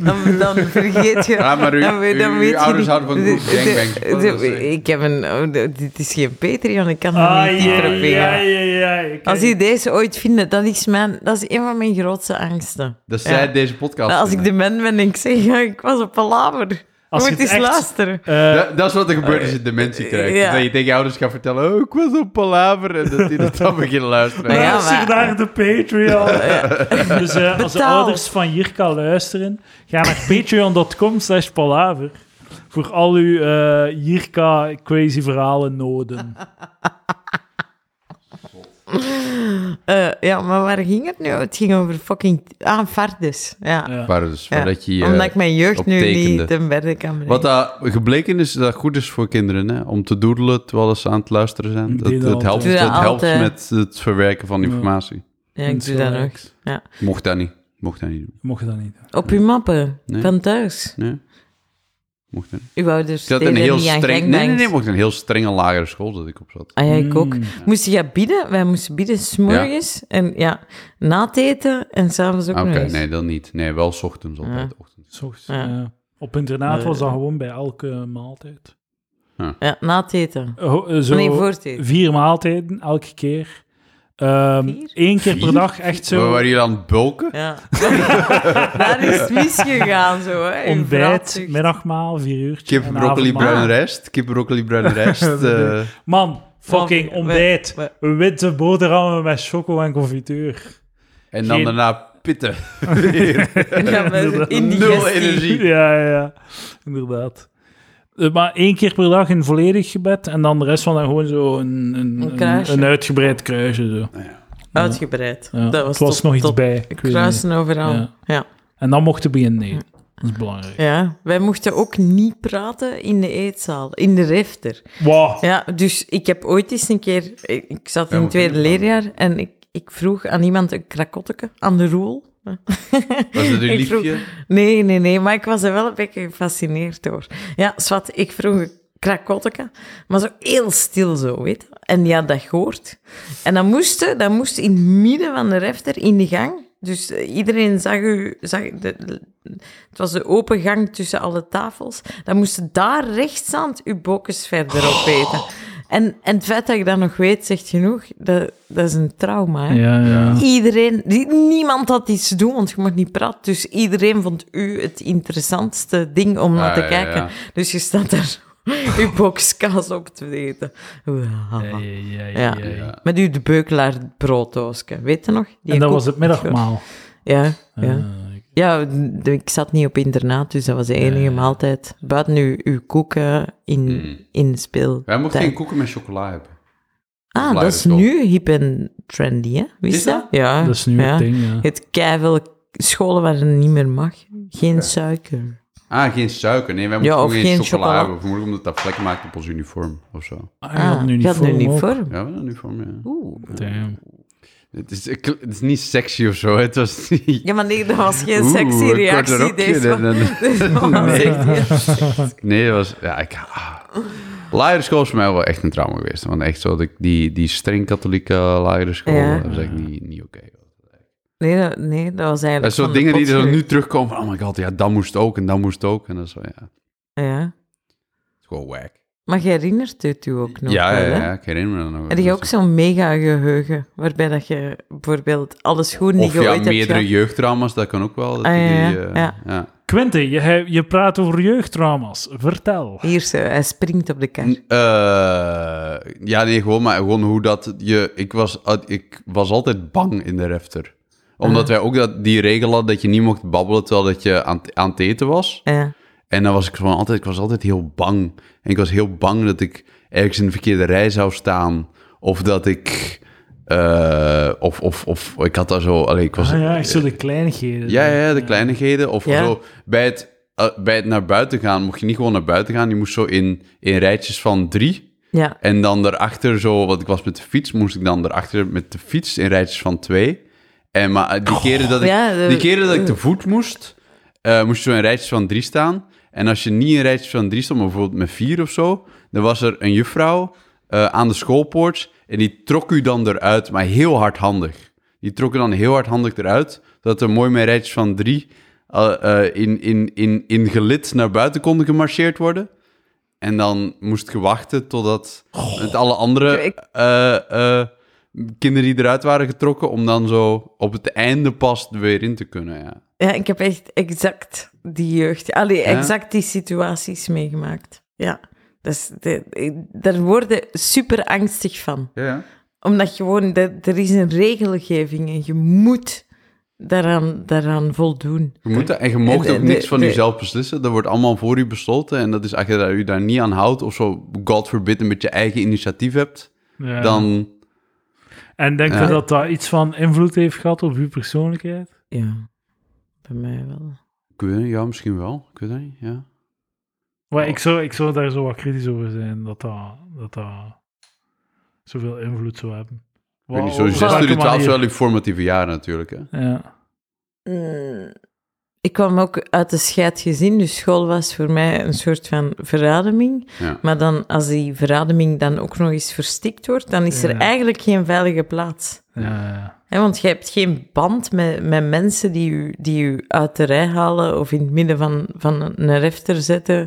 [SPEAKER 2] dan, dan vergeet je...
[SPEAKER 3] Ja, maar uw-
[SPEAKER 2] dan, we- dan
[SPEAKER 3] uw-
[SPEAKER 2] weet je
[SPEAKER 3] uw ouders
[SPEAKER 2] niet-
[SPEAKER 3] houden van
[SPEAKER 2] de-
[SPEAKER 3] goed
[SPEAKER 2] de-
[SPEAKER 3] gangbangs.
[SPEAKER 2] de-
[SPEAKER 3] Dat is, eh,
[SPEAKER 2] Ik heb een... oh, de- dit is geen Patreon, ik kan
[SPEAKER 1] Ah,
[SPEAKER 2] er
[SPEAKER 1] ja,
[SPEAKER 2] niet dieper op
[SPEAKER 1] ja, ja,
[SPEAKER 2] ingaan.
[SPEAKER 1] ja. ja.
[SPEAKER 2] Als jullie deze ooit vinden, dat is, mijn, dat is een van mijn grootste angsten.
[SPEAKER 3] Dat
[SPEAKER 2] Ja.
[SPEAKER 3] zij deze podcast
[SPEAKER 2] Als ik de
[SPEAKER 3] vinden.
[SPEAKER 2] man ben en ik zeg, ja, ik was op palaver.
[SPEAKER 1] Als je het
[SPEAKER 2] Moet eens
[SPEAKER 1] echt-
[SPEAKER 2] luisteren.
[SPEAKER 1] Eh,
[SPEAKER 3] dat, dat is wat er gebeurt als je dementie krijgt.
[SPEAKER 2] Eh, ja.
[SPEAKER 3] Dat je tegen je ouders gaat vertellen, oh, ik was op palaver. En dat die dat dan beginnen luisteren.
[SPEAKER 2] Maar ja,
[SPEAKER 1] Luister
[SPEAKER 2] maar-
[SPEAKER 1] naar Nou, de Patreon. Dus eh, als de
[SPEAKER 2] Betaal.
[SPEAKER 1] ouders van Jirka luisteren, ga naar patreon.com slash palaver voor al uw eh, Jirka crazy verhalen noden.
[SPEAKER 2] Eh, ja, maar waar ging het nu? Het ging over fucking... Ah, vardes. Ja.
[SPEAKER 1] Ja.
[SPEAKER 3] Maar dus, voordat je, eh,
[SPEAKER 2] Omdat ik mijn jeugd nu
[SPEAKER 3] optekende.
[SPEAKER 2] niet ten berde kan brengen.
[SPEAKER 3] Wat daar gebleken is, dat goed is voor kinderen, hè? om te doedelen terwijl ze aan het luisteren zijn. Dat,
[SPEAKER 1] Die
[SPEAKER 3] dat
[SPEAKER 1] altijd.
[SPEAKER 3] helpt,
[SPEAKER 2] Doe dat
[SPEAKER 3] dat helpt
[SPEAKER 2] altijd.
[SPEAKER 3] met het verwerken van informatie.
[SPEAKER 2] ja, ik doe dat nog. Ja.
[SPEAKER 3] Mocht dat niet. Mocht dat niet doen.
[SPEAKER 1] Mocht je dat niet doen.
[SPEAKER 2] Op uw mappen,
[SPEAKER 3] Nee.
[SPEAKER 2] van thuis.
[SPEAKER 3] Nee? Mocht dat niet.
[SPEAKER 2] Uw ouders
[SPEAKER 3] Ik zat in een
[SPEAKER 2] deden
[SPEAKER 3] heel
[SPEAKER 2] niet aan
[SPEAKER 3] streng... Nee,
[SPEAKER 2] gangbangs.
[SPEAKER 3] nee, nee. Mocht in een heel strenge lagere school dat ik op zat.
[SPEAKER 2] Ah ja, ik ook.
[SPEAKER 1] Mm.
[SPEAKER 2] Moest je bieden? Wij moesten bieden s'morgens. En ja, na het eten en s'avonds ook
[SPEAKER 3] Ah, Oké,
[SPEAKER 2] nog eens.
[SPEAKER 3] nee, dan niet. Nee, wel 's ochtends altijd. Ochtends.
[SPEAKER 1] Zocht,
[SPEAKER 2] Ja.
[SPEAKER 1] eh, op internaat was dat
[SPEAKER 2] Eh.
[SPEAKER 1] gewoon bij elke maaltijd.
[SPEAKER 2] Ja, na het eten.
[SPEAKER 1] Ho- eh, zo
[SPEAKER 2] nee, voor het eten.
[SPEAKER 1] vier maaltijden elke keer. Eén
[SPEAKER 2] Vier?
[SPEAKER 1] keer
[SPEAKER 3] Vier?
[SPEAKER 1] per dag, echt
[SPEAKER 3] Waar
[SPEAKER 1] zo.
[SPEAKER 3] waren jullie aan het bulken?
[SPEAKER 2] Ja. Daar is het misgegaan zo, hè. in
[SPEAKER 1] Ontbijt,
[SPEAKER 2] vraatzucht.
[SPEAKER 1] middagmaal, vier uurtje.
[SPEAKER 3] Kip,
[SPEAKER 1] en
[SPEAKER 3] broccoli,
[SPEAKER 1] avondmaal.
[SPEAKER 3] bruin rijst. Kip, broccoli, bruin rijst. eh,
[SPEAKER 1] Man, fucking
[SPEAKER 2] we-
[SPEAKER 1] ontbijt.
[SPEAKER 2] we-
[SPEAKER 1] Witte boterhammen met choco en confituur.
[SPEAKER 3] en dan
[SPEAKER 1] Geen-
[SPEAKER 3] daarna pitten.
[SPEAKER 2] Ja, maar
[SPEAKER 3] Nul
[SPEAKER 2] indigestie.
[SPEAKER 3] energie.
[SPEAKER 1] Ja, ja, ja. inderdaad. Eh, Maar één keer per dag in volledig gebed en dan de rest van dan gewoon zo een, een,
[SPEAKER 2] Een
[SPEAKER 1] een,
[SPEAKER 2] kruisje.
[SPEAKER 1] een uitgebreid kruisje. Zo.
[SPEAKER 2] Uitgebreid.
[SPEAKER 1] Ja.
[SPEAKER 2] Dat was
[SPEAKER 1] het was
[SPEAKER 2] top,
[SPEAKER 1] nog iets
[SPEAKER 2] top.
[SPEAKER 1] bij. ik weet niet.
[SPEAKER 2] Kruisen overal.
[SPEAKER 1] Ja.
[SPEAKER 2] Ja. Ja.
[SPEAKER 1] En dan mochten we beginnen. Nee, dat is belangrijk.
[SPEAKER 2] wij mochten ook niet praten in de eetzaal, in de refter.
[SPEAKER 1] Wow.
[SPEAKER 2] Ja, dus ik heb ooit eens een keer... Ik ik zat in
[SPEAKER 3] Ja,
[SPEAKER 2] het
[SPEAKER 3] maar
[SPEAKER 2] tweede leerjaar en ik, ik vroeg aan iemand een krakotteke, aan de roel.
[SPEAKER 3] Was dat een
[SPEAKER 2] Ik vroeg-
[SPEAKER 3] liefje?
[SPEAKER 2] Nee, nee, nee, maar ik was er wel een beetje gefascineerd door. Ja, zwart, ik vroeg een krakotteke, maar zo heel stil zo, weet je. En die had dat gehoord. En dat moest, je- dat moest in het midden van de refter, in de gang. Dus eh, iedereen zag u... Zag de, de- het was de open gang tussen alle tafels. Dan moest je daar rechts aan uw bokjes verder op eten. En, en het feit dat ik dat nog weet, zegt genoeg. Dat, dat is een trauma, hè.
[SPEAKER 1] Ja, ja.
[SPEAKER 2] Iedereen, die- niemand had iets te doen, want je mag niet praten. Dus iedereen vond u het interessantste ding om naar
[SPEAKER 3] Ah,
[SPEAKER 2] te
[SPEAKER 3] ja,
[SPEAKER 2] kijken.
[SPEAKER 3] ja.
[SPEAKER 2] Dus je staat daar uw boxkaas op te eten.
[SPEAKER 1] Ja, ja,
[SPEAKER 2] Ja.
[SPEAKER 3] Ja.
[SPEAKER 2] Met uw de beukelaar brooddoosje, weet je nog? Die
[SPEAKER 1] En dat
[SPEAKER 2] ik
[SPEAKER 1] was
[SPEAKER 2] ook-
[SPEAKER 1] het middagmaal.
[SPEAKER 2] Ja, ja.
[SPEAKER 1] Eh,
[SPEAKER 2] Ja, d- ik zat niet op internaat, dus dat was de enige
[SPEAKER 1] Ja.
[SPEAKER 3] Eh.
[SPEAKER 2] maaltijd. Buiten nu uw koeken in,
[SPEAKER 3] Mm.
[SPEAKER 2] in speel.
[SPEAKER 3] Wij mochten
[SPEAKER 2] Tij-
[SPEAKER 3] geen koeken met chocola hebben.
[SPEAKER 2] Ah,
[SPEAKER 3] Blijven
[SPEAKER 2] dat is
[SPEAKER 3] toch?
[SPEAKER 2] nu hip en trendy, hè? Wist
[SPEAKER 3] Is
[SPEAKER 2] je
[SPEAKER 3] dat?
[SPEAKER 2] Ja.
[SPEAKER 1] dat is nu
[SPEAKER 2] ja.
[SPEAKER 1] het ding. ja.
[SPEAKER 2] Je hebt keiveel scholen waar het niet meer mag. Geen suiker.
[SPEAKER 3] Ah, geen suiker. Nee, wij mochten
[SPEAKER 2] Ja, of
[SPEAKER 3] gewoon geen,
[SPEAKER 2] geen
[SPEAKER 3] chocola,
[SPEAKER 2] chocola.
[SPEAKER 3] hebben. Vermoedelijk omdat dat vlekken maakt op ons uniform of zo.
[SPEAKER 1] Ah, je had nu
[SPEAKER 2] je
[SPEAKER 1] niet
[SPEAKER 2] had
[SPEAKER 1] voor.
[SPEAKER 2] nu
[SPEAKER 1] hem
[SPEAKER 2] niet
[SPEAKER 1] ook.
[SPEAKER 2] voor.
[SPEAKER 3] Ja, wel een uniform, ja.
[SPEAKER 2] Oeh.
[SPEAKER 1] Damn.
[SPEAKER 3] Het is, het is niet sexy of zo, hè. het was niet...
[SPEAKER 2] Ja, maar nee, dat was geen
[SPEAKER 3] Oeh,
[SPEAKER 2] sexy
[SPEAKER 3] een kort
[SPEAKER 2] reactie.
[SPEAKER 3] rokje,
[SPEAKER 2] deze
[SPEAKER 3] dan- dan-
[SPEAKER 2] was- deze was
[SPEAKER 3] Nee.
[SPEAKER 2] echt heel sexy.
[SPEAKER 3] Nee, dat was... Ja, ik... ah. Lagere school is voor mij wel echt een trauma geweest. Want echt zo, dat ik die, die streng katholieke eh, lagere school,
[SPEAKER 2] Ja.
[SPEAKER 3] dat was echt niet, niet oké.
[SPEAKER 2] Nee, dat, nee, dat was eigenlijk.
[SPEAKER 3] Dat is zo
[SPEAKER 2] van de
[SPEAKER 3] dingen die er
[SPEAKER 2] potgeur.
[SPEAKER 3] nu terugkomen van, oh my god, ja, dat moest ook en dat moest ook. En dat is zo, ja, het
[SPEAKER 2] Ja.
[SPEAKER 3] is gewoon whack.
[SPEAKER 2] Maar je herinnert het u ook nog?
[SPEAKER 3] ja, ja,
[SPEAKER 2] wel, hè?
[SPEAKER 3] ja, ik herinner me dat nog. wel.
[SPEAKER 2] Heb je ook zo'n mega geheugen waarbij dat je bijvoorbeeld alles goed niet
[SPEAKER 3] Of
[SPEAKER 2] gehoord
[SPEAKER 3] ja,
[SPEAKER 2] hebt?
[SPEAKER 3] meerdere
[SPEAKER 2] gehad?
[SPEAKER 3] jeugdtrauma's, dat kan ook wel. Dat
[SPEAKER 2] Ah,
[SPEAKER 3] je
[SPEAKER 2] ja,
[SPEAKER 3] die,
[SPEAKER 2] ja,
[SPEAKER 3] eh,
[SPEAKER 2] ja.
[SPEAKER 3] ja.
[SPEAKER 1] Quinten, je, he- je praat over jeugdtrauma's. Vertel.
[SPEAKER 2] Hier, zo, hij springt op de kar.
[SPEAKER 3] Eh, ja, nee, gewoon, maar gewoon hoe dat je... Ik was, uh, ik was altijd bang in de refter. Omdat
[SPEAKER 1] Ah.
[SPEAKER 3] wij ook dat, die regel hadden dat je niet mocht babbelen terwijl dat je aan, aan het eten was.
[SPEAKER 2] Ja.
[SPEAKER 3] En dan was ik gewoon altijd... Ik was altijd heel bang. En ik was heel bang dat ik ergens in de verkeerde rij zou staan. Of dat ik... eh, of, of, of ik had daar zo... Allee, ik was,
[SPEAKER 1] Ah, ja, echt zo de kleinigheden.
[SPEAKER 3] ja, ja, de kleinigheden. Of
[SPEAKER 2] Ja.
[SPEAKER 3] zo bij het, eh, bij het naar buiten gaan mocht je niet gewoon naar buiten gaan. Je moest zo in, in rijtjes van drie...
[SPEAKER 2] ja.
[SPEAKER 3] En dan daarachter zo, want ik was met de fiets, moest ik dan daarachter met de fiets in rijtjes van twee. En maar eh, die keren dat ik,
[SPEAKER 2] Ja, de-
[SPEAKER 3] die keren dat ik te voet moest, eh, moest je zo in rijtjes van drie staan. En als je niet in rijtjes van drie stond, maar bijvoorbeeld met vier of zo, dan was er een juffrouw eh, aan de schoolpoort en die trok u dan eruit, maar heel hardhandig. Die trok u dan heel hardhandig eruit, dat er mooi met rijtjes van drie eh, eh, in, in, in, in gelid naar buiten konden gemarcheerd worden. En dan moest je wachten totdat met alle andere
[SPEAKER 2] Ik-
[SPEAKER 3] eh, eh, kinderen die eruit waren getrokken, om dan zo op het einde pas er weer in te kunnen. Ja.
[SPEAKER 2] ja, ik heb echt exact die jeugd, allee,
[SPEAKER 3] Ja?
[SPEAKER 2] exact die situaties meegemaakt. Ja. Dat is de- daar worden super angstig van. Omdat gewoon, de- er is een regelgeving en je moet daaraan, daaraan voldoen.
[SPEAKER 3] Je moet dat, en je mocht
[SPEAKER 2] En,
[SPEAKER 3] ook
[SPEAKER 2] eh, de-
[SPEAKER 3] niks van
[SPEAKER 2] de-
[SPEAKER 3] jezelf beslissen. Dat wordt allemaal voor u besloten. En dat is als je daar, u daar niet aan houdt, of zo, God forbid, een beetje eigen initiatief hebt,
[SPEAKER 1] Ja.
[SPEAKER 3] dan...
[SPEAKER 1] En denk je
[SPEAKER 3] Ja.
[SPEAKER 1] dat dat iets van invloed heeft gehad op uw persoonlijkheid?
[SPEAKER 2] Ja, bij mij wel.
[SPEAKER 3] Ik weet het niet, ja, misschien wel. Ik weet het niet, ja.
[SPEAKER 1] Maar
[SPEAKER 3] Oh.
[SPEAKER 1] ik, zou, ik zou daar zo wat kritisch over zijn, dat dat, dat, dat zoveel invloed zou hebben.
[SPEAKER 3] Ik weet niet,
[SPEAKER 1] Wa-
[SPEAKER 3] zo
[SPEAKER 1] op
[SPEAKER 3] 6
[SPEAKER 1] welke
[SPEAKER 3] uur 12 is
[SPEAKER 1] manier?
[SPEAKER 3] wel uw formatieve jaren natuurlijk, hè.
[SPEAKER 1] Ja.
[SPEAKER 2] Mm, Ik kwam ook uit de scheidgezin, dus school was voor mij een soort van verademing.
[SPEAKER 3] Ja.
[SPEAKER 2] Maar dan, als die verademing dan ook nog eens verstikt wordt, dan is er
[SPEAKER 1] Ja.
[SPEAKER 2] eigenlijk geen veilige plaats.
[SPEAKER 1] Ja.
[SPEAKER 2] Hè, want je hebt geen band met, met mensen die u, die u uit de rij halen of in het midden van, van een refter zetten.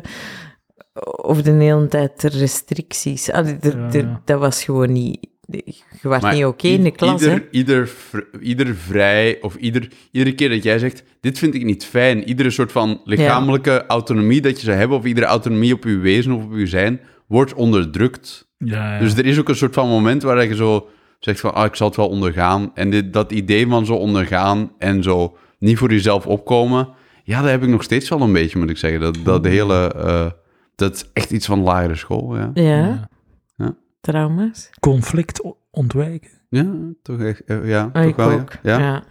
[SPEAKER 2] Of de hele tijd de restricties. Ah, Allee, de-
[SPEAKER 1] Ja,
[SPEAKER 2] de-
[SPEAKER 1] ja.
[SPEAKER 2] Dat was gewoon niet... Je was
[SPEAKER 3] Maar
[SPEAKER 2] niet oké
[SPEAKER 3] i-
[SPEAKER 2] in de klas,
[SPEAKER 3] ieder,
[SPEAKER 2] hè?
[SPEAKER 3] Ieder, vr- ieder vrij, of ieder, iedere keer dat jij zegt, dit vind ik niet fijn. Iedere soort van lichamelijke autonomie dat je zou hebben, of iedere autonomie op je wezen of op je zijn, wordt onderdrukt.
[SPEAKER 1] Ja, ja.
[SPEAKER 3] Dus er is ook een soort van moment waar je zo zegt van, ah, ik zal het wel ondergaan. En dit, dat idee van zo ondergaan en zo niet voor jezelf opkomen, ja, dat heb ik nog steeds wel een beetje, moet ik zeggen. Dat, dat
[SPEAKER 2] Hmm.
[SPEAKER 3] hele, eh, dat is echt iets van lagere school, ja.
[SPEAKER 2] Ja.
[SPEAKER 3] Ja.
[SPEAKER 2] Trauma's.
[SPEAKER 1] Conflict o- ontwijken.
[SPEAKER 3] Ja, toch echt, eh, ja,
[SPEAKER 2] Ah,
[SPEAKER 3] toch
[SPEAKER 2] ik
[SPEAKER 3] wel, ja.
[SPEAKER 2] ook.
[SPEAKER 3] Ja?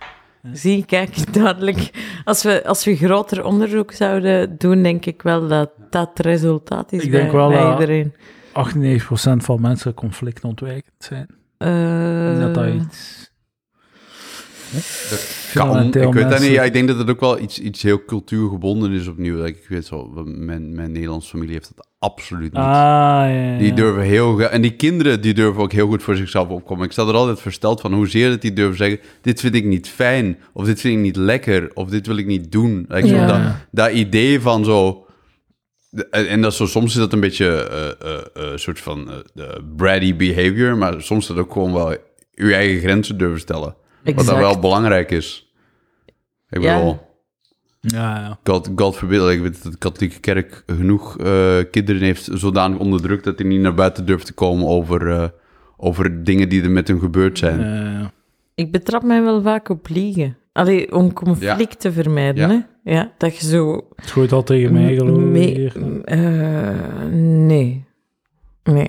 [SPEAKER 2] Zie, kijk, duidelijk. Als we, als we groter onderzoek zouden doen, denk ik wel dat dat het resultaat is
[SPEAKER 1] Ik
[SPEAKER 2] bij,
[SPEAKER 1] denk wel
[SPEAKER 2] bij
[SPEAKER 1] dat-
[SPEAKER 2] iedereen.
[SPEAKER 1] 98% van mensen conflict ontwijkend zijn.
[SPEAKER 2] Eh,
[SPEAKER 1] dat dat iets...
[SPEAKER 3] Kan, ik
[SPEAKER 1] Fundamenteel
[SPEAKER 3] weet dat niet.
[SPEAKER 1] menselijk.
[SPEAKER 3] Ja, ik denk dat het ook wel iets, iets heel cultuurgebonden is opnieuw. Dat Ik ik weet zo, mijn, mijn Nederlandse familie heeft dat absoluut niet.
[SPEAKER 1] Ah, ja, ja.
[SPEAKER 3] Die durven heel... ge- En die kinderen, die durven ook heel goed voor zichzelf opkomen. Ik sta er altijd versteld van hoezeer dat die durven zeggen... Dit vind ik niet fijn. Of dit vind ik niet lekker. Of dit wil ik niet doen. Like, zo
[SPEAKER 2] Ja.
[SPEAKER 3] dat, dat idee van zo... En, en dat is zo, soms is dat een beetje eh, eh, eh, soort van eh, eh, bratty behavior. Maar soms is dat ook gewoon wel je eigen grenzen durven stellen. Wat
[SPEAKER 2] Exact.
[SPEAKER 3] dan wel belangrijk is. Ik
[SPEAKER 2] Ja.
[SPEAKER 3] bedoel...
[SPEAKER 1] Ja, ja.
[SPEAKER 3] God, God forbid, ik weet dat de katholieke kerk genoeg eh, kinderen heeft zodanig onderdrukt dat die niet naar buiten durft te komen over, eh, over dingen die er met hun gebeurd zijn.
[SPEAKER 1] Eh,
[SPEAKER 2] Ik betrap mij wel vaak op liegen. Allee, om conflict te vermijden,
[SPEAKER 3] Ja.
[SPEAKER 2] hè. Ja, dat je zo...
[SPEAKER 1] het gooit al tegen mij, geloof ik.
[SPEAKER 2] mee-
[SPEAKER 1] hier.
[SPEAKER 2] eh, nee. Nee.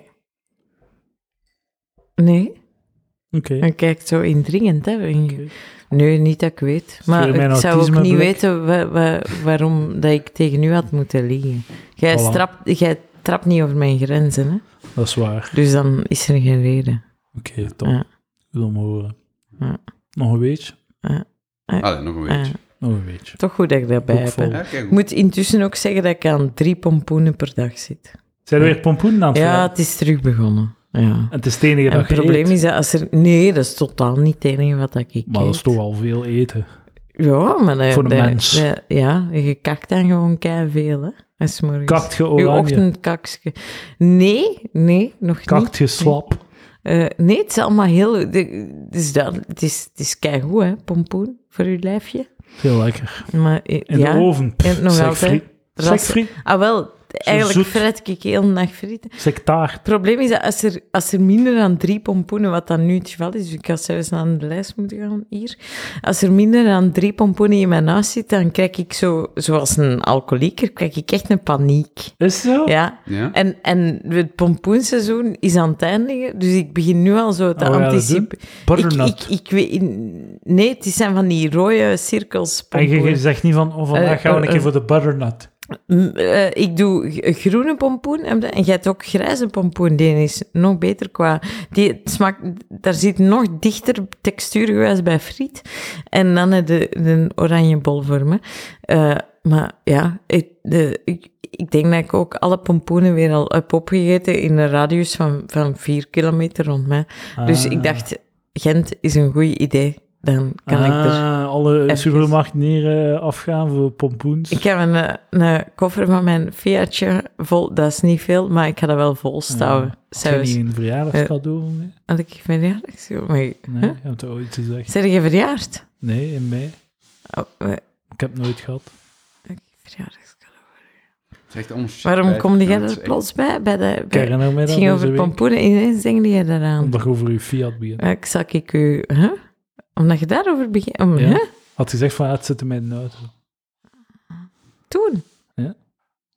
[SPEAKER 2] Nee,
[SPEAKER 1] Oké.
[SPEAKER 2] dan kijkt zo indringend, hè.
[SPEAKER 1] Oké.
[SPEAKER 2] Nee, niet dat ik weet. Maar
[SPEAKER 1] weer mijn
[SPEAKER 2] ik zou ook niet
[SPEAKER 1] autismeblik?
[SPEAKER 2] weten wa- wa- waarom dat ik tegen u had moeten liegen. Jij,
[SPEAKER 1] Voilà.
[SPEAKER 2] strapt, jij trapt niet over mijn grenzen, hè.
[SPEAKER 1] Dat is waar.
[SPEAKER 2] Dus dan is er geen reden.
[SPEAKER 1] Oké, top.
[SPEAKER 2] Ja.
[SPEAKER 1] Goed om te horen.
[SPEAKER 2] Ja.
[SPEAKER 1] Nog een beetje?
[SPEAKER 3] Allee, nog een
[SPEAKER 2] Ah,
[SPEAKER 3] beetje.
[SPEAKER 1] Nog een beetje.
[SPEAKER 2] toch goed dat ik dat bij
[SPEAKER 1] Ook
[SPEAKER 2] heb.
[SPEAKER 1] vol.
[SPEAKER 2] hè.
[SPEAKER 3] Ja, kijk,
[SPEAKER 2] Ik moet intussen ook zeggen dat ik aan drie pompoenen per dag zit.
[SPEAKER 1] Zijn er weer pompoenen aan het
[SPEAKER 2] Ja,
[SPEAKER 1] vullen?
[SPEAKER 2] het is terug begonnen. Ja.
[SPEAKER 1] En het is het enige
[SPEAKER 2] En
[SPEAKER 1] dat
[SPEAKER 2] het
[SPEAKER 1] je
[SPEAKER 2] probleem
[SPEAKER 1] eet.
[SPEAKER 2] is dat als er... Nee, dat is totaal niet het enige wat dat ik
[SPEAKER 1] Maar dat is
[SPEAKER 2] eet.
[SPEAKER 1] toch al veel eten.
[SPEAKER 2] Ja, maar... dat-
[SPEAKER 1] Voor een
[SPEAKER 2] dat-
[SPEAKER 1] mens.
[SPEAKER 2] dat- ja, je kakt dan gewoon veel hè. Als morgens.
[SPEAKER 1] Kakt je
[SPEAKER 2] Je
[SPEAKER 1] oranje?
[SPEAKER 2] ochtendkakske. Nee, nee, nog
[SPEAKER 1] Kakt
[SPEAKER 2] niet.
[SPEAKER 1] je slap?
[SPEAKER 2] Eh, nee, het is allemaal heel... de- Het is, dat, het is, het is keigoed, hè, pompoen, voor je lijfje.
[SPEAKER 1] Heel lekker.
[SPEAKER 2] Maar eh,
[SPEAKER 1] In
[SPEAKER 2] ja,
[SPEAKER 1] de oven.
[SPEAKER 2] en nog
[SPEAKER 1] zeg
[SPEAKER 2] altijd
[SPEAKER 1] friet. Zeg
[SPEAKER 2] rassen.
[SPEAKER 1] friet.
[SPEAKER 2] Ah, wel, eigenlijk
[SPEAKER 1] zoet.
[SPEAKER 2] fret ik heel de dag frieten.
[SPEAKER 1] Zeg taart.
[SPEAKER 2] Het probleem is dat als er, als er minder dan drie pompoenen, wat dan nu het geval is, dus ik had zelfs naar de lijst moeten gaan hier. Als er minder dan drie pompoenen in mijn huis zitten, dan krijg ik zo, zoals een alcoholieker, krijg ik echt een paniek.
[SPEAKER 1] Is zo? Ah,
[SPEAKER 2] Ja.
[SPEAKER 3] Ja?
[SPEAKER 2] En, en het pompoenseizoen is aan het eindigen, dus ik begin nu al zo te
[SPEAKER 1] Oh, ja, dat
[SPEAKER 2] anticiperen. Ik, ik,
[SPEAKER 1] Butternut.
[SPEAKER 2] ik weet... Nee, het zijn van die rode cirkels
[SPEAKER 1] En je- je
[SPEAKER 2] pompoen.
[SPEAKER 1] zegt niet van, oh, vandaag
[SPEAKER 2] Eh,
[SPEAKER 1] gaan we
[SPEAKER 2] eh,
[SPEAKER 1] een keer
[SPEAKER 2] eh.
[SPEAKER 1] voor de butternut.
[SPEAKER 2] Mm, eh, ik doe g- groene pompoen en en jij hebt ook grijze pompoen. Die is nog beter qua... Die het smaakt, daar zit nog dichter textuurgewijs bij friet. En dan heb je een oranje bol voor me. Eh, maar ja, ik, de, ik, ik denk dat ik ook alle pompoenen weer al heb opgegeten in een radius van, van vier kilometer rond mij. Dus
[SPEAKER 1] Ah.
[SPEAKER 2] ik dacht, Gent is een goed idee. Dan kan ik er...
[SPEAKER 1] Ah, alle
[SPEAKER 2] even-
[SPEAKER 1] supermarkten hier eh, afgaan voor pompoens.
[SPEAKER 2] Ik heb een, eh, een koffer van mijn Fiatje vol. Dat is niet veel, maar ik ga dat wel volstouwen.
[SPEAKER 1] Heb
[SPEAKER 2] Zelfs.
[SPEAKER 1] je een verjaardagscadeau voor mij?
[SPEAKER 2] Had ik verjaardag? zo? Maar,
[SPEAKER 1] Nee,
[SPEAKER 2] huh?
[SPEAKER 1] je hebt het ooit gezegd.
[SPEAKER 2] oh Zijn je verjaard?
[SPEAKER 1] Nee, in mei.
[SPEAKER 2] Oh, eh,
[SPEAKER 1] Ik heb het nooit gehad.
[SPEAKER 2] verjaardagscadeau.
[SPEAKER 3] Het is echt allemaal shit
[SPEAKER 2] Waarom
[SPEAKER 3] bij.
[SPEAKER 2] komde
[SPEAKER 3] Ja,
[SPEAKER 2] jij
[SPEAKER 3] het is
[SPEAKER 2] er
[SPEAKER 3] echt-
[SPEAKER 2] plots bij? bij, de,
[SPEAKER 1] Ik
[SPEAKER 2] bij-
[SPEAKER 1] herinner me dat
[SPEAKER 2] het Eh, ging
[SPEAKER 1] deze
[SPEAKER 2] over
[SPEAKER 1] week.
[SPEAKER 2] pompoenen. Ineens zengde je daaraan.
[SPEAKER 1] Omdat je over je Fiat begint.
[SPEAKER 2] Eh, Ik zak ik u... Huh? Omdat je daarover begint... om-
[SPEAKER 1] Ja.
[SPEAKER 2] Eh, huh?
[SPEAKER 1] Had gezegd van, ah, het zit in mijn auto.
[SPEAKER 2] Toen? Oh,
[SPEAKER 1] Ja.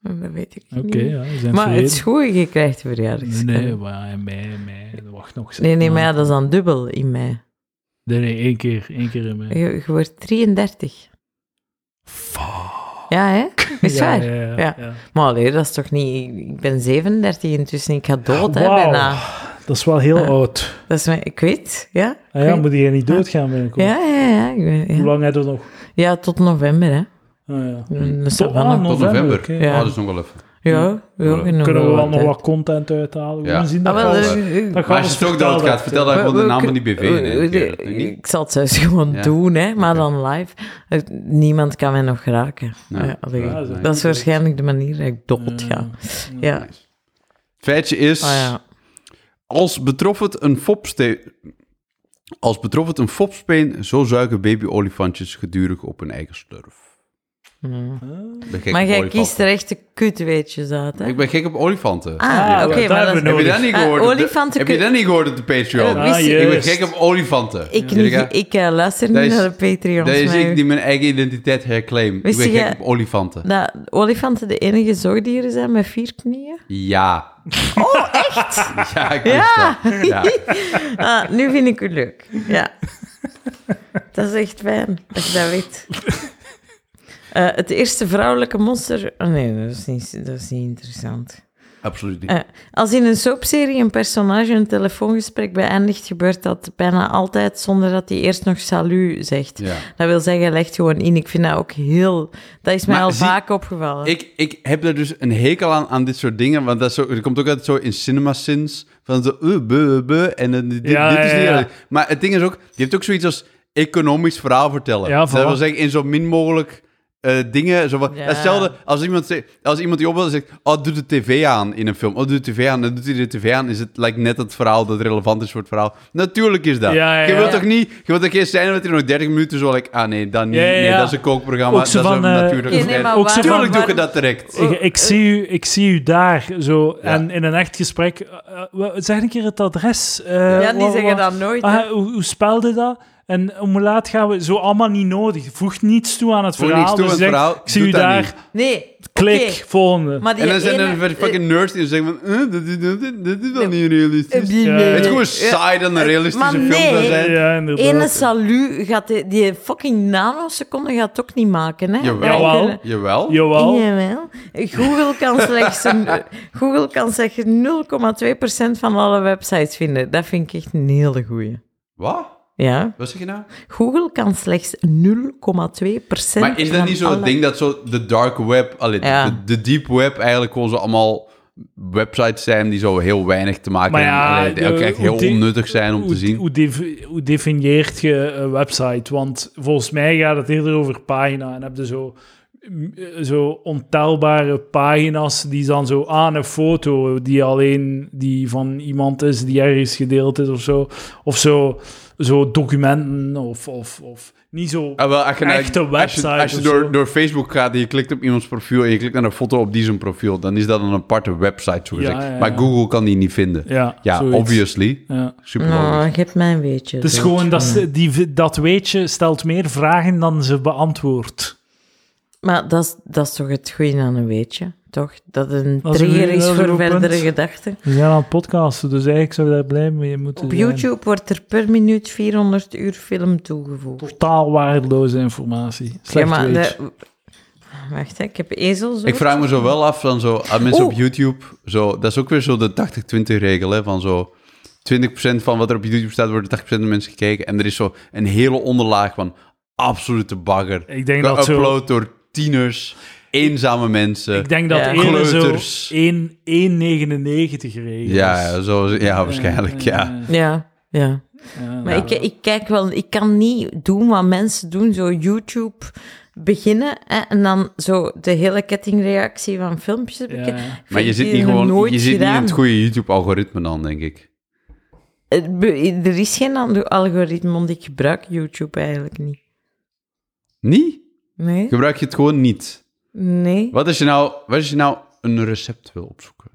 [SPEAKER 2] Dat weet ik
[SPEAKER 1] Oké,
[SPEAKER 2] niet.
[SPEAKER 1] ja, we zijn
[SPEAKER 2] maar het
[SPEAKER 1] vergeten.
[SPEAKER 2] is goed, je krijgt een verjaardagscadeau.
[SPEAKER 1] Nee, maar in mei, in mei. Dat wacht nog zes
[SPEAKER 2] nee, nee, maar ja,
[SPEAKER 1] maanden.
[SPEAKER 2] dat is dan dubbel in mei.
[SPEAKER 1] Nee, nee, één keer. Één keer in mei.
[SPEAKER 2] Je, je wordt 33.
[SPEAKER 1] Fuck.
[SPEAKER 2] Ja, hè? Is
[SPEAKER 1] ja,
[SPEAKER 2] waar?
[SPEAKER 1] Ja, ja,
[SPEAKER 2] Ja.
[SPEAKER 1] ja.
[SPEAKER 2] Maar allee, dat is toch niet... Ik ben 37 intussen, ik ga dood, hè,
[SPEAKER 1] Wauw.
[SPEAKER 2] bijna.
[SPEAKER 1] Dat is wel heel
[SPEAKER 2] Ja.
[SPEAKER 1] oud.
[SPEAKER 2] Dat is mijn... Ik weet, ja.
[SPEAKER 1] Ah, ja,
[SPEAKER 2] Ah. Oké.
[SPEAKER 1] moet je niet doodgaan binnenkort?
[SPEAKER 2] Ja, ja, ja. ik ben-
[SPEAKER 1] Hoe
[SPEAKER 2] ja.
[SPEAKER 1] lang heb je er nog?
[SPEAKER 2] Ja, tot november, hè. Mm,
[SPEAKER 1] Ah, ja.
[SPEAKER 2] De
[SPEAKER 1] Tot aan
[SPEAKER 2] savanne.
[SPEAKER 3] Tot november.
[SPEAKER 1] oké.
[SPEAKER 2] Ja.
[SPEAKER 3] Oh, dat is nog wel even.
[SPEAKER 2] Ja, ja, genoeg.
[SPEAKER 1] Kunnen we wel nog
[SPEAKER 2] altijd.
[SPEAKER 1] wat content uithalen?
[SPEAKER 3] Ja.
[SPEAKER 1] We zien
[SPEAKER 2] Ah,
[SPEAKER 1] dat
[SPEAKER 2] wel,
[SPEAKER 1] alles.
[SPEAKER 2] eh, eh,
[SPEAKER 1] Dat
[SPEAKER 3] Maar
[SPEAKER 1] gaat
[SPEAKER 3] als
[SPEAKER 1] ons
[SPEAKER 3] je het ook doodgaat, vertel dan gewoon de
[SPEAKER 2] we-
[SPEAKER 3] naam
[SPEAKER 2] we-
[SPEAKER 3] van die BV. in één keer. Dat doe je niet.
[SPEAKER 2] eh, Ik zal het zelfs gewoon
[SPEAKER 3] Ja.
[SPEAKER 2] doen, hè. Maar
[SPEAKER 3] Oké.
[SPEAKER 2] dan live. Eh, Niemand kan mij nog raken.
[SPEAKER 3] Ja. Mm.
[SPEAKER 2] Ja, allee,
[SPEAKER 1] Ja, dat is
[SPEAKER 2] dat is waarschijnlijk de manier dat ik dood ga. Ja. Ah,
[SPEAKER 3] Nice. Feitje is,
[SPEAKER 2] ja.
[SPEAKER 3] als betrof het een fopste... Als betrof het een fopspeen, zo zuigen babyolifantjes gedurig op hun eigen slurf.
[SPEAKER 2] Mm.
[SPEAKER 3] Ik ben gek
[SPEAKER 2] Maar
[SPEAKER 3] op
[SPEAKER 2] jij
[SPEAKER 3] olifanten.
[SPEAKER 2] kiest er echt de kutweetjes uit, hè?
[SPEAKER 3] Ik ben gek op olifanten.
[SPEAKER 2] Ah,
[SPEAKER 1] Ah,
[SPEAKER 2] oké,
[SPEAKER 1] daar
[SPEAKER 2] maar dat
[SPEAKER 1] hebben
[SPEAKER 2] is
[SPEAKER 1] we
[SPEAKER 3] Heb je
[SPEAKER 1] nodig.
[SPEAKER 3] dat niet
[SPEAKER 2] Ah,
[SPEAKER 3] gehoord? op de-
[SPEAKER 2] olifanten
[SPEAKER 3] Heb je
[SPEAKER 2] kun-
[SPEAKER 3] dat niet gehoord op de
[SPEAKER 2] Dat
[SPEAKER 3] Patreon?
[SPEAKER 1] Ah,
[SPEAKER 2] wist ik
[SPEAKER 1] juist.
[SPEAKER 3] Ik
[SPEAKER 2] niet.
[SPEAKER 3] ben gek op olifanten.
[SPEAKER 2] Ik,
[SPEAKER 3] Ja.
[SPEAKER 2] niet,
[SPEAKER 3] Ja.
[SPEAKER 2] ik eh, luister
[SPEAKER 3] Dat
[SPEAKER 2] niet
[SPEAKER 3] is-
[SPEAKER 2] naar de Patreons.
[SPEAKER 3] Dat is
[SPEAKER 2] maar
[SPEAKER 3] ik die mijn eigen identiteit herclaim. Ik
[SPEAKER 2] Wist
[SPEAKER 3] ben
[SPEAKER 2] jij-
[SPEAKER 3] gek op olifanten.
[SPEAKER 2] dat olifanten de enige zoogdieren zijn met vier knieën.
[SPEAKER 3] Ja. Oh, echt? Ja, ik wist dat. Ja.
[SPEAKER 2] Ah, nu vind ik u leuk. Ja. dat is echt fijn dat je dat weet. Eh, het eerste vrouwelijke monster. Oh nee, dat is niet, dat is niet interessant.
[SPEAKER 3] Absoluut niet.
[SPEAKER 2] Eh, als in een soapserie een personage een telefoongesprek beëindigt, gebeurt dat bijna altijd zonder dat hij eerst nog salut zegt.
[SPEAKER 3] Ja.
[SPEAKER 2] Dat wil zeggen, hij legt gewoon in. Ik vind dat ook heel. Dat is mij
[SPEAKER 3] Maar
[SPEAKER 2] al
[SPEAKER 3] zie-
[SPEAKER 2] vaak opgevallen.
[SPEAKER 3] Ik, ik heb er dus een hekel aan, aan dit soort dingen. Want dat, is zo, dat komt ook uit zo in CinemaSins. Van zo, uh, buh, buh, en eh, dit,
[SPEAKER 1] Ja,
[SPEAKER 3] dit is
[SPEAKER 1] ja,
[SPEAKER 3] niet...
[SPEAKER 1] ja.
[SPEAKER 3] eerlijk. Maar het ding is ook, je hebt ook zoiets als economisch verhaal vertellen. Dus
[SPEAKER 1] Ja,
[SPEAKER 3] dat
[SPEAKER 1] voilà.
[SPEAKER 3] wil zeggen, in zo min mogelijk eh, dingen. Zo van,
[SPEAKER 2] Ja.
[SPEAKER 3] Hetzelfde als iemand, zegt- als iemand die opbelt en zegt... Oh, doe de tv aan in een film. Oh, doe de tv aan. Dan doet hij de tv aan. Is het lijkt net het verhaal dat relevant is voor het verhaal. Natuurlijk is dat.
[SPEAKER 1] Ja, ja,
[SPEAKER 3] Je wilt
[SPEAKER 1] ja.
[SPEAKER 3] toch niet... Je wilt toch geen scène dat hij nog 30 minuten zo... Like, ah nee, dat niet.
[SPEAKER 1] Ja, ja,
[SPEAKER 3] Nee,
[SPEAKER 1] ja.
[SPEAKER 3] dat is een kookprogramma.
[SPEAKER 1] Ook
[SPEAKER 3] Dat
[SPEAKER 1] zo
[SPEAKER 3] is een
[SPEAKER 1] van, eh,
[SPEAKER 3] natuurlijk...
[SPEAKER 2] Ja, nee, maar
[SPEAKER 1] Ook zo
[SPEAKER 2] waar-
[SPEAKER 1] van-
[SPEAKER 3] Tuurlijk doe
[SPEAKER 2] waar-
[SPEAKER 3] ik dat direct.
[SPEAKER 1] Ik, ik
[SPEAKER 2] Eh,
[SPEAKER 1] zie u, ik zie u daar zo. En in een echt gesprek. eh, eh, wa- zeg een keer het adres. eh,
[SPEAKER 2] Ja, die
[SPEAKER 1] wa- wa-
[SPEAKER 2] zeggen dat nooit. hè.
[SPEAKER 1] Ah, hoe, hoe spelde dat? En hoe laat gaan we? Zo allemaal niet nodig. Voegt niets toe aan het
[SPEAKER 3] Voegt
[SPEAKER 1] verhaal.
[SPEAKER 3] niets toe
[SPEAKER 1] Dus
[SPEAKER 3] aan
[SPEAKER 1] je
[SPEAKER 3] het
[SPEAKER 1] zegt,
[SPEAKER 3] verhaal.
[SPEAKER 1] Ik zie
[SPEAKER 3] Doet
[SPEAKER 1] u
[SPEAKER 3] dat
[SPEAKER 1] daar.
[SPEAKER 3] niet.
[SPEAKER 2] Nee,
[SPEAKER 1] Klik,
[SPEAKER 2] oké.
[SPEAKER 1] volgende.
[SPEAKER 2] Maar die
[SPEAKER 3] En dan zijn
[SPEAKER 2] ene-
[SPEAKER 3] er fucking nerds die zeggen van... eh, dat, is- dat, is- dat is wel niet realistisch.
[SPEAKER 2] eh,
[SPEAKER 1] Ja.
[SPEAKER 2] nee.
[SPEAKER 1] Het
[SPEAKER 3] Het is gewoon
[SPEAKER 2] Ja.
[SPEAKER 3] saai dan een realistische
[SPEAKER 2] Maar
[SPEAKER 3] film
[SPEAKER 2] nee.
[SPEAKER 3] zou zijn.
[SPEAKER 1] ja, inderdaad.
[SPEAKER 2] Ene salu gaat die, die fucking nanoseconde gaat het ook niet maken, hè?
[SPEAKER 3] Jawel.
[SPEAKER 1] Jawel.
[SPEAKER 3] Jawel.
[SPEAKER 1] Jawel.
[SPEAKER 2] Jawel. Google kan slechts een- Google kan slechts 0,2% van alle websites vinden. Dat vind ik echt een hele goeie.
[SPEAKER 3] Wat?
[SPEAKER 2] Ja.
[SPEAKER 3] Wat zeg je nou?
[SPEAKER 2] Google kan slechts 0,2%.
[SPEAKER 3] Maar is dat
[SPEAKER 2] van
[SPEAKER 3] niet zo'n
[SPEAKER 2] alle-
[SPEAKER 3] ding dat zo de dark web, allee,
[SPEAKER 2] Ja.
[SPEAKER 3] de, de deep web eigenlijk gewoon zo allemaal websites zijn die zo heel weinig te maken
[SPEAKER 1] Maar ja,
[SPEAKER 3] hebben, allee, die
[SPEAKER 1] de-
[SPEAKER 3] ook echt
[SPEAKER 1] hoe
[SPEAKER 3] heel
[SPEAKER 1] die-
[SPEAKER 3] onnuttig zijn om
[SPEAKER 1] Hoe,
[SPEAKER 3] te zien.
[SPEAKER 1] hoe defi- hoe definieert je een website? Want volgens mij gaat het eerder over pagina. En heb je zo, mm, eh, zo ontelbare pagina's die dan zo aan een foto die alleen die van iemand is die ergens gedeeld is of zo. Of zo, zo documenten of, of, of niet zo.
[SPEAKER 3] Ah, wel, als je naar-
[SPEAKER 1] Echte
[SPEAKER 3] als je-
[SPEAKER 1] website
[SPEAKER 3] Als je,
[SPEAKER 1] of zo.
[SPEAKER 3] door, door Facebook gaat en je klikt op iemands profiel en je klikt naar een foto op die zijn profiel, dan is dat een aparte website, zo gezegd.
[SPEAKER 1] Ja, ja, ja.
[SPEAKER 3] Maar Google kan die niet vinden.
[SPEAKER 1] Ja,
[SPEAKER 3] Ja,
[SPEAKER 1] zoiets.
[SPEAKER 3] obviously.
[SPEAKER 1] Ja.
[SPEAKER 3] Super
[SPEAKER 2] Nou,
[SPEAKER 3] logisch.
[SPEAKER 2] ik heb mijn weetje.
[SPEAKER 1] Het is
[SPEAKER 2] zo.
[SPEAKER 1] gewoon dat, ze- die, dat weetje stelt meer vragen dan ze beantwoordt.
[SPEAKER 2] Maar dat is, dat is toch het goede aan een weetje, toch? Dat het een
[SPEAKER 1] Dat is
[SPEAKER 2] trigger
[SPEAKER 1] een-
[SPEAKER 2] is
[SPEAKER 1] dat is een
[SPEAKER 2] voor
[SPEAKER 1] goed punt.
[SPEAKER 2] verdere gedachten.
[SPEAKER 1] We zijn aan het podcasten, dus eigenlijk zou je daar blij mee moeten
[SPEAKER 2] Op
[SPEAKER 1] zijn.
[SPEAKER 2] YouTube wordt er per minuut 400 uur film toegevoegd.
[SPEAKER 1] Totaal waardeloze informatie. Slecht
[SPEAKER 2] Ja, maar
[SPEAKER 1] weetje.
[SPEAKER 2] de- Wacht, hè, ik heb ezels.
[SPEAKER 3] Ik vraag me zo wel af van zo, aan mensen op
[SPEAKER 2] Oeh.
[SPEAKER 3] YouTube, zo, dat is ook weer zo de 80-20 regel, hè, van zo 20% van wat er op YouTube staat, wordt door 80% van de mensen gekeken. En er is zo een hele onderlaag van absolute bagger.
[SPEAKER 1] Ik denk dat zo-
[SPEAKER 3] Geüpload door tieners, eenzame mensen.
[SPEAKER 1] Ik denk dat
[SPEAKER 2] Ja.
[SPEAKER 1] eerder
[SPEAKER 3] Kleuters.
[SPEAKER 1] zo 1 1,99 regels.
[SPEAKER 3] ja, ja, zo, ja, waarschijnlijk,
[SPEAKER 2] Eh,
[SPEAKER 3] ja.
[SPEAKER 2] Ja, ja. Maar ik, ik kijk wel, ik kan niet doen wat mensen doen, zo YouTube beginnen hè, en dan zo de hele kettingreactie van filmpjes.
[SPEAKER 1] Ja,
[SPEAKER 2] bekijken.
[SPEAKER 1] ja. Maar
[SPEAKER 3] Maar je
[SPEAKER 2] Vind
[SPEAKER 3] zit
[SPEAKER 2] ik
[SPEAKER 3] niet
[SPEAKER 2] nog
[SPEAKER 3] gewoon,
[SPEAKER 2] nooit
[SPEAKER 3] je zit niet in
[SPEAKER 2] gedaan.
[SPEAKER 3] het goede YouTube-algoritme dan, denk ik.
[SPEAKER 2] Het be- Er is geen ander algoritme, want ik gebruik YouTube eigenlijk niet.
[SPEAKER 3] Niet?
[SPEAKER 2] Nee?
[SPEAKER 3] Gebruik je het gewoon niet.
[SPEAKER 2] Nee?
[SPEAKER 3] Wat als je nou, wat als je nou een recept wil opzoeken?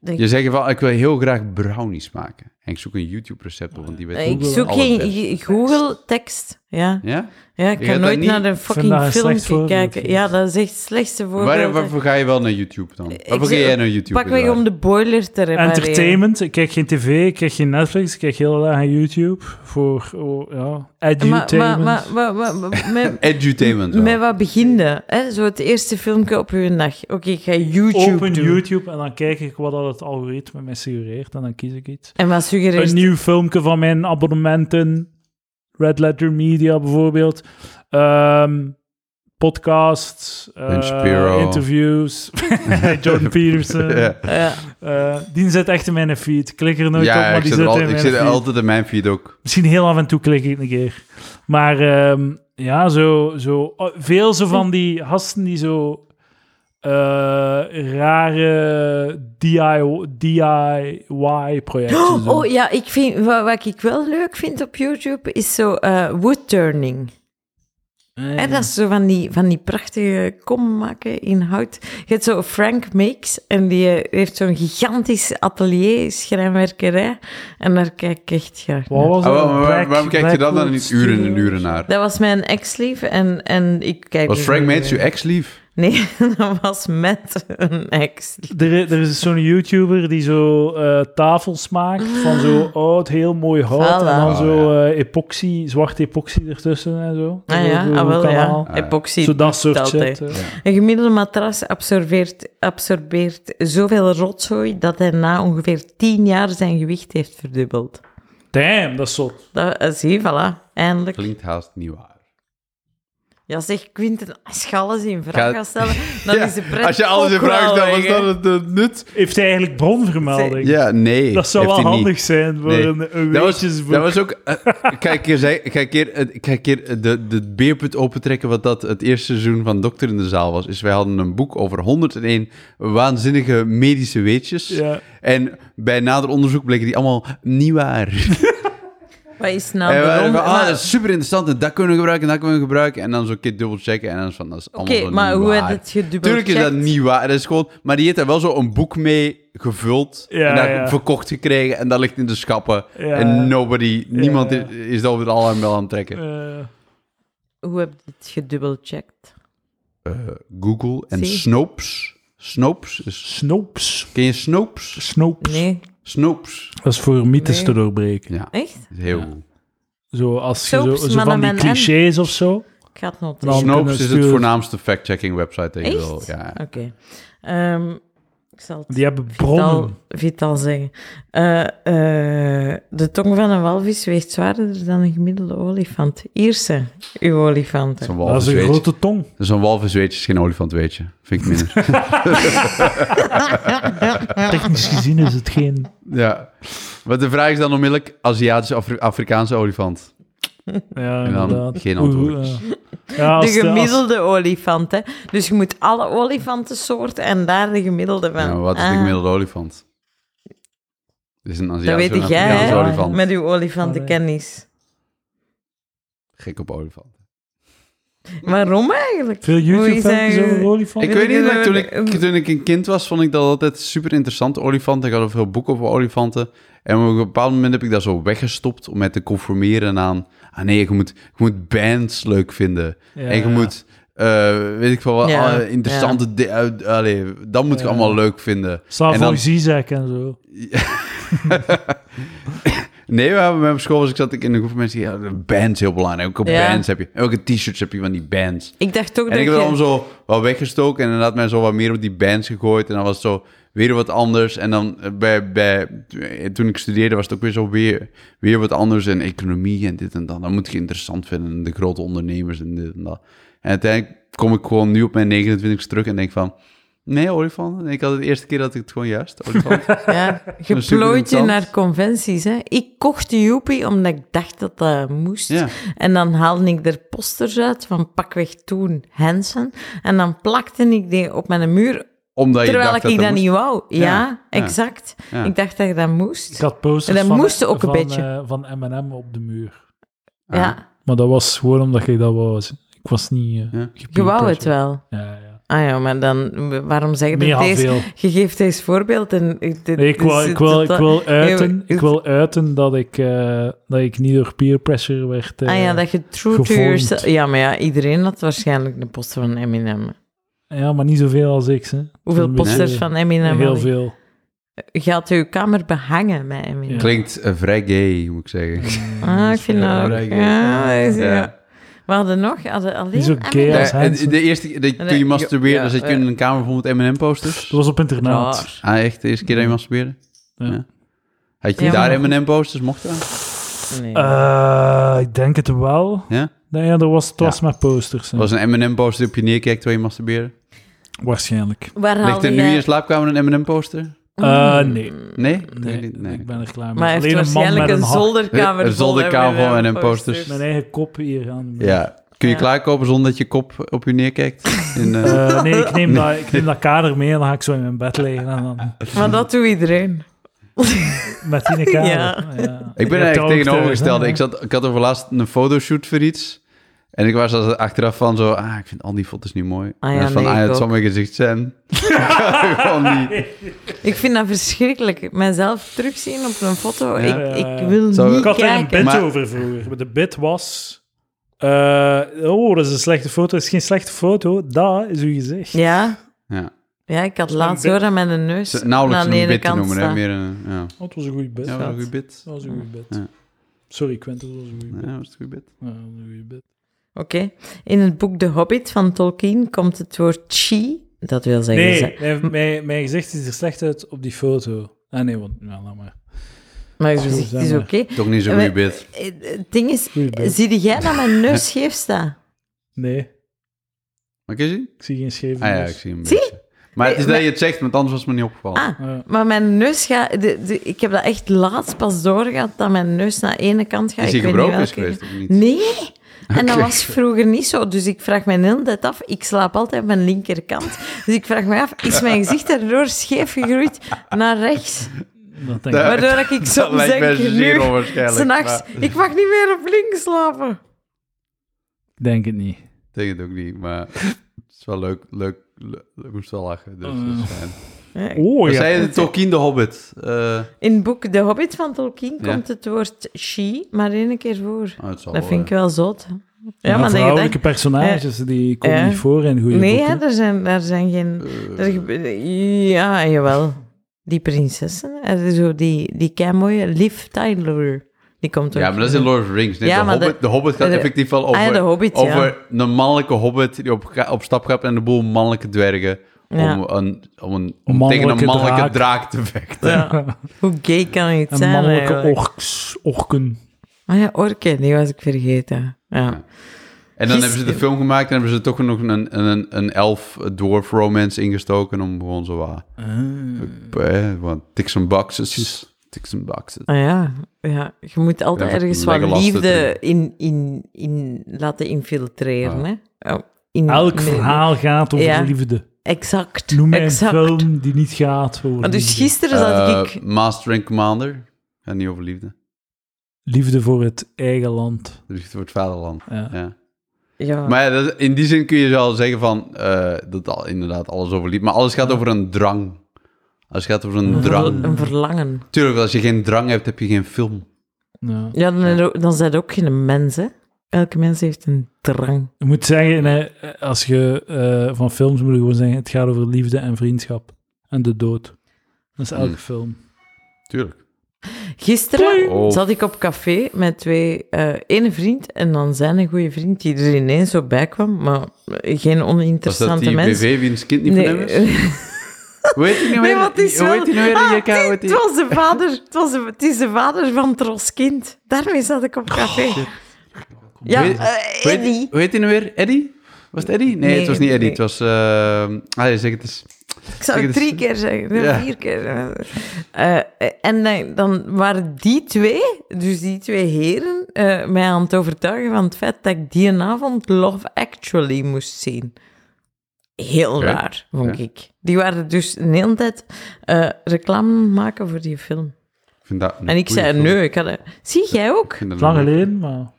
[SPEAKER 2] Denk-
[SPEAKER 3] Je zegt van, "Ah, ik wil heel graag brownies maken. En ik zoek een YouTube-recept op, want die weet
[SPEAKER 2] Eh, Ik
[SPEAKER 3] Google
[SPEAKER 2] zoek
[SPEAKER 3] alle
[SPEAKER 2] geen
[SPEAKER 3] best.
[SPEAKER 2] ik- Google tekst. Ja,
[SPEAKER 3] Ja?
[SPEAKER 2] ja ik
[SPEAKER 3] Je gaat
[SPEAKER 2] kan
[SPEAKER 3] dat
[SPEAKER 2] nooit
[SPEAKER 3] niet-
[SPEAKER 2] naar een fucking
[SPEAKER 1] dat een slecht
[SPEAKER 2] filmpje
[SPEAKER 1] voorbeeld,
[SPEAKER 2] kijken.
[SPEAKER 1] vind
[SPEAKER 2] Ja, dat is echt het slechtste voorbeeld.
[SPEAKER 3] Waar, waarvoor ga je wel naar YouTube dan? Waarvoor ga
[SPEAKER 2] zeg-
[SPEAKER 3] jij naar YouTube?
[SPEAKER 2] Pak weg om de boiler te repareren.
[SPEAKER 1] Entertainment. Ik kijk geen tv, ik kijk geen Netflix, ik kijk heel erg aan YouTube. Voor, oh, ja, edutainment.
[SPEAKER 2] Maar, maar, maar, maar, maar- maar- met,
[SPEAKER 3] Edutainment wel.
[SPEAKER 2] met wat beginde? Hè? Zo het eerste filmpje op uw dag. Oké, ik ga YouTube
[SPEAKER 1] Open
[SPEAKER 2] doen.
[SPEAKER 1] YouTube en dan kijk ik wat dat het algoritme mij suggereert en dan kies ik iets.
[SPEAKER 2] En wat
[SPEAKER 1] een
[SPEAKER 2] suggereert...
[SPEAKER 1] nieuw filmpje van mijn abonnementen. Red Letter Media bijvoorbeeld. Ehm, podcasts. eh,
[SPEAKER 3] Ben Shapiro.
[SPEAKER 1] interviews. Jordan Peterson.
[SPEAKER 3] Ja.
[SPEAKER 2] Ja.
[SPEAKER 1] Eh, die zit echt in mijn feed. Klik er nooit op,
[SPEAKER 3] ja,
[SPEAKER 1] maar die
[SPEAKER 3] ik zit,
[SPEAKER 1] zit
[SPEAKER 3] er al-
[SPEAKER 1] in
[SPEAKER 3] ik
[SPEAKER 1] mijn
[SPEAKER 3] zit
[SPEAKER 1] feed.
[SPEAKER 3] altijd in mijn feed ook.
[SPEAKER 1] Misschien heel af en toe klik ik een keer. Maar ehm, ja, zo, zo, oh, veel zo van die gasten die zo eh, rare DIY-projecten doen.
[SPEAKER 2] Oh ja, ik vind, wat, wat ik wel leuk vind op YouTube is zo eh woodturning. Hè, dat is zo van die, van die prachtige kom maken in hout. Je hebt zo Frank Makes en die eh, heeft zo'n gigantisch atelier, schrijnwerkerij. En daar kijk ik echt graag
[SPEAKER 1] Wat
[SPEAKER 2] naar.
[SPEAKER 1] was
[SPEAKER 3] Ah,
[SPEAKER 1] dat?
[SPEAKER 3] wel, maar waar-
[SPEAKER 1] Black-
[SPEAKER 3] waarom kijk je dat dan
[SPEAKER 1] Blackwood
[SPEAKER 3] niet uren en
[SPEAKER 1] Studios?
[SPEAKER 3] uren naar?
[SPEAKER 2] Dat was mijn ex-lief en, en ik kijk...
[SPEAKER 3] Was
[SPEAKER 2] dus
[SPEAKER 3] Frank
[SPEAKER 2] nu-
[SPEAKER 3] Mates uw ex lief?
[SPEAKER 2] Nee, dat was met een ex.
[SPEAKER 1] Er, i- er is zo'n YouTuber die zo eh, tafels maakt van zo oud, heel mooi hout.
[SPEAKER 2] Ah. Voilà.
[SPEAKER 1] En dan
[SPEAKER 3] Ah,
[SPEAKER 1] zo eh, epoxy, zwarte epoxy ertussen en zo.
[SPEAKER 2] Ah
[SPEAKER 1] Zo-
[SPEAKER 2] ja,
[SPEAKER 1] zo-
[SPEAKER 2] ah, wel ja.
[SPEAKER 1] kanaal.
[SPEAKER 3] Ah, ja.
[SPEAKER 2] Epoxy.
[SPEAKER 1] Zo dat soort
[SPEAKER 2] telt,
[SPEAKER 1] shit.
[SPEAKER 2] hè.
[SPEAKER 1] hè.
[SPEAKER 2] Een gemiddelde matras absorbeert, absorbeert zoveel rotzooi dat hij na ongeveer 10 jaar zijn gewicht heeft verdubbeld.
[SPEAKER 1] Damn, dat is zot.
[SPEAKER 2] Dat, zie, voilà, eindelijk.
[SPEAKER 3] Klinkt haast niet waar.
[SPEAKER 2] Ja, zeg Quinten, als je alles in vraag
[SPEAKER 3] Ga-
[SPEAKER 2] gaat stellen, dan
[SPEAKER 3] Ja,
[SPEAKER 2] is de pret
[SPEAKER 3] Als je alles in
[SPEAKER 2] ook
[SPEAKER 3] vraag
[SPEAKER 2] wel
[SPEAKER 3] stelt, was
[SPEAKER 2] weg, hè.
[SPEAKER 3] dat het eh, nut?
[SPEAKER 1] Heeft hij eigenlijk bronvermelding?
[SPEAKER 3] Ja, nee.
[SPEAKER 1] dat zou
[SPEAKER 3] heeft
[SPEAKER 1] wel
[SPEAKER 3] hij
[SPEAKER 1] handig
[SPEAKER 3] niet.
[SPEAKER 1] zijn voor
[SPEAKER 3] Nee.
[SPEAKER 1] een, een
[SPEAKER 3] Dat was,
[SPEAKER 1] weetjesboek.
[SPEAKER 3] dat was ook... eh, kijk hier, zei- kijk hier, eh, kijk hier eh, de, de beerput opentrekken wat dat het eerste seizoen van Dokter in de Zaal was. Is wij hadden een boek over 101 waanzinnige medische weetjes.
[SPEAKER 1] Ja.
[SPEAKER 3] En bij nader onderzoek bleken die allemaal niet waar.
[SPEAKER 2] Wat is nou
[SPEAKER 3] En we
[SPEAKER 2] de
[SPEAKER 3] waren
[SPEAKER 2] ronde?
[SPEAKER 3] van, ah,
[SPEAKER 2] Maar-
[SPEAKER 3] dat is super interessant. En dat kunnen we gebruiken, en dat kunnen we gebruiken. En dan zo'n keer dubbel checken. En dan is van, dat is
[SPEAKER 2] Oké,
[SPEAKER 3] allemaal zo
[SPEAKER 2] maar
[SPEAKER 3] niet
[SPEAKER 2] hoe
[SPEAKER 3] waar.
[SPEAKER 2] heb je het gedubbelcheckt?
[SPEAKER 3] Tuurlijk is dat niet waar. Dat is gewoon, maar die heeft daar wel zo een boek mee gevuld.
[SPEAKER 1] Ja,
[SPEAKER 3] en dat
[SPEAKER 1] ja.
[SPEAKER 3] verkocht gekregen. En dat ligt in de schappen.
[SPEAKER 1] Ja.
[SPEAKER 3] En nobody, niemand
[SPEAKER 1] ja.
[SPEAKER 3] is, is dat over het al en wel aan het trekken.
[SPEAKER 1] Eh,
[SPEAKER 2] Hoe heb je het gedubbelcheckt?
[SPEAKER 3] Eh, Google en
[SPEAKER 2] Zie.
[SPEAKER 3] Snopes. Snopes? is-
[SPEAKER 1] Snopes.
[SPEAKER 3] Ken je Snopes?
[SPEAKER 1] Snopes.
[SPEAKER 2] Nee,
[SPEAKER 3] Snopes.
[SPEAKER 1] Dat is voor mythes
[SPEAKER 2] Nee.
[SPEAKER 1] te doorbreken.
[SPEAKER 3] Ja,
[SPEAKER 2] echt?
[SPEAKER 3] heel
[SPEAKER 1] Zo, als je zo,
[SPEAKER 2] Soaps,
[SPEAKER 1] zo
[SPEAKER 2] maar
[SPEAKER 1] van
[SPEAKER 2] dan
[SPEAKER 1] die
[SPEAKER 2] met een N.
[SPEAKER 1] clichés of zo.
[SPEAKER 2] Ik ga het noteren.
[SPEAKER 1] Dan- kunnen
[SPEAKER 3] Snopes is het
[SPEAKER 1] sturen.
[SPEAKER 3] voornaamste fact-checking website tegen
[SPEAKER 2] Echt?
[SPEAKER 3] wel. Ja.
[SPEAKER 2] Oké. Ehm, ik zal het
[SPEAKER 1] Die hebben
[SPEAKER 2] vitaal,
[SPEAKER 1] bronnen.
[SPEAKER 2] vitaal zeggen. Eh, eh, de tong van een walvis weegt zwaarder dan een gemiddelde olifant. Ierse, uw olifanten.
[SPEAKER 3] Zo'n
[SPEAKER 1] Dat is een
[SPEAKER 3] walvis, weet je.
[SPEAKER 1] grote tong.
[SPEAKER 3] Dus een walvis weet je, is geen olifant weet je. Vind ik minder.
[SPEAKER 1] Technisch gezien is het geen...
[SPEAKER 3] ja. Maar de vraag is dan onmiddellijk, Aziatische Afri- Afrikaanse olifant.
[SPEAKER 1] Ja,
[SPEAKER 3] En dan
[SPEAKER 1] inderdaad.
[SPEAKER 3] geen antwoord.
[SPEAKER 1] Oeh, ja. Ja,
[SPEAKER 2] De
[SPEAKER 1] als de- als-
[SPEAKER 2] gemiddelde olifant, hè. Dus je moet alle olifantensoorten en daar de gemiddelde van.
[SPEAKER 3] Ja, maar wat is
[SPEAKER 2] Ah,
[SPEAKER 3] de gemiddelde olifant? Het is een
[SPEAKER 2] Dat
[SPEAKER 3] Aziatische
[SPEAKER 2] weet
[SPEAKER 3] en
[SPEAKER 2] jij,
[SPEAKER 3] Afrikaanse
[SPEAKER 1] hè?
[SPEAKER 3] olifant.
[SPEAKER 2] Met uw olifantenkennis.
[SPEAKER 3] Gek op olifanten.
[SPEAKER 2] Waarom eigenlijk?
[SPEAKER 1] Veel
[SPEAKER 2] Hoe is
[SPEAKER 1] YouTube-filmpjes
[SPEAKER 2] hij-
[SPEAKER 1] over olifanten.
[SPEAKER 3] Ik
[SPEAKER 2] Weet
[SPEAKER 3] weet
[SPEAKER 2] ik
[SPEAKER 3] niet,
[SPEAKER 2] het,
[SPEAKER 3] maar toen ik,
[SPEAKER 2] eh,
[SPEAKER 3] toen ik een kind was, vond ik dat altijd super interessant, olifanten. Ik had al veel boeken over olifanten. En op een bepaald moment heb ik dat zo weggestopt om mij te conformeren aan... Ah nee, je moet, je moet bands leuk vinden.
[SPEAKER 1] Ja.
[SPEAKER 3] En je moet, eh, weet ik wel, wat,
[SPEAKER 2] Ja,
[SPEAKER 3] alle interessante... di- uit- allee, dat moet je
[SPEAKER 1] Ja.
[SPEAKER 3] allemaal leuk vinden. En
[SPEAKER 1] Slavoj
[SPEAKER 3] dan-
[SPEAKER 1] Zizek en zo.
[SPEAKER 3] Nee, maar bij mijn school was ik, zat ik in een groep mensen die ja, bands heel belangrijk. Ook op
[SPEAKER 2] Ja.
[SPEAKER 3] bands heb je. En welke t-shirts heb je van die bands?
[SPEAKER 2] Ik dacht toch
[SPEAKER 3] En
[SPEAKER 2] dat
[SPEAKER 3] ik
[SPEAKER 2] je...
[SPEAKER 3] heb dan zo wat weggestoken en dan had mij zo wat meer op die bands gegooid. En dan was het zo weer wat anders. En dan eh, bij, bij, eh, toen ik studeerde was het ook weer zo weer, weer wat anders. En economie en dit en dat. Dat moet je interessant vinden. En de grote ondernemers en dit en dat. En uiteindelijk kom ik gewoon nu op mijn 29ste terug en denk van... Nee, olifant. En ik had het de eerste keer dat ik het gewoon juist, olifant.
[SPEAKER 2] Ja,
[SPEAKER 3] is super
[SPEAKER 2] geplooid je
[SPEAKER 3] irritant.
[SPEAKER 2] naar conventies. Hè. Ik kocht de Joepie omdat ik dacht dat dat moest.
[SPEAKER 3] Ja.
[SPEAKER 2] En dan haalde ik er posters uit van pakweg toen Hansen. En dan plakte ik die op mijn muur,
[SPEAKER 3] Omdat Oh, je
[SPEAKER 2] terwijl
[SPEAKER 3] dacht
[SPEAKER 2] ik
[SPEAKER 3] dat
[SPEAKER 2] dat,
[SPEAKER 3] moest.
[SPEAKER 2] niet wou. Ja,
[SPEAKER 3] Ja, ja.
[SPEAKER 2] exact.
[SPEAKER 3] Ja.
[SPEAKER 2] Ik dacht dat je dat moest.
[SPEAKER 1] Ik had posters
[SPEAKER 2] En dat
[SPEAKER 1] van,
[SPEAKER 2] moest ook een
[SPEAKER 1] van,
[SPEAKER 2] beetje.
[SPEAKER 1] eh, van M&M op de muur.
[SPEAKER 2] ja,
[SPEAKER 1] Maar dat was gewoon omdat ik dat wou. Ik was niet... eh
[SPEAKER 3] Ja.
[SPEAKER 1] gepeerd
[SPEAKER 2] je wou
[SPEAKER 1] of
[SPEAKER 2] het
[SPEAKER 1] zo.
[SPEAKER 2] wel.
[SPEAKER 1] Ja, ja.
[SPEAKER 2] Ah ja, maar dan, waarom zeg je dat
[SPEAKER 1] Meer aan
[SPEAKER 2] deze...
[SPEAKER 1] veel.
[SPEAKER 2] Je geeft deze voorbeeld en... dit-
[SPEAKER 1] Nee, ik wil,
[SPEAKER 2] dus
[SPEAKER 1] ik wil, ik
[SPEAKER 2] dat-
[SPEAKER 1] wil, uiten,
[SPEAKER 2] Eeuw,
[SPEAKER 1] ik wil uiten dat ik, eh, dat ik niet door peer pressure werd... eh,
[SPEAKER 2] Ah ja, dat je true to
[SPEAKER 1] gevormd.
[SPEAKER 2] yourself... Ja, maar ja, iedereen had waarschijnlijk een poster van Eminem.
[SPEAKER 1] ja, maar niet zoveel als ik. Hè.
[SPEAKER 2] Hoeveel
[SPEAKER 1] Een beetje-
[SPEAKER 2] posters van Eminem?
[SPEAKER 1] Heel
[SPEAKER 2] had ik?
[SPEAKER 1] veel.
[SPEAKER 2] Je had uw kamer behangen met Eminem.
[SPEAKER 1] Ja.
[SPEAKER 3] Klinkt eh, vrij gay, moet ik zeggen.
[SPEAKER 1] Hmm,
[SPEAKER 2] Ah, ik vind
[SPEAKER 1] Ja,
[SPEAKER 2] dat ook.
[SPEAKER 3] belangrijk,
[SPEAKER 2] Ja, is- ja.
[SPEAKER 3] Ja.
[SPEAKER 2] We hadden nog, hadden alleen
[SPEAKER 1] Is ook gay
[SPEAKER 2] Eminem.
[SPEAKER 1] als
[SPEAKER 3] Ja, en
[SPEAKER 1] Hansen.
[SPEAKER 3] de eerste keer dat je, toen je
[SPEAKER 2] Nee,
[SPEAKER 3] masturbeerde,
[SPEAKER 2] ja,
[SPEAKER 3] zat je
[SPEAKER 2] ja.
[SPEAKER 3] in een kamer vol met M&M-posters?
[SPEAKER 1] Dat was op internaat.
[SPEAKER 2] Raar.
[SPEAKER 3] Ah, echt? De eerste keer dat je masturbeerde?
[SPEAKER 1] Ja.
[SPEAKER 3] Ja. Had je
[SPEAKER 2] Ja,
[SPEAKER 3] daar
[SPEAKER 2] maar-
[SPEAKER 3] M&M-posters? Mocht dat?
[SPEAKER 2] Nee.
[SPEAKER 1] Eh, ik denk het wel.
[SPEAKER 3] Ja?
[SPEAKER 1] Nee, ja, dat was, het was met posters. hè.
[SPEAKER 3] Was een M&M-poster op je neerkijkt terwijl je masturbeerde?
[SPEAKER 1] Waarschijnlijk.
[SPEAKER 2] Waar
[SPEAKER 3] Ligt
[SPEAKER 2] haalde
[SPEAKER 3] er nu in
[SPEAKER 2] jij-
[SPEAKER 3] je slaapkamer een M&M-poster?
[SPEAKER 1] Eh, nee.
[SPEAKER 3] Nee?
[SPEAKER 1] Nee,
[SPEAKER 3] Nee.
[SPEAKER 1] ik ben er klaar mee.
[SPEAKER 2] Hmm. Mm. Maar hij heeft
[SPEAKER 1] Alleen een man
[SPEAKER 2] waarschijnlijk
[SPEAKER 1] met
[SPEAKER 2] een,
[SPEAKER 1] een hak.
[SPEAKER 2] zolderkamer
[SPEAKER 3] Een zolderkamer vol
[SPEAKER 2] met
[SPEAKER 3] M&M-posters.
[SPEAKER 1] Mijn eigen kop hier aan.
[SPEAKER 3] Ja. Kun je
[SPEAKER 2] Ja.
[SPEAKER 3] klaarkopen zonder dat je kop op je neerkijkt? In, eh,
[SPEAKER 1] Eh, nee, ik neem, dat, ik neem dat kader mee en dan ga ik zo in mijn bed liggen. En dan
[SPEAKER 2] Maar dat doet iedereen.
[SPEAKER 1] met die kader.
[SPEAKER 2] Ja.
[SPEAKER 1] Ja.
[SPEAKER 3] Ik ben
[SPEAKER 1] Je hebt dat ook
[SPEAKER 3] eigenlijk tegenovergesteld.
[SPEAKER 1] thuis, hè?
[SPEAKER 3] Ik, zat, ik had over laatst een fotoshoot voor iets. En ik was als- achteraf van zo, ah, ik vind al die foto's niet mooi.
[SPEAKER 2] Ah ja,
[SPEAKER 3] en dan van,
[SPEAKER 2] nee,
[SPEAKER 3] ah,
[SPEAKER 2] ik
[SPEAKER 3] het
[SPEAKER 2] ook.
[SPEAKER 3] zal mijn gezicht zijn. Gewoon niet.
[SPEAKER 2] Ik vind dat verschrikkelijk. Mijzelf terugzien op een foto.
[SPEAKER 3] Ja.
[SPEAKER 2] Ik,
[SPEAKER 1] Ja.
[SPEAKER 2] ik wil
[SPEAKER 3] Zou-
[SPEAKER 2] niet
[SPEAKER 1] Ik had er een
[SPEAKER 2] kijken.
[SPEAKER 1] bid
[SPEAKER 3] Maar-
[SPEAKER 1] over vroeger. De bid was... eh, oh, dat is een slechte foto. Dat is geen slechte foto. Dat is uw gezicht.
[SPEAKER 2] Ja.
[SPEAKER 3] Ja.
[SPEAKER 2] ja, ik had
[SPEAKER 1] een
[SPEAKER 2] laatst
[SPEAKER 1] bit.
[SPEAKER 2] hoor dat mijn neus
[SPEAKER 3] Ze- Nauwelijks
[SPEAKER 2] aan de
[SPEAKER 3] een
[SPEAKER 2] ene
[SPEAKER 3] bit te
[SPEAKER 2] kant
[SPEAKER 3] noemen, hè.
[SPEAKER 2] staat.
[SPEAKER 3] Meer een, ja.
[SPEAKER 1] Oh, het was een goede bid.
[SPEAKER 3] Ja,
[SPEAKER 1] Dat
[SPEAKER 3] was een goede bit.
[SPEAKER 1] was een goede bid.
[SPEAKER 3] Ja.
[SPEAKER 1] Sorry, Quentin, dat was een goede bid.
[SPEAKER 3] Ja, was het een goede bit.
[SPEAKER 1] Ja, dat was een goede bid.
[SPEAKER 2] Oké. In het boek The Hobbit van Tolkien komt het woord chi. Dat wil zeggen... ze-
[SPEAKER 1] Nee, mijn, mijn, mijn gezicht ziet er slecht uit op die foto. Ah nee, want... Nou, laat maar.
[SPEAKER 2] Maar je
[SPEAKER 1] Zo,
[SPEAKER 2] gezicht
[SPEAKER 1] zeg
[SPEAKER 2] is
[SPEAKER 1] maar.
[SPEAKER 2] oké.
[SPEAKER 3] Toch niet zo'n
[SPEAKER 2] Maar-
[SPEAKER 3] goede bit.
[SPEAKER 2] Eh, Het ding is,
[SPEAKER 1] Goeie beeld.
[SPEAKER 2] zie jij dat mijn neus scheef staat?
[SPEAKER 1] Nee.
[SPEAKER 3] Maar kun je zien?
[SPEAKER 1] Ik zie geen scheef.
[SPEAKER 3] Ah ja, ik
[SPEAKER 1] neus.
[SPEAKER 3] zie hem een
[SPEAKER 2] Zie?
[SPEAKER 3] beetje. Maar het is
[SPEAKER 2] Nee,
[SPEAKER 3] dat je het zegt, want anders was het me niet opgevallen.
[SPEAKER 2] Ah,
[SPEAKER 1] Ja.
[SPEAKER 2] maar mijn neus gaat... de- de- ik heb dat echt laatst pas doorgehad, dat mijn neus naar ene kant gaat.
[SPEAKER 3] is hij
[SPEAKER 2] Ik weet niet
[SPEAKER 3] gebroken is
[SPEAKER 2] welke.
[SPEAKER 3] geweest of niet?
[SPEAKER 2] Nee. En dat
[SPEAKER 3] Oké.
[SPEAKER 2] was vroeger niet zo. Dus ik vraag me de hele tijd af. Ik slaap altijd op mijn linkerkant. Dus ik vraag me af, is mijn gezicht daardoor scheef gegroeid naar rechts?
[SPEAKER 1] Dat denk ik.
[SPEAKER 2] Waardoor ik
[SPEAKER 3] Dat
[SPEAKER 2] soms
[SPEAKER 3] lijkt mij
[SPEAKER 2] denk,
[SPEAKER 3] zeer
[SPEAKER 2] nu,
[SPEAKER 3] onwaarschijnlijk.
[SPEAKER 2] s'nachts,
[SPEAKER 3] maar-
[SPEAKER 2] ik mag niet meer op links slapen.
[SPEAKER 1] Ik denk het niet.
[SPEAKER 3] Ik denk het ook niet, maar het is wel leuk. leuk, le- ik moest wel lachen, dus dat is fijn.
[SPEAKER 2] Ja.
[SPEAKER 1] Oh
[SPEAKER 3] Maar
[SPEAKER 1] ja.
[SPEAKER 3] zei het Tolkien de Hobbit? Eh,
[SPEAKER 2] In het boek The Hobbit van Tolkien
[SPEAKER 3] Ja.
[SPEAKER 2] komt het woord she maar één keer voor.
[SPEAKER 3] oh, het zal
[SPEAKER 2] Dat
[SPEAKER 3] wel,
[SPEAKER 2] vind ik
[SPEAKER 3] eh.
[SPEAKER 2] wel zot. hè.
[SPEAKER 1] Ja,
[SPEAKER 2] maar dat je
[SPEAKER 1] vrouwelijke
[SPEAKER 2] denkt-
[SPEAKER 1] personages, die komen
[SPEAKER 2] Ja.
[SPEAKER 1] niet voor in goede
[SPEAKER 2] Nee,
[SPEAKER 1] boeken.
[SPEAKER 2] hè, er zijn, er zijn geen...
[SPEAKER 3] Eh,
[SPEAKER 2] er gebe- ja, jawel. Die prinsessen. Er is zo die, die keimooie Liv Tyler. Die komt ook.
[SPEAKER 3] ja, maar dat is in Lord of the Rings. Nee,
[SPEAKER 2] Ja,
[SPEAKER 3] de,
[SPEAKER 2] maar
[SPEAKER 3] Hobbit,
[SPEAKER 2] de-
[SPEAKER 3] de Hobbit gaat
[SPEAKER 2] de-
[SPEAKER 3] effectief wel over,
[SPEAKER 2] Ah ja, de Hobbit, ja.
[SPEAKER 3] over een mannelijke hobbit die op, ga- op stap gaat en een boel mannelijke dwergen
[SPEAKER 2] Ja.
[SPEAKER 3] om, een, om, een, om tegen
[SPEAKER 1] Mannelijke
[SPEAKER 3] een mannelijke draak,
[SPEAKER 1] draak.
[SPEAKER 3] te vechten.
[SPEAKER 2] Ja. Hoe gay kan het
[SPEAKER 1] En
[SPEAKER 2] zijn
[SPEAKER 1] mannelijke
[SPEAKER 2] eigenlijk?
[SPEAKER 1] orks, orken.
[SPEAKER 2] Ah ja, orken, die was ik vergeten. Ja.
[SPEAKER 3] En dan hebben ze de
[SPEAKER 2] Gisteren-
[SPEAKER 3] film gemaakt en hebben ze toch nog een, een, een elf-dwarf romance ingestoken om gewoon zo wat... Eh, want ticks and boxes. Ticks and boxes.
[SPEAKER 2] Ah ja, ja. je moet altijd
[SPEAKER 3] Ja,
[SPEAKER 2] ergens wat
[SPEAKER 3] lekker lastig
[SPEAKER 2] liefde in, in, in laten infiltreren.
[SPEAKER 3] Ja.
[SPEAKER 2] Hè? Ja, in-
[SPEAKER 1] Elk
[SPEAKER 2] nee,
[SPEAKER 1] verhaal gaat over
[SPEAKER 2] Ja.
[SPEAKER 1] liefde.
[SPEAKER 2] Exact.
[SPEAKER 1] Noem mij een
[SPEAKER 2] exact.
[SPEAKER 1] film die niet gaat over
[SPEAKER 2] Ah, Dus
[SPEAKER 1] liefde.
[SPEAKER 2] gisteren zat
[SPEAKER 3] Eh,
[SPEAKER 2] ik...
[SPEAKER 3] Master and Commander. En niet over liefde.
[SPEAKER 1] Liefde voor het eigen land.
[SPEAKER 3] Liefde voor het vaderland.
[SPEAKER 1] Ja.
[SPEAKER 3] Ja.
[SPEAKER 2] Ja,
[SPEAKER 3] Maar ja, dat- in die zin kun je wel zeggen van... eh, dat al, inderdaad alles over liefde. Maar alles gaat over een drang. Alles gaat over een
[SPEAKER 2] een, ver-
[SPEAKER 3] drang.
[SPEAKER 2] een verlangen.
[SPEAKER 3] Tuurlijk, als je geen drang hebt, heb je geen film.
[SPEAKER 1] Ja.
[SPEAKER 2] Ja, dan, dan zijn ook geen mens, hè. Elke mens heeft een drang.
[SPEAKER 1] Ik moet zeggen, nee, als je eh, van films moet je gewoon zeggen, het gaat over liefde en vriendschap. En de dood. Dat is elke
[SPEAKER 3] Hmm.
[SPEAKER 1] film.
[SPEAKER 3] Tuurlijk.
[SPEAKER 2] Gisteren
[SPEAKER 3] Oh.
[SPEAKER 2] zat ik op café met twee, eh ene vriend en dan zijn een goede vriend die er ineens zo bij kwam, maar geen
[SPEAKER 3] Was dat
[SPEAKER 2] oninteressante
[SPEAKER 3] die
[SPEAKER 2] mens.
[SPEAKER 3] BV wiens kind niet van hem is? Hoe heet die nou
[SPEAKER 2] Nee,
[SPEAKER 3] weer?
[SPEAKER 2] want het is
[SPEAKER 3] Hoe
[SPEAKER 2] wel-
[SPEAKER 3] heet die nou weer?
[SPEAKER 2] Ah,
[SPEAKER 3] Jekka? Hoe heet
[SPEAKER 2] het,
[SPEAKER 3] die?
[SPEAKER 2] was de vader, het, was de, het is de vader van Troskind. Daarmee zat ik op café. ja,
[SPEAKER 3] Oh, Weet-
[SPEAKER 2] eh,
[SPEAKER 3] Hoe heet-
[SPEAKER 2] Eddie.
[SPEAKER 3] Hoe heet die nou weer? Eddie? Was het Eddie? Nee,
[SPEAKER 2] Nee,
[SPEAKER 3] het was niet Eddie.
[SPEAKER 2] nee.
[SPEAKER 3] Het was... eh, ah, je zegt het is...
[SPEAKER 2] Ik zou
[SPEAKER 3] Ik
[SPEAKER 2] het
[SPEAKER 3] dus-
[SPEAKER 2] drie keer zeggen, nee,
[SPEAKER 3] Ja.
[SPEAKER 2] vier keer. Eh, eh, en dan, dan waren die twee, dus die twee heren, eh, mij aan het overtuigen van het feit dat ik die avond Love Actually moest zien. Heel
[SPEAKER 3] Oké.
[SPEAKER 2] raar, vond
[SPEAKER 3] Oké.
[SPEAKER 2] ik. Die waren dus de hele tijd eh, reclame aan het maken voor die film.
[SPEAKER 3] Ik vind dat een
[SPEAKER 2] en ik
[SPEAKER 3] goeie
[SPEAKER 2] zei,
[SPEAKER 3] film.
[SPEAKER 2] nee, ik had... een- Zie jij ook?
[SPEAKER 3] Ik vind dat
[SPEAKER 1] Lang
[SPEAKER 3] een-
[SPEAKER 1] geleden, maar...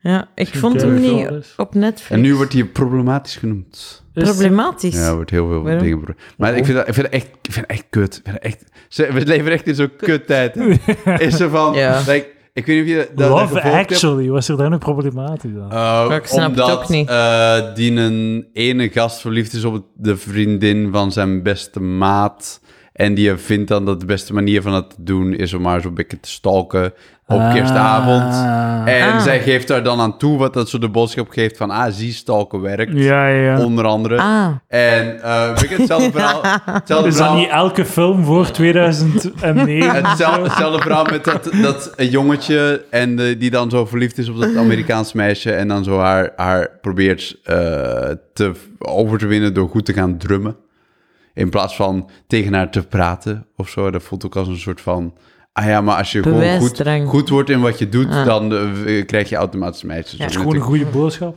[SPEAKER 2] Ja, ik
[SPEAKER 1] Misschien
[SPEAKER 2] vond hem
[SPEAKER 1] Kevin
[SPEAKER 2] niet
[SPEAKER 1] Felders.
[SPEAKER 2] op Netflix.
[SPEAKER 3] En nu wordt hij problematisch genoemd.
[SPEAKER 1] Is-
[SPEAKER 2] Problematisch.
[SPEAKER 3] Ja, er wordt heel veel
[SPEAKER 2] Waarom?
[SPEAKER 3] dingen... pro- Maar ik vind dat, ik vind dat echt, ik vind dat echt kut. Ik vind dat echt, Ze- we leven echt in zo'n kut tijd. Is er van...
[SPEAKER 2] Ja.
[SPEAKER 3] like, ik weet niet of je dat, dat
[SPEAKER 1] Love
[SPEAKER 3] gevolgd hebt.
[SPEAKER 1] Actually, was er daar een problematisch aan?
[SPEAKER 3] Eh,
[SPEAKER 2] Ik snap het
[SPEAKER 3] omdat,
[SPEAKER 2] ook niet.
[SPEAKER 3] eh, die een ene gast verliefd is op de vriendin van zijn beste maat. En die vindt dan dat de beste manier van dat te doen is om haar zo'n beetje te stalken Eh, op
[SPEAKER 1] Ah.
[SPEAKER 3] kerstavond. En
[SPEAKER 2] Ah.
[SPEAKER 3] zij geeft daar dan aan toe wat dat zo de boodschap geeft van, ah, zie, stalken werkt.
[SPEAKER 1] Ja, ja.
[SPEAKER 3] Onder andere.
[SPEAKER 2] Ah,
[SPEAKER 3] En eh weet je, hetzelfde verhaal. Hetzelfde
[SPEAKER 1] Is dat
[SPEAKER 3] verhaal,
[SPEAKER 1] niet elke film voor 2009?
[SPEAKER 3] hetzelfde, hetzelfde verhaal met dat, dat een jongetje en eh, die dan zo verliefd is op dat Amerikaans meisje en dan zo haar, haar probeert eh, te over te winnen door goed te gaan drummen. In plaats van tegen haar te praten of zo. Dat voelt ook als een soort van... Ah ja, maar als je gewoon goed,
[SPEAKER 2] Bewijsdrang.
[SPEAKER 3] goed wordt in wat je doet, dan eh, krijg je automatisch meisjes. Dus
[SPEAKER 2] Ja.
[SPEAKER 3] Dat is
[SPEAKER 1] Gewoon een
[SPEAKER 3] natuurlijk-
[SPEAKER 1] goede boodschap.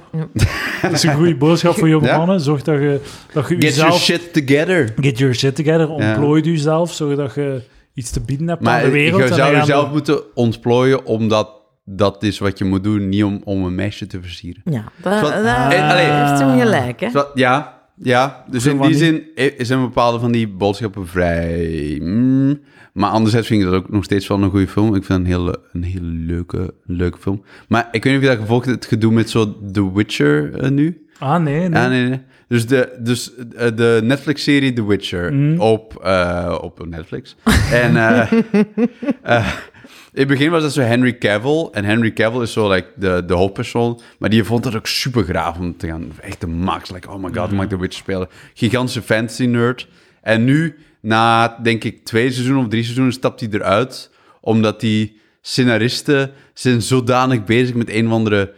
[SPEAKER 1] Dat is een goede boodschap voor jonge
[SPEAKER 3] Ja?
[SPEAKER 1] mannen. Zorg dat je, dat je
[SPEAKER 3] Get your
[SPEAKER 1] jezelf...
[SPEAKER 3] shit together.
[SPEAKER 1] Get your shit together. Ontplooi jezelf. Zorg dat je iets te bieden hebt aan
[SPEAKER 3] Maar
[SPEAKER 1] de wereld.
[SPEAKER 3] je
[SPEAKER 1] en
[SPEAKER 3] zou
[SPEAKER 1] dan gaan
[SPEAKER 3] jezelf
[SPEAKER 1] we-
[SPEAKER 3] moeten ontplooien omdat dat is wat je moet doen, niet om, om een meisje te versieren.
[SPEAKER 2] ja. Dat,
[SPEAKER 3] Wat-
[SPEAKER 2] dat
[SPEAKER 3] Eh, allee.
[SPEAKER 2] heeft hem gelijk, hè.
[SPEAKER 3] Zo- Ja, ja. Dus
[SPEAKER 1] Zo
[SPEAKER 3] in
[SPEAKER 1] van
[SPEAKER 3] die
[SPEAKER 1] niet.
[SPEAKER 3] zin i- zijn bepaalde van die boodschappen vrij... mm. Maar anderzijds vind ik dat ook nog steeds wel een goede film. Ik vind het een hele, een hele leuke, leuke film. Maar ik weet niet of je dat gevolgd hebt, het gedoe met zo The Witcher eh, nu.
[SPEAKER 1] Ah, nee, nee.
[SPEAKER 3] Ja, nee, nee. Dus de, dus eh, de Netflix-serie The Witcher op, eh, op Netflix. en eh, eh, in het begin was dat zo Henry Cavill. En Henry Cavill is zo like, de, de hoofdpersoon. Maar die vond dat ook super graaf om te gaan. Echt de max. Like, oh my god, mag ik The Witcher spelen? Gigantische fantasy-nerd. En nu, na denk ik twee seizoenen of drie seizoenen, stapt hij eruit. Omdat die scenaristen zijn zodanig bezig met een of andere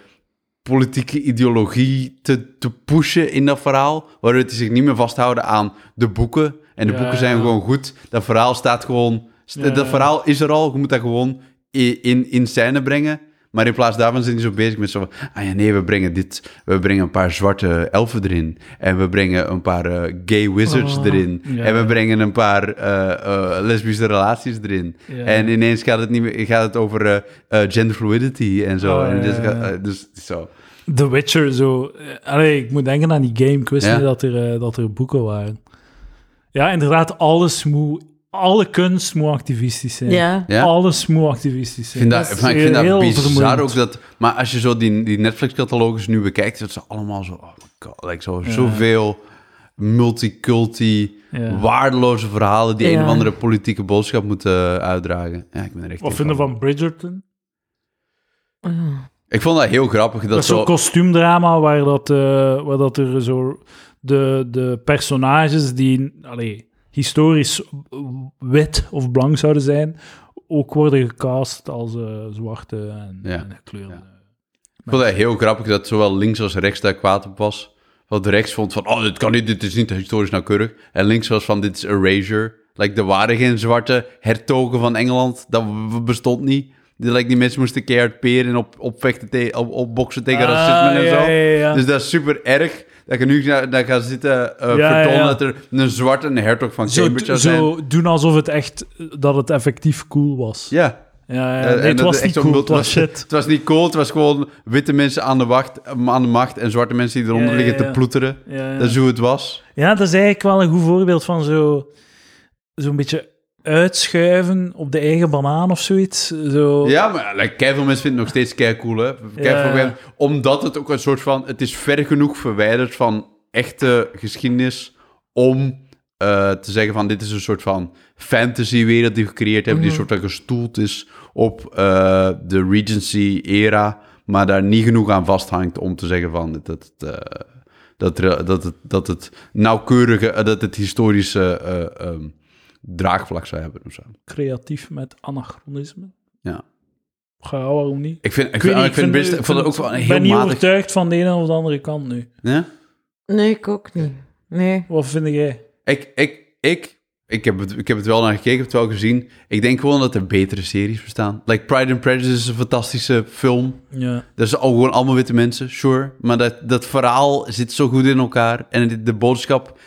[SPEAKER 3] politieke ideologie te, te pushen in dat verhaal. Waardoor het zich niet meer vasthouden aan de boeken. En de
[SPEAKER 1] Ja,
[SPEAKER 3] boeken zijn
[SPEAKER 1] ja.
[SPEAKER 3] gewoon goed. Dat verhaal staat gewoon... st-
[SPEAKER 1] Ja,
[SPEAKER 3] dat
[SPEAKER 1] ja.
[SPEAKER 3] verhaal is er al. Je moet dat gewoon i- in, in scène brengen. Maar in plaats daarvan zijn die zo bezig met zo van... Ah ja, nee, we brengen dit. We brengen een paar zwarte elfen erin. En we brengen een paar eh, gay wizards
[SPEAKER 1] Oh,
[SPEAKER 3] erin.
[SPEAKER 1] ja.
[SPEAKER 3] En we brengen een paar eh, eh, lesbische relaties erin.
[SPEAKER 1] Ja.
[SPEAKER 3] En ineens gaat het, niet meer, gaat het over eh, eh, gender fluidity en zo.
[SPEAKER 1] Oh,
[SPEAKER 3] en
[SPEAKER 1] ja,
[SPEAKER 3] dus,
[SPEAKER 1] ja, ja.
[SPEAKER 3] eh, dus zo.
[SPEAKER 1] The Witcher, zo. eh, Allee, ik moet denken aan die game. Ik wist
[SPEAKER 3] Ja.
[SPEAKER 1] niet dat er, eh, dat er boeken waren. Ja, inderdaad, alles moet... Alle kunst moet activistisch zijn.
[SPEAKER 2] Ja.
[SPEAKER 3] Ja?
[SPEAKER 1] Alles moet activistisch
[SPEAKER 3] Ik
[SPEAKER 1] zijn.
[SPEAKER 3] vind
[SPEAKER 2] Dat
[SPEAKER 3] dat,
[SPEAKER 2] is
[SPEAKER 3] maar ik vind
[SPEAKER 1] heel
[SPEAKER 3] dat bizar
[SPEAKER 1] vermoeiend.
[SPEAKER 3] ook dat... Maar als je zo die, die Netflix-catalogus nu bekijkt, dat ze allemaal zo... Oh my god, like zo, zoveel multiculti,
[SPEAKER 1] Ja.
[SPEAKER 3] waardeloze verhalen die een
[SPEAKER 2] Ja.
[SPEAKER 3] of andere politieke boodschap moeten eh, uitdragen. Ja, ik ben er echt
[SPEAKER 1] Wat
[SPEAKER 3] in
[SPEAKER 1] vinden we van Bridgerton?
[SPEAKER 3] Ik vond dat heel grappig. Dat,
[SPEAKER 1] Dat is
[SPEAKER 3] zo,
[SPEAKER 1] zo'n kostuumdrama waar, dat, eh, waar dat er zo de, de personages die allee, historisch wit of blank zouden zijn, ook worden gecast als eh, zwarte en,
[SPEAKER 3] Ja.
[SPEAKER 1] en gekleurde.
[SPEAKER 3] Ik vond dat heel grappig dat zowel links als rechts daar kwaad op was. Want rechts vond van, oh, dit kan niet, dit is niet historisch nauwkeurig. En links was van, dit is erasure. Like, er waren geen zwarte hertogen van Engeland. Dat w- bestond niet. Die, like, die mensen moesten keihard peren en op, opvechten te, op, opboksen tegen
[SPEAKER 1] Ah,
[SPEAKER 3] racisme en
[SPEAKER 1] ja,
[SPEAKER 3] zo.
[SPEAKER 1] ja, ja.
[SPEAKER 3] Dus dat is super erg. Dat je nu ga- dat gaat zitten eh
[SPEAKER 1] ja,
[SPEAKER 3] vertonen
[SPEAKER 1] ja.
[SPEAKER 3] dat er een zwarte en een hertog van
[SPEAKER 1] Zo,
[SPEAKER 3] Cambridge zou zijn.
[SPEAKER 1] zo doen alsof het echt, dat het effectief cool was.
[SPEAKER 3] Ja.
[SPEAKER 1] Ja, ja,
[SPEAKER 3] Eh,
[SPEAKER 1] nee,
[SPEAKER 3] en
[SPEAKER 1] het
[SPEAKER 3] dat
[SPEAKER 1] was
[SPEAKER 3] echt
[SPEAKER 1] niet
[SPEAKER 3] zo'n
[SPEAKER 1] cool,
[SPEAKER 3] mul-
[SPEAKER 1] het was shit.
[SPEAKER 3] Het was niet cool, het was gewoon witte mensen aan de, wacht, aan de macht en zwarte mensen die eronder
[SPEAKER 1] Ja, ja,
[SPEAKER 3] liggen te
[SPEAKER 1] ja.
[SPEAKER 3] ploeteren.
[SPEAKER 1] Ja, ja.
[SPEAKER 3] Dat is hoe het was.
[SPEAKER 1] Ja, dat is eigenlijk wel een goed voorbeeld van zo zo'n beetje uitschuiven op de eigen banaan of zoiets. Zo,
[SPEAKER 3] Ja, maar eh, like, keiveel mensen vinden het nog steeds kei cool, hè? Keivoel
[SPEAKER 1] ja.
[SPEAKER 3] Omdat het ook een soort van... Het is ver genoeg verwijderd van echte geschiedenis om eh, te zeggen van... Dit is een soort van fantasywereld die we gecreëerd hebben. Die soort van gestoeld is op eh, de Regency-era. Maar daar niet genoeg aan vasthangt om te zeggen van... Dat, dat, eh, dat, er- dat, het, dat het nauwkeurige... eh, dat het historische eh, ehm, draagvlak zou hebben of zo.
[SPEAKER 1] creatief met anachronisme.
[SPEAKER 3] Ja.
[SPEAKER 1] Ja, waarom niet?
[SPEAKER 3] Ik vind, ik,
[SPEAKER 1] Ik
[SPEAKER 3] vind,
[SPEAKER 1] weet niet,
[SPEAKER 3] ik vind,
[SPEAKER 1] vind-
[SPEAKER 3] best, ik vond het ook
[SPEAKER 1] vind-
[SPEAKER 3] wel een
[SPEAKER 1] ik
[SPEAKER 3] heel
[SPEAKER 1] ben niet
[SPEAKER 3] matig...
[SPEAKER 1] overtuigd van de ene of de andere kant nu.
[SPEAKER 3] Ja?
[SPEAKER 2] Nee, ik ook niet. Nee.
[SPEAKER 1] Wat vind jij?
[SPEAKER 3] Ik, ik, ik, ik, heb het, ik heb het wel naar gekeken, ik heb het wel gezien. Ik denk gewoon dat er betere series bestaan. Like Pride and Prejudice is een fantastische film.
[SPEAKER 1] Ja.
[SPEAKER 3] Dat is al gewoon allemaal witte mensen, sure. Maar dat, dat verhaal zit zo goed in elkaar. En de, de boodschap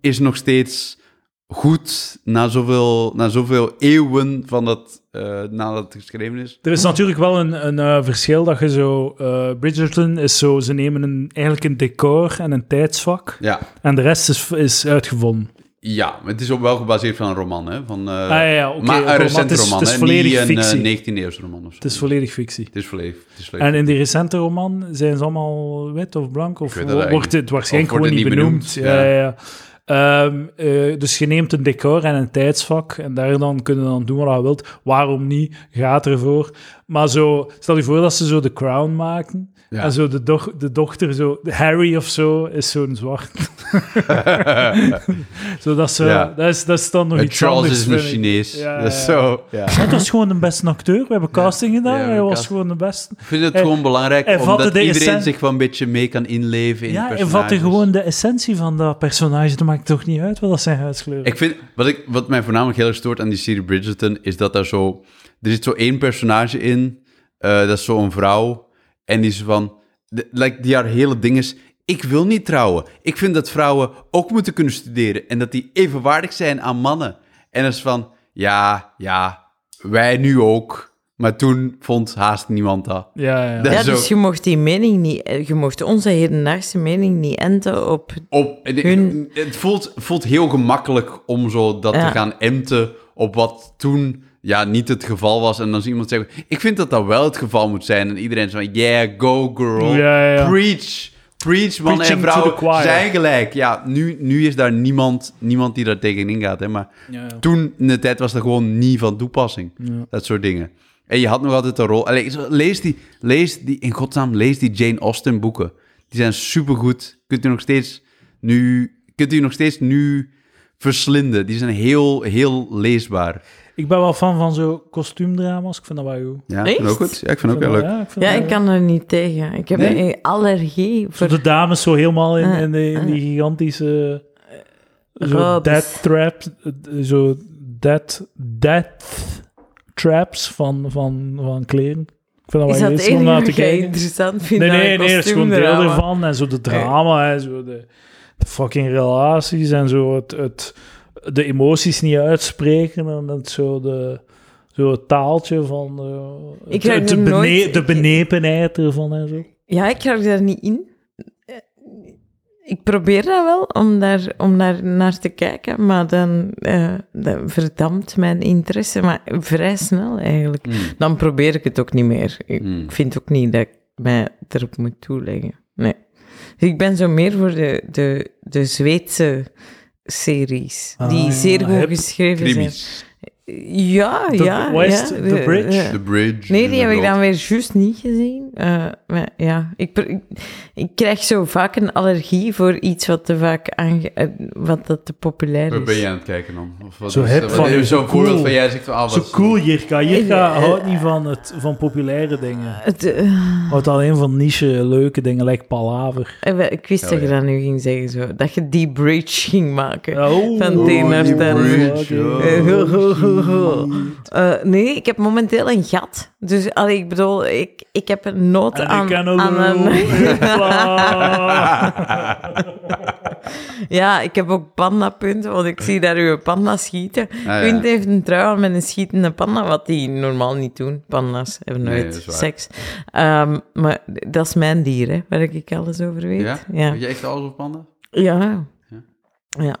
[SPEAKER 3] is nog steeds goed na zoveel, na zoveel eeuwen van dat, eh, nadat het geschreven is.
[SPEAKER 1] Er is natuurlijk wel een, een eh, verschil dat je zo... eh, Bridgerton is zo... Ze nemen een, eigenlijk een decor en een tijdsvak.
[SPEAKER 3] Ja,
[SPEAKER 1] En de rest is, is uitgevonden.
[SPEAKER 3] ja maar het is ook wel gebaseerd van een roman, hè? Van, eh,
[SPEAKER 1] Ah, ja, ja, oké,
[SPEAKER 3] maar
[SPEAKER 1] oké,
[SPEAKER 3] een
[SPEAKER 1] maar
[SPEAKER 3] recente
[SPEAKER 1] het is-
[SPEAKER 3] roman,
[SPEAKER 1] het is
[SPEAKER 3] hè,
[SPEAKER 1] volledig
[SPEAKER 3] niet een
[SPEAKER 1] fictie.
[SPEAKER 3] 19e eeuws roman of zo.
[SPEAKER 1] Het is volledig fictie.
[SPEAKER 3] Het is volledig. Het is volledig.
[SPEAKER 1] En in die recente roman zijn ze allemaal wit of blank? Of
[SPEAKER 3] weet dat eigenlijk
[SPEAKER 1] wordt het waarschijnlijk
[SPEAKER 3] Of
[SPEAKER 1] gewoon
[SPEAKER 3] wordt
[SPEAKER 1] niet
[SPEAKER 3] het
[SPEAKER 1] benoemd?
[SPEAKER 3] niet
[SPEAKER 1] Ja,
[SPEAKER 3] benoemd,
[SPEAKER 1] ja, ja. Ehm, eh, dus je neemt een decor en een tijdsvak en daar dan kunnen dan doen wat je wilt. Waarom niet? Gaat ervoor. Maar zo, stel je voor dat ze zo de crown maken
[SPEAKER 3] Ja.
[SPEAKER 1] en zo de, doch- de dochter, zo, Harry of zo, is zo'n zwart. zo, dat, is, wel-
[SPEAKER 3] Ja.
[SPEAKER 1] dat, is, dat is dan nog
[SPEAKER 3] Eh,
[SPEAKER 1] iets
[SPEAKER 3] Charles
[SPEAKER 1] anders.
[SPEAKER 3] is een
[SPEAKER 1] vind ik.
[SPEAKER 3] Chinees.
[SPEAKER 1] Ja,
[SPEAKER 3] dat is
[SPEAKER 1] ja.
[SPEAKER 3] zo. Ja.
[SPEAKER 1] Hij was gewoon de beste acteur. We hebben casting gedaan.
[SPEAKER 3] Ja, we
[SPEAKER 1] hij
[SPEAKER 3] hebben
[SPEAKER 1] was
[SPEAKER 3] cast-
[SPEAKER 1] gewoon de beste.
[SPEAKER 3] Ik vind het
[SPEAKER 1] Hij-
[SPEAKER 3] gewoon belangrijk
[SPEAKER 1] hij vatte
[SPEAKER 3] omdat
[SPEAKER 1] de
[SPEAKER 3] iedereen
[SPEAKER 1] essen-
[SPEAKER 3] zich wel een beetje mee kan inleven in de
[SPEAKER 1] Ja, en
[SPEAKER 3] personages.
[SPEAKER 1] vat er gewoon de essentie van dat personage. Dat maakt toch niet uit wat dat zijn huidskleur
[SPEAKER 3] Ik vind, wat, ik, wat mij voornamelijk heel erg stoort aan die serie Bridgerton, is dat daar zo... Er zit zo één personage in, eh, dat is zo'n vrouw, en die is van... de- like, die haar hele ding is, ik wil niet trouwen. Ik vind dat vrouwen ook moeten kunnen studeren en dat die evenwaardig zijn aan mannen. En dat is van, ja, ja, wij nu ook. Maar toen vond haast niemand dat.
[SPEAKER 1] Ja, ja.
[SPEAKER 3] Dat
[SPEAKER 2] Ja,
[SPEAKER 3] is ook-
[SPEAKER 2] dus je mocht die mening niet, eh, je mocht onze hedendaagse mening niet enten op.
[SPEAKER 3] op. en ik-
[SPEAKER 2] Hun-
[SPEAKER 3] Het voelt, voelt heel gemakkelijk om zo dat
[SPEAKER 2] Ja.
[SPEAKER 3] te gaan empten op wat toen ja, niet het geval was. En dan zie iemand zeggen: Ik vind dat dat wel het geval moet zijn. En iedereen is van: Yeah, go girl.
[SPEAKER 1] Ja, ja.
[SPEAKER 3] Preach. Preach, man en
[SPEAKER 1] Preaching to
[SPEAKER 3] vrouw
[SPEAKER 1] the choir.
[SPEAKER 3] zijn gelijk. Ja, nu, nu is daar niemand, niemand die daar tegenin gaat. Hè? Maar
[SPEAKER 1] Ja, ja.
[SPEAKER 3] toen in de tijd was dat gewoon niet van toepassing. Dat soort dingen. En je had nog altijd een rol. Allee, lees die, lees die, in godsnaam, lees die Jane Austen boeken. Die zijn supergoed. Kunt u nog steeds nu, kunt u nog steeds nu verslinden. Die zijn heel, heel leesbaar.
[SPEAKER 1] Ik ben wel fan van zo'n kostuumdrama's. Ik vind dat wel goed. Ik
[SPEAKER 3] Ja, ik vind
[SPEAKER 2] Echt?
[SPEAKER 3] ook goed. Ja, ik vind ook
[SPEAKER 1] vind
[SPEAKER 3] wel
[SPEAKER 1] dat-
[SPEAKER 3] leuk.
[SPEAKER 1] ja, ik vind
[SPEAKER 2] Ja,
[SPEAKER 1] dat
[SPEAKER 2] ik
[SPEAKER 1] wel-
[SPEAKER 2] kan er niet tegen. Ik heb
[SPEAKER 3] Nee?
[SPEAKER 2] een allergie
[SPEAKER 1] Zo
[SPEAKER 2] voor
[SPEAKER 1] de dames zo helemaal in, in, die, in die
[SPEAKER 2] Ah.
[SPEAKER 1] gigantische... eh, Zo
[SPEAKER 2] Robes.
[SPEAKER 1] death traps. eh, Zo death, death traps van, van, van kleren. Ik vind dat
[SPEAKER 2] Is
[SPEAKER 1] wel
[SPEAKER 2] dat het
[SPEAKER 1] leuk om
[SPEAKER 2] enige
[SPEAKER 1] naar
[SPEAKER 2] wat
[SPEAKER 1] te
[SPEAKER 2] jij
[SPEAKER 1] kijken.
[SPEAKER 2] interessant vindt?
[SPEAKER 1] Nee,
[SPEAKER 2] aan
[SPEAKER 1] nee,
[SPEAKER 2] een
[SPEAKER 1] nee, er is gewoon deel
[SPEAKER 2] kostuumdrama?
[SPEAKER 1] ervan. En zo de drama, hè, zo de, de fucking relaties en zo het, het, de emoties niet uitspreken en het zo de... Zo het taaltje van eh,
[SPEAKER 2] Ik
[SPEAKER 1] het-
[SPEAKER 2] raak
[SPEAKER 1] het
[SPEAKER 2] er nooit-
[SPEAKER 1] bene- de benepenheid ervan en zo.
[SPEAKER 2] Ja, ik raak daar niet in. Eh, Ik probeer dat wel, om daar, om daar naar te kijken, maar dan eh dat verdampt mijn interesse, maar vrij snel eigenlijk.
[SPEAKER 3] Mm.
[SPEAKER 2] Dan probeer ik het ook niet meer. Ik
[SPEAKER 3] Mm.
[SPEAKER 2] vind ook niet dat ik mij erop moet toeleggen. Nee. Ik ben zo meer voor de, de, de Zweedse series,
[SPEAKER 1] Ah,
[SPEAKER 2] die
[SPEAKER 1] ja,
[SPEAKER 2] zeer goed
[SPEAKER 1] hip.
[SPEAKER 2] geschreven
[SPEAKER 3] Krimis.
[SPEAKER 2] zijn. Ja,
[SPEAKER 1] The-
[SPEAKER 2] ja.
[SPEAKER 1] wat is
[SPEAKER 2] ja,
[SPEAKER 1] het? The Bridge?
[SPEAKER 2] ja.
[SPEAKER 3] The Bridge.
[SPEAKER 2] Nee, die heb ik dan
[SPEAKER 3] inderdaad.
[SPEAKER 2] weer juist niet gezien. Eh, maar ja, ik, pr- ik, ik krijg zo vaak een allergie voor iets wat te vaak aange- eh, wat dat te populair
[SPEAKER 3] Waar ben
[SPEAKER 2] is.
[SPEAKER 3] jij aan het kijken dan? Of wat
[SPEAKER 1] Zo
[SPEAKER 3] is-
[SPEAKER 1] hip
[SPEAKER 3] wat
[SPEAKER 1] van-
[SPEAKER 3] is Zo'n
[SPEAKER 1] zo cool.
[SPEAKER 3] voorbeeld van jij zegt van... Ah,
[SPEAKER 1] Zo
[SPEAKER 3] wat-
[SPEAKER 1] cool, Jirka. Jirka
[SPEAKER 2] Eh, eh,
[SPEAKER 1] houdt niet van, het, van populaire dingen.
[SPEAKER 2] Het, eh,
[SPEAKER 1] Houdt alleen van niche, leuke dingen, like Palaver.
[SPEAKER 2] eh, we- ik wist
[SPEAKER 3] Oh,
[SPEAKER 2] dat je
[SPEAKER 3] ja.
[SPEAKER 2] dat nu ging zeggen, zo, dat je die bridge ging maken.
[SPEAKER 1] Oh,
[SPEAKER 2] Van Taylor
[SPEAKER 1] die
[SPEAKER 2] Swift.
[SPEAKER 1] bridge,
[SPEAKER 2] Eh, ho, ho,
[SPEAKER 3] Oh,
[SPEAKER 2] ho, ho.
[SPEAKER 1] shit.
[SPEAKER 2] Eh, nee, ik heb momenteel een gat. Dus allee, ik bedoel, ik, ik heb een nood
[SPEAKER 1] En ik
[SPEAKER 2] aan,
[SPEAKER 1] kan ook
[SPEAKER 2] aan een... Ja, ik heb ook pandapunten, want ik zie daar uw panda schieten.
[SPEAKER 3] Ah, ja.
[SPEAKER 2] Quint heeft een trui aan met een schietende panda, wat die normaal niet doen. Panda's hebben
[SPEAKER 3] Nee,
[SPEAKER 2] nooit
[SPEAKER 3] dat is waar.
[SPEAKER 2] seks. Ehm, maar d- dat is mijn dier, hè, waar ik alles over weet.
[SPEAKER 3] Ja?
[SPEAKER 2] Ja.
[SPEAKER 3] Weet jij echt alles op panden?
[SPEAKER 2] ja.
[SPEAKER 3] Ja.
[SPEAKER 2] Ja.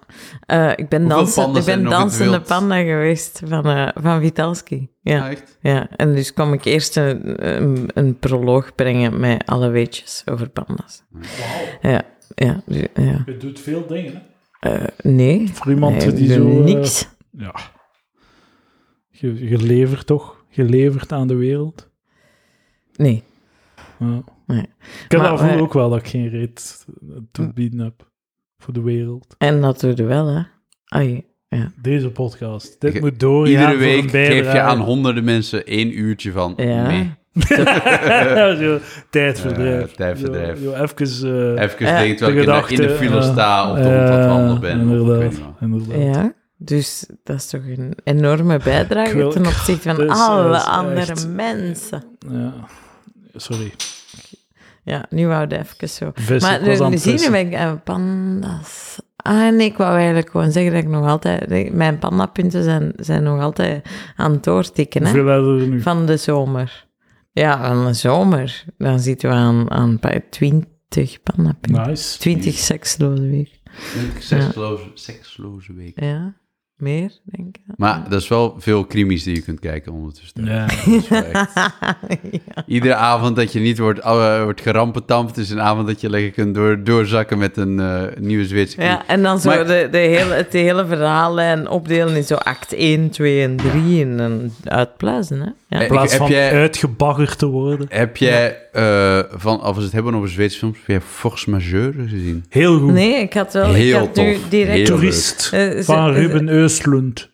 [SPEAKER 2] Eh, ik ben,
[SPEAKER 3] Hoeveel
[SPEAKER 2] dansen,
[SPEAKER 3] panda's
[SPEAKER 2] ik
[SPEAKER 3] zijn
[SPEAKER 2] ben
[SPEAKER 3] er nog in het
[SPEAKER 2] dansende
[SPEAKER 3] wild?
[SPEAKER 2] panda geweest van, eh, van Vitalski. Ja.
[SPEAKER 3] Ah, echt?
[SPEAKER 2] Ja, en dus kwam ik eerst een, een, een proloog brengen met alle weetjes over panda's. Ja, ja, ja.
[SPEAKER 1] Je doet veel dingen. hè?
[SPEAKER 2] Eh, nee.
[SPEAKER 1] Voor iemand
[SPEAKER 2] Nee,
[SPEAKER 1] die
[SPEAKER 2] ik doe
[SPEAKER 1] zo... eh,
[SPEAKER 2] Niks.
[SPEAKER 1] ja. Je, je levert toch? Je levert aan de wereld.
[SPEAKER 2] Nee.
[SPEAKER 1] Ja.
[SPEAKER 2] Nee.
[SPEAKER 1] Ik heb
[SPEAKER 2] Maar,
[SPEAKER 1] daarvoor
[SPEAKER 2] eh, hm.
[SPEAKER 1] ook wel dat ik geen reet te bieden heb. Voor de wereld.
[SPEAKER 2] En dat doe je wel, hè? Ai,
[SPEAKER 1] Deze podcast. Dit
[SPEAKER 3] Ik-
[SPEAKER 1] moet door.
[SPEAKER 3] Iedere week geef je aan honderden mensen één uurtje van...
[SPEAKER 2] ja.
[SPEAKER 3] Nee.
[SPEAKER 1] zo, tijdverdrijf.
[SPEAKER 3] Ja, tijdverdrijf.
[SPEAKER 1] Zo, zo even... eh,
[SPEAKER 3] Even
[SPEAKER 2] Eh,
[SPEAKER 3] denken terwijl
[SPEAKER 1] de
[SPEAKER 3] ik in de- in
[SPEAKER 1] gedachte,
[SPEAKER 3] de file
[SPEAKER 1] eh,
[SPEAKER 3] sta of
[SPEAKER 1] eh,
[SPEAKER 3] uh, wat wandelen ben. of ik weet
[SPEAKER 1] Inderdaad.
[SPEAKER 3] niet wat.
[SPEAKER 1] inderdaad.
[SPEAKER 2] Ja. Dus dat is toch een enorme bijdrage
[SPEAKER 1] Ik wil-
[SPEAKER 2] ten opzichte van
[SPEAKER 1] Dit is-
[SPEAKER 2] alle
[SPEAKER 1] is echt-
[SPEAKER 2] andere mensen.
[SPEAKER 1] Ja. Sorry.
[SPEAKER 2] Ja, nu wou dat even zo.
[SPEAKER 1] Vis,
[SPEAKER 2] maar
[SPEAKER 1] ik was aan
[SPEAKER 2] nu
[SPEAKER 1] het
[SPEAKER 2] zien we
[SPEAKER 1] vissen.
[SPEAKER 2] ben ik eh, panda's. Ah, nee, ik wou eigenlijk gewoon zeggen dat ik nog altijd... nee, Mijn pandapunten zijn, zijn nog altijd aan het doortikken, hè?
[SPEAKER 1] Hoeveel hebben we er nu?
[SPEAKER 2] Van de zomer. Ja, van de zomer. Dan zitten we aan, aan bij 20 pandapunten.
[SPEAKER 1] Nice.
[SPEAKER 2] 20 seksloze week.
[SPEAKER 3] Een seksloze, seksloze week.
[SPEAKER 2] Ja, meer, denk ik.
[SPEAKER 3] Maar dat is wel veel krimis die je kunt kijken ondertussen.
[SPEAKER 1] Ja.
[SPEAKER 3] Dat is wel echt- Iedere avond dat je niet wordt, eh, wordt gerampetampt, is een avond dat je lekker kunt door, doorzakken met een eh, nieuwe Zweedse knie.
[SPEAKER 2] Ja, en dan zo
[SPEAKER 3] Maar-
[SPEAKER 2] de, de hele, het hele verhaallijn opdelen in zo act 1, 2 en 3 en dan uitpluizen, hè? Ja.
[SPEAKER 1] In plaats
[SPEAKER 3] heb
[SPEAKER 1] van
[SPEAKER 3] jij-
[SPEAKER 1] uitgebaggerd te worden.
[SPEAKER 3] Heb jij, eh, van, als we het hebben over Zweedse films, heb jij Force Majeure gezien?
[SPEAKER 1] Heel goed.
[SPEAKER 2] Nee, ik had wel...
[SPEAKER 3] Heel
[SPEAKER 2] ik had nu
[SPEAKER 3] tof.
[SPEAKER 2] direct...
[SPEAKER 3] Heel-
[SPEAKER 1] Toerist
[SPEAKER 2] Eh, is-
[SPEAKER 1] van
[SPEAKER 2] is-
[SPEAKER 1] Ruben Östlund.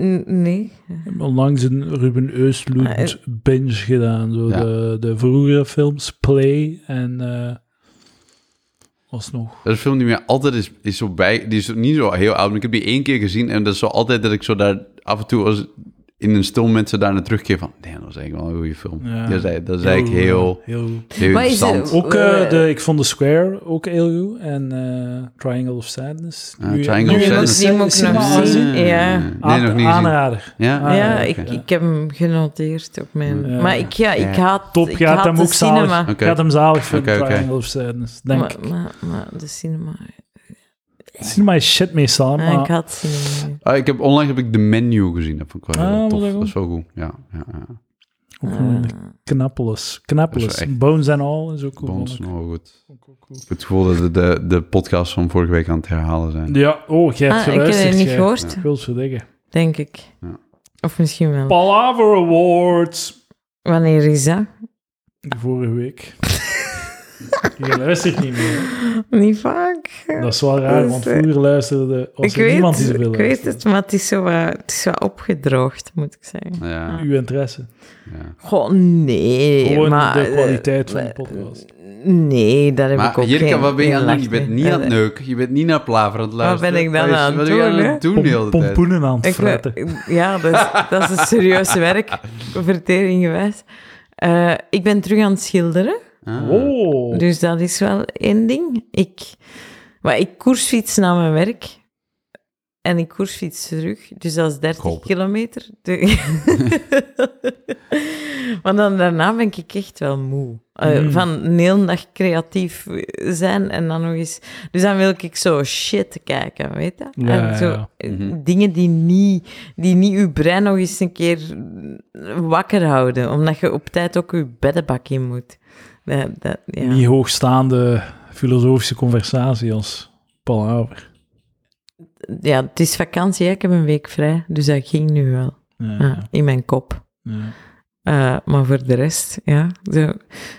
[SPEAKER 2] N- Nee.
[SPEAKER 1] Onlangs een Ruben
[SPEAKER 2] Ah, eh.
[SPEAKER 1] Östlund binge gedaan. Zo
[SPEAKER 3] Ja.
[SPEAKER 1] de, de vroegere films, Play en... eh was nog...
[SPEAKER 3] Dat is een film die mij altijd is, is zo bij... Die is niet zo heel oud, maar ik heb die één keer gezien. En dat is zo altijd dat ik zo daar af en toe als in een stil moment zo daar naar terugkeer van... Nee, dat was eigenlijk wel een goede film.
[SPEAKER 1] Ja.
[SPEAKER 3] Dat is eigenlijk- dat is eigenlijk
[SPEAKER 1] goed,
[SPEAKER 3] heel,
[SPEAKER 1] heel goed.
[SPEAKER 3] heel
[SPEAKER 2] Maar is het-
[SPEAKER 3] interessant.
[SPEAKER 1] Ook eh,
[SPEAKER 2] Eh,
[SPEAKER 1] de, ik vond de Square ook heel goed. En eh, Triangle of Sadness.
[SPEAKER 3] Ah, Triangle
[SPEAKER 2] Nu
[SPEAKER 3] of
[SPEAKER 1] in de
[SPEAKER 3] Sadness.
[SPEAKER 2] Die moet ik nog
[SPEAKER 1] cinema- Ah,
[SPEAKER 2] zien. Ja.
[SPEAKER 3] Nee, nog niet gezien.
[SPEAKER 1] Aanrader.
[SPEAKER 3] Ja?
[SPEAKER 1] Ah,
[SPEAKER 2] ja,
[SPEAKER 1] ja,
[SPEAKER 2] ik,
[SPEAKER 1] oké.
[SPEAKER 2] ik heb hem genoteerd op mijn...
[SPEAKER 1] Ja.
[SPEAKER 2] Maar ik, ja, ik
[SPEAKER 3] Ja.
[SPEAKER 2] haat...
[SPEAKER 1] Top,
[SPEAKER 2] ik
[SPEAKER 1] gaat
[SPEAKER 2] haat
[SPEAKER 1] hem
[SPEAKER 2] de
[SPEAKER 1] ook
[SPEAKER 2] cinema.
[SPEAKER 1] zalig.
[SPEAKER 3] Oké.
[SPEAKER 1] Gaat hem zalig vinden,
[SPEAKER 3] Oké, oké.
[SPEAKER 1] Triangle of Sadness. Denk
[SPEAKER 2] Maar,
[SPEAKER 1] ik.
[SPEAKER 2] maar, maar de cinema...
[SPEAKER 1] Cinema is shit meestal,
[SPEAKER 2] Ah, ik
[SPEAKER 1] maar...
[SPEAKER 2] haat cinema. niet.
[SPEAKER 3] Ah, ik heb, onlangs heb ik de menu gezien. Dat vond ik wel heel
[SPEAKER 1] Ah, was
[SPEAKER 3] tof.
[SPEAKER 1] dat
[SPEAKER 3] Dat
[SPEAKER 1] goed?
[SPEAKER 3] is wel goed. Ja, ja, ja.
[SPEAKER 1] Ook
[SPEAKER 2] Ah.
[SPEAKER 1] een Knappeles.
[SPEAKER 3] Dat
[SPEAKER 1] Knappeles.
[SPEAKER 3] is wel echt-
[SPEAKER 1] Bones and All is ook cool.
[SPEAKER 3] Bond is
[SPEAKER 1] vond ik.
[SPEAKER 3] nog wel goed.
[SPEAKER 1] Ook- ook cool.
[SPEAKER 3] Ik heb het gevoel dat we de, de podcast van vorige week aan het herhalen zijn.
[SPEAKER 1] Ja, oh, jij hebt
[SPEAKER 2] Ah, ik heb
[SPEAKER 1] geluisterd.
[SPEAKER 2] het niet
[SPEAKER 1] jij.
[SPEAKER 2] gehoord,
[SPEAKER 1] Ik wil ze zeggen.
[SPEAKER 2] denk ik.
[SPEAKER 3] Ja.
[SPEAKER 2] Of misschien wel.
[SPEAKER 1] Palaver Awards.
[SPEAKER 2] Wanneer is dat?
[SPEAKER 1] Vorige week. Je luistert niet meer.
[SPEAKER 2] Niet vaak.
[SPEAKER 1] Dat is wel raar, want vroeger luisterde was
[SPEAKER 2] eh, Ik
[SPEAKER 1] er
[SPEAKER 2] weet,
[SPEAKER 1] niemand die zoveel
[SPEAKER 2] ik weet
[SPEAKER 1] luisterde.
[SPEAKER 2] het, maar het is, zo wat, het is wat opgedroogd, moet ik zeggen.
[SPEAKER 3] Ja,
[SPEAKER 1] Uw interesse.
[SPEAKER 3] ja.
[SPEAKER 2] Goh, nee.
[SPEAKER 1] Gewoon
[SPEAKER 2] maar,
[SPEAKER 1] de kwaliteit van de
[SPEAKER 2] eh,
[SPEAKER 1] podcast.
[SPEAKER 2] Nee, daar heb ik
[SPEAKER 3] Maar
[SPEAKER 2] ook
[SPEAKER 3] Jirka,
[SPEAKER 2] geen-
[SPEAKER 3] wat ben je
[SPEAKER 2] geen
[SPEAKER 3] aan het doen?
[SPEAKER 2] last
[SPEAKER 3] Je bent
[SPEAKER 2] mee.
[SPEAKER 3] niet aan het
[SPEAKER 2] Eh,
[SPEAKER 3] neuken, je bent niet naar plaver aan het luisteren.
[SPEAKER 2] ben ik dan
[SPEAKER 3] Wat is-
[SPEAKER 2] aan het
[SPEAKER 3] wat ben je
[SPEAKER 2] doen, hè?
[SPEAKER 3] het doen de hele tijd?
[SPEAKER 1] pompoenen aan het
[SPEAKER 2] Eh, Ik,
[SPEAKER 1] fretten.
[SPEAKER 2] wil- ja, dat is, dat is een serieus werk, verteringgewijs. Eh ik ben terug aan het schilderen,
[SPEAKER 3] Ah.
[SPEAKER 1] Oh,
[SPEAKER 2] dus dat is wel één ding. Ik, maar ik koersfiets naar mijn werk en ik koersfiets terug, dus dat is 30
[SPEAKER 3] Kopen.
[SPEAKER 2] kilometer. De- Want dan, daarna ben ik echt wel moe. Eh,
[SPEAKER 1] Mm.
[SPEAKER 2] Van een hele dag creatief zijn en dan nog eens... Dus dan wil ik zo shit kijken, weet je?
[SPEAKER 1] Ja, ja,
[SPEAKER 2] en zo
[SPEAKER 1] ja.
[SPEAKER 2] eh,
[SPEAKER 3] Mhm.
[SPEAKER 2] Dingen die niet, die niet uw brein nog eens een keer wakker houden. Omdat je op tijd ook je beddenbak in moet. Dat, dat, ja.
[SPEAKER 1] niet hoogstaande filosofische conversatie als Paul Haber.
[SPEAKER 2] ja, het is vakantie, hè. ik heb een week vrij. Dus dat ging nu wel.
[SPEAKER 1] Ja,
[SPEAKER 2] Ja, in mijn kop.
[SPEAKER 1] ja.
[SPEAKER 2] Eh, maar voor de rest, ja. De,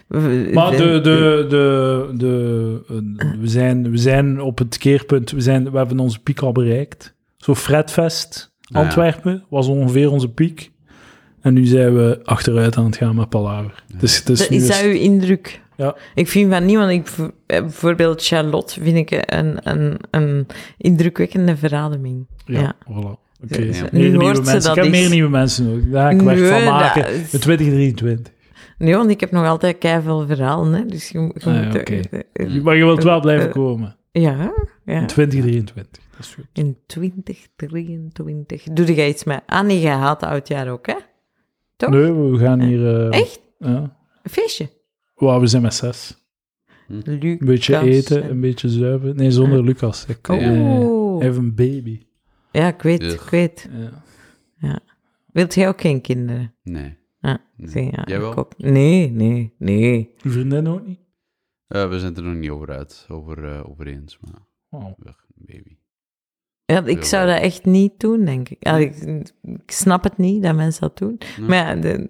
[SPEAKER 2] we-
[SPEAKER 1] Maar
[SPEAKER 2] we-
[SPEAKER 1] de, de, de, de, eh, we, zijn, we zijn op het keerpunt, we, zijn, we hebben onze piek al bereikt. Zo Fredfest
[SPEAKER 3] ja.
[SPEAKER 1] Antwerpen was ongeveer onze piek. En nu zijn we achteruit aan het gaan met Palaver. Dus, dus
[SPEAKER 2] Dat-
[SPEAKER 1] nu
[SPEAKER 2] is
[SPEAKER 1] is-
[SPEAKER 2] dat uw indruk?
[SPEAKER 1] Ja.
[SPEAKER 2] Ik vind van niemand, ik, v- eh, bijvoorbeeld Charlotte, vind ik een, een, een indrukwekkende verademing.
[SPEAKER 1] ja,
[SPEAKER 2] ja.
[SPEAKER 1] voilà. Oké.
[SPEAKER 2] Dus,
[SPEAKER 1] Meer
[SPEAKER 2] nu
[SPEAKER 1] nieuwe
[SPEAKER 2] hoort ze
[SPEAKER 1] mensen.
[SPEAKER 2] dat
[SPEAKER 1] ik heb
[SPEAKER 2] eens.
[SPEAKER 1] meer nieuwe mensen nodig. Daar ga ik werk
[SPEAKER 2] Nee,
[SPEAKER 1] van maken.
[SPEAKER 2] dat is-
[SPEAKER 1] In 2023.
[SPEAKER 2] Nee, want ik heb nog altijd keiveel verhalen, hè. Dus je, moet- je
[SPEAKER 1] Ah,
[SPEAKER 2] moet...
[SPEAKER 1] ja, oké.
[SPEAKER 2] eh, eh,
[SPEAKER 1] Maar je wilt wel blijven
[SPEAKER 2] Eh,
[SPEAKER 1] komen.
[SPEAKER 2] Ja, ja.
[SPEAKER 1] In 2023. Dat is goed.
[SPEAKER 2] In 2023. Doe jij iets mee? Ah, nee, jij haat oudjaar ook, hè? Toch?
[SPEAKER 1] Nee, we gaan hier... eh,
[SPEAKER 2] Echt?
[SPEAKER 1] Ja.
[SPEAKER 2] Een feestje?
[SPEAKER 1] Wauw, we zijn met zes.
[SPEAKER 2] Lucas.
[SPEAKER 1] Een beetje eten, een beetje zuipen. Nee, zonder Lucas. Ik, eh,
[SPEAKER 2] Oeh.
[SPEAKER 1] Hij heeft een baby.
[SPEAKER 2] Oh. Ja, ik weet,
[SPEAKER 3] Ugh.
[SPEAKER 2] ik weet.
[SPEAKER 1] Ja.
[SPEAKER 2] Wilt jij ook geen kinderen?
[SPEAKER 3] Nee.
[SPEAKER 2] Ah,
[SPEAKER 3] Nee.
[SPEAKER 2] zie, ja,
[SPEAKER 3] Jij
[SPEAKER 2] ik
[SPEAKER 3] wel?
[SPEAKER 2] ook. Nee, nee, nee.
[SPEAKER 1] Uw vriendin ook niet?
[SPEAKER 3] Eh, we zijn het er nog niet over uit, over, eh, over eens, maar
[SPEAKER 1] Oh.
[SPEAKER 3] weg, baby.
[SPEAKER 2] Ja, ik
[SPEAKER 3] Ja,
[SPEAKER 2] zou
[SPEAKER 3] maar-
[SPEAKER 2] dat echt niet doen, denk ik. Ja, ik, ik snap het niet dat mensen dat doen.
[SPEAKER 3] Nee.
[SPEAKER 2] Maar ja, de-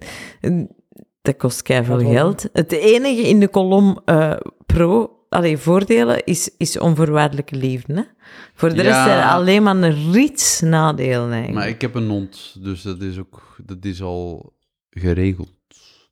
[SPEAKER 2] dat kost keihard
[SPEAKER 1] Dat wel.
[SPEAKER 2] geld. Het enige in de kolom eh, pro, allee, voordelen, is, is onvoorwaardelijke liefde. Hè? Voor de
[SPEAKER 3] Ja.
[SPEAKER 2] rest zijn er alleen maar een riets nadelen eigenlijk.
[SPEAKER 3] Maar ik heb een hond, dus dat is ook, dat is al geregeld,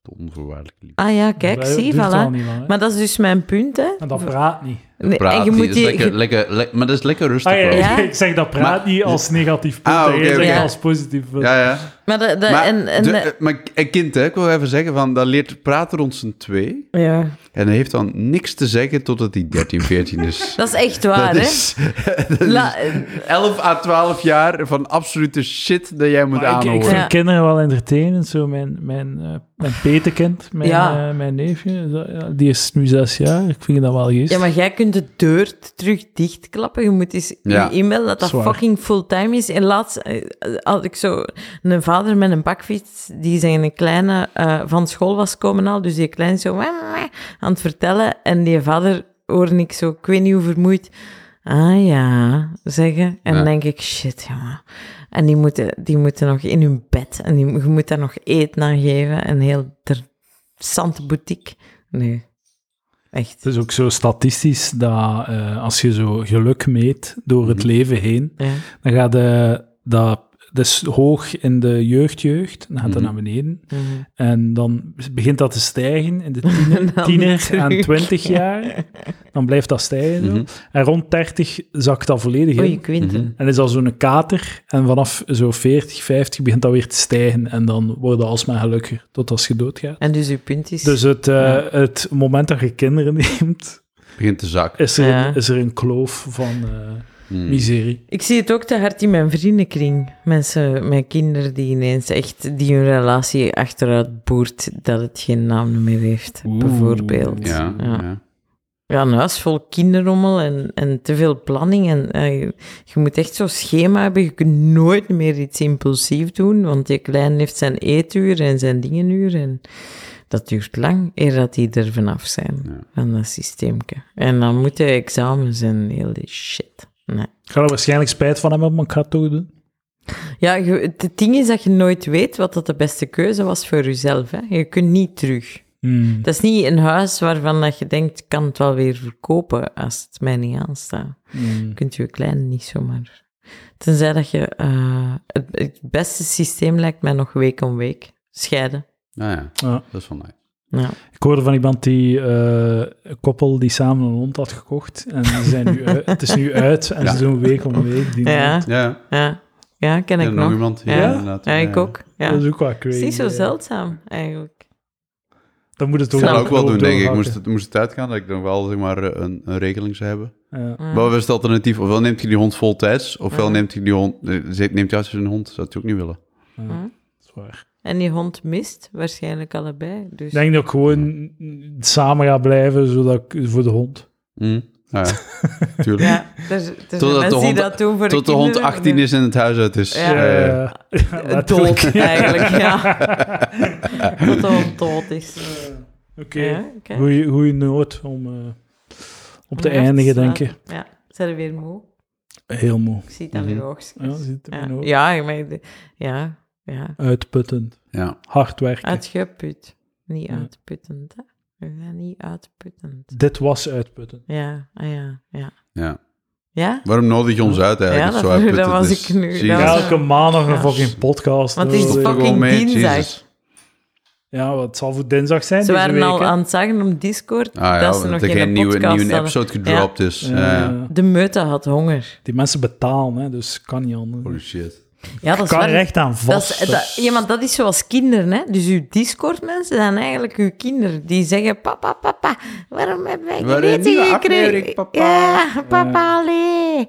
[SPEAKER 3] de onvoorwaardelijke liefde.
[SPEAKER 2] Ah ja, kijk,
[SPEAKER 1] Dat
[SPEAKER 2] zie,
[SPEAKER 1] duurt al
[SPEAKER 2] voilà.
[SPEAKER 1] niet lang, hè?
[SPEAKER 2] Maar dat is dus mijn punt, hè.
[SPEAKER 1] En dat praat niet.
[SPEAKER 2] Nee,
[SPEAKER 3] Praat
[SPEAKER 2] en je
[SPEAKER 3] niet,
[SPEAKER 2] moet
[SPEAKER 3] is lekker,
[SPEAKER 2] je...
[SPEAKER 3] lekker, le- maar dat is lekker rustig.
[SPEAKER 1] Ah, ja,
[SPEAKER 3] wel.
[SPEAKER 2] Ja.
[SPEAKER 1] Ik zeg dat praat
[SPEAKER 3] Maar-
[SPEAKER 1] niet als negatief punt.
[SPEAKER 3] Ah,
[SPEAKER 1] hè.
[SPEAKER 3] oké,
[SPEAKER 1] Jij zegt
[SPEAKER 2] oké.
[SPEAKER 1] dat als positief punt.
[SPEAKER 3] ja, ja.
[SPEAKER 2] Maar, dat dat-
[SPEAKER 3] Maar,
[SPEAKER 2] en, en,
[SPEAKER 3] de-
[SPEAKER 2] eh,
[SPEAKER 3] eh, maar k- een kind, hè, ik wil even zeggen, van, dat leert praten rond zijn twee.
[SPEAKER 2] eh, ja.
[SPEAKER 3] En hij heeft dan niks te zeggen totdat hij 13, 14 is.
[SPEAKER 2] Dat is echt waar,
[SPEAKER 3] dat
[SPEAKER 2] hè.
[SPEAKER 3] is, dat is
[SPEAKER 2] La- eh,
[SPEAKER 3] 11 à 12 jaar van absolute shit dat jij moet
[SPEAKER 1] Maar ik, ik
[SPEAKER 3] aanhoren.
[SPEAKER 1] vind
[SPEAKER 2] Ja.
[SPEAKER 1] kinderen wel entertainend. Zo mijn, mijn, eh, mijn petekind, mijn,
[SPEAKER 2] Ja.
[SPEAKER 1] eh, mijn neefje, dat- ja, die is nu zes jaar. Ik vind dat wel geest.
[SPEAKER 2] Ja, maar jij kunt de deur t- terug dichtklappen. Je moet eens
[SPEAKER 3] Ja.
[SPEAKER 2] je e-mail dat dat
[SPEAKER 1] Zwaar.
[SPEAKER 2] fucking fulltime is. En laatst eh, had ik zo een vader met een bakfiets, die zijn kleine eh, van school was komen al, dus die klein zo wah, wah, aan het vertellen. En die vader hoorde ik zo, ik weet niet hoe vermoeid, ah ja, zeggen. En
[SPEAKER 3] Ja.
[SPEAKER 2] dan denk ik, shit jongen. En die moeten, die moeten nog in hun bed. En die, je moet daar nog eten aan geven. En heel interessante boutique. Nee, echt.
[SPEAKER 1] Het is ook zo statistisch dat eh, als je zo geluk meet door
[SPEAKER 3] Mhm.
[SPEAKER 1] het leven heen,
[SPEAKER 2] Ja.
[SPEAKER 1] dan gaat de, dat, dat is hoog in de jeugd-jeugd, dan gaat dat
[SPEAKER 3] Mhm.
[SPEAKER 1] naar beneden.
[SPEAKER 2] Mhm.
[SPEAKER 1] En dan begint dat te stijgen in de tiener,
[SPEAKER 2] Dan
[SPEAKER 1] tiener aan
[SPEAKER 2] terug.
[SPEAKER 1] 20 jaar. Dan blijft dat stijgen. zo.
[SPEAKER 3] Mhm.
[SPEAKER 1] En rond 30 zakt dat volledig
[SPEAKER 2] Oei,
[SPEAKER 1] in.
[SPEAKER 2] ik weet het.
[SPEAKER 3] Mhm.
[SPEAKER 1] En is dat zo'n kater. En vanaf zo 40, 50 begint dat weer te stijgen. En dan worden we alsmaar gelukkiger tot als je doodgaat.
[SPEAKER 2] En dus uw punt is...
[SPEAKER 1] Dus het, eh,
[SPEAKER 2] Ja.
[SPEAKER 1] het moment dat je kinderen neemt,
[SPEAKER 3] Begint te zakken.
[SPEAKER 1] is er,
[SPEAKER 2] Ja.
[SPEAKER 1] een, is er een kloof van eh,
[SPEAKER 3] Hmm.
[SPEAKER 1] miserie.
[SPEAKER 2] Ik zie het ook te hard in mijn vriendenkring. Mensen met kinderen die ineens echt... die hun relatie achteruit boert, dat het geen naam meer heeft,
[SPEAKER 1] Oeh.
[SPEAKER 2] bijvoorbeeld.
[SPEAKER 3] Ja,
[SPEAKER 2] Ja.
[SPEAKER 3] ja.
[SPEAKER 2] Ja, een huis vol kinderrommel en, en te veel planning. En eh, je, je moet echt zo'n schema hebben. Je kunt nooit meer iets impulsief doen, want die klein heeft zijn eetuur en zijn dingenuur. En dat duurt lang eer dat die er vanaf zijn,
[SPEAKER 3] Ja.
[SPEAKER 2] van dat systeemke. En dan moeten examens en heel die shit. Nee.
[SPEAKER 1] Ik ga er waarschijnlijk spijt van hebben, maar ik ga het toch doen.
[SPEAKER 2] Ja, je- het ding is dat je nooit weet wat dat de beste keuze was voor jezelf. Hè. Je kunt niet terug.
[SPEAKER 1] Hmm.
[SPEAKER 2] Dat is niet een huis waarvan dat je denkt, ik kan het wel weer verkopen als het mij niet aanstaat.
[SPEAKER 1] Hmm.
[SPEAKER 2] kunt je kleine niet zomaar. Tenzij dat je... eh, het, het beste systeem lijkt mij nog week om week. Scheiden.
[SPEAKER 3] Nou ja,
[SPEAKER 1] Ja.
[SPEAKER 3] dat is wel nice.
[SPEAKER 2] Ja.
[SPEAKER 1] Ik hoorde van iemand die eh, een koppel die samen een hond had gekocht. En die zijn nu uit- het is nu uit en
[SPEAKER 3] Ja.
[SPEAKER 1] ze doen week om week. Die
[SPEAKER 2] Ja,
[SPEAKER 1] hond.
[SPEAKER 3] Ja,
[SPEAKER 2] ja. ja ken
[SPEAKER 3] ja
[SPEAKER 2] ik
[SPEAKER 3] nog
[SPEAKER 2] nog.
[SPEAKER 3] iemand hier
[SPEAKER 2] Ja.
[SPEAKER 3] inderdaad.
[SPEAKER 2] Ja, ik ook. Ja.
[SPEAKER 1] Dat
[SPEAKER 2] Het
[SPEAKER 1] is ook wel crazy.
[SPEAKER 2] is niet zo
[SPEAKER 1] hè.
[SPEAKER 2] zeldzaam, eigenlijk.
[SPEAKER 1] Dat moet het
[SPEAKER 3] Ik
[SPEAKER 1] ook
[SPEAKER 3] zou
[SPEAKER 2] Snap
[SPEAKER 3] dat ook wel doen, denk ik.
[SPEAKER 1] doorhakken.
[SPEAKER 3] Moest het, moest het uitgaan, dat ik dan wel zeg maar, een, een regeling zou hebben.
[SPEAKER 1] Ja.
[SPEAKER 2] Ja.
[SPEAKER 3] Maar wat is het alternatief? Ofwel neemt hij die hond vol tijds, ofwel
[SPEAKER 2] Ja.
[SPEAKER 3] neemt hij die hond... eh, ze- Neemt hij uit zijn hond, dat zou ik ook niet willen.
[SPEAKER 2] Hm?
[SPEAKER 1] Dat is waar.
[SPEAKER 2] En die hond mist waarschijnlijk allebei. Dus
[SPEAKER 1] Ik denk dat ik gewoon samen ga blijven zodat ik, voor de hond.
[SPEAKER 3] Hm? Nou ja, tuurlijk.
[SPEAKER 2] ja, er, er zijn
[SPEAKER 3] de
[SPEAKER 2] mensen die
[SPEAKER 3] hond-
[SPEAKER 2] dat doen voor
[SPEAKER 3] Tot de
[SPEAKER 2] kinderen, dus
[SPEAKER 3] hond 18 is en het huis uit is.
[SPEAKER 2] Ja.
[SPEAKER 3] Ja, ja, ja.
[SPEAKER 1] ja,
[SPEAKER 2] eh,
[SPEAKER 1] eh, letterlijk.
[SPEAKER 2] Dood, eigenlijk, ja. Tot de hond dood is.
[SPEAKER 1] Oké,
[SPEAKER 2] Ja, oké.
[SPEAKER 1] goeie goeie noot om eh, op te
[SPEAKER 2] Om af
[SPEAKER 1] eindigen, denk
[SPEAKER 2] sluiten.
[SPEAKER 1] ik.
[SPEAKER 2] Ja, zijn we weer moe?
[SPEAKER 1] Heel moe.
[SPEAKER 2] Ik zie het aan
[SPEAKER 3] Mhm.
[SPEAKER 2] uw oogjes.
[SPEAKER 1] Ja, zit er
[SPEAKER 2] Ja,
[SPEAKER 1] in ook.
[SPEAKER 2] ja, ik meen de- ja, ja.
[SPEAKER 1] Uitputtend.
[SPEAKER 3] Ja.
[SPEAKER 1] Hard werken.
[SPEAKER 2] Uitgeput. Niet
[SPEAKER 1] Ja.
[SPEAKER 2] uitputtend, hè? We zijn niet uitputtend.
[SPEAKER 1] Dit was uitputtend.
[SPEAKER 2] Ja, ah ja, ja.
[SPEAKER 3] Ja.
[SPEAKER 2] Ja?
[SPEAKER 3] Waarom nodig je ons uit eigenlijk?
[SPEAKER 2] Ja,
[SPEAKER 3] zo
[SPEAKER 2] dat-
[SPEAKER 3] uitput
[SPEAKER 2] dat
[SPEAKER 3] het
[SPEAKER 2] was
[SPEAKER 3] is?
[SPEAKER 2] ik nu- dat
[SPEAKER 3] Zie je?
[SPEAKER 2] was-
[SPEAKER 3] Ja,
[SPEAKER 2] Ja.
[SPEAKER 1] Elke maandag een
[SPEAKER 2] Ja.
[SPEAKER 1] fucking podcast. eh,
[SPEAKER 2] Want
[SPEAKER 1] Dat
[SPEAKER 2] het is
[SPEAKER 1] was
[SPEAKER 3] toch
[SPEAKER 1] echt-
[SPEAKER 2] fucking
[SPEAKER 3] wel mee,
[SPEAKER 2] dinsdag.
[SPEAKER 3] Jezus.
[SPEAKER 1] Ja, wat zal voor dinsdag zijn
[SPEAKER 2] Ze
[SPEAKER 1] deze
[SPEAKER 2] waren
[SPEAKER 1] week,
[SPEAKER 2] al
[SPEAKER 1] hè?
[SPEAKER 2] aan het zagen op Discord
[SPEAKER 3] Ah ja,
[SPEAKER 2] dat ze nog
[SPEAKER 3] dat er
[SPEAKER 2] geen,
[SPEAKER 3] geen nieuwe,
[SPEAKER 2] podcast
[SPEAKER 3] nieuwe
[SPEAKER 2] hadden.
[SPEAKER 3] episode gedropt is.
[SPEAKER 1] Ja,
[SPEAKER 3] Ja, ja.
[SPEAKER 1] ja.
[SPEAKER 2] De meute had honger.
[SPEAKER 1] Eh, Die mensen betalen, hè, dus kan niet anders.
[SPEAKER 3] Holy shit.
[SPEAKER 2] Ja, dat is
[SPEAKER 1] kan
[SPEAKER 2] waar.
[SPEAKER 1] er echt aan
[SPEAKER 2] Dat
[SPEAKER 1] vast. dus.
[SPEAKER 2] is, dat, ja, maar dat is zoals kinderen, hè. Dus uw Discord-mensen zijn eigenlijk uw kinderen. Die zeggen, papa, papa, waarom heb ik
[SPEAKER 3] Waarom
[SPEAKER 2] een
[SPEAKER 3] nieuwe
[SPEAKER 2] eten gekregen?
[SPEAKER 3] aflevering, papa?"
[SPEAKER 2] Ja, papa, allee.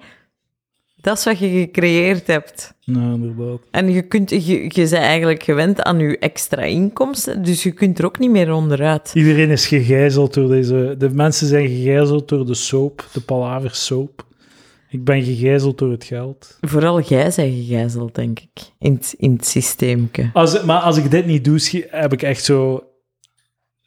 [SPEAKER 2] Dat is wat je gecreëerd hebt.
[SPEAKER 1] Ja, inderdaad.
[SPEAKER 2] En je, kunt, je, je bent eigenlijk gewend aan je extra inkomsten, dus je kunt er ook niet meer onderuit.
[SPEAKER 1] Iedereen is gegijzeld door deze... De mensen zijn gegijzeld door de soap, de palaver soap. Ik ben gegijzeld door het geld.
[SPEAKER 2] Vooral jij bent gegijzeld, denk ik, in het, in het systeemke.
[SPEAKER 1] Als, maar als ik dit niet doe, schi- heb ik echt zo...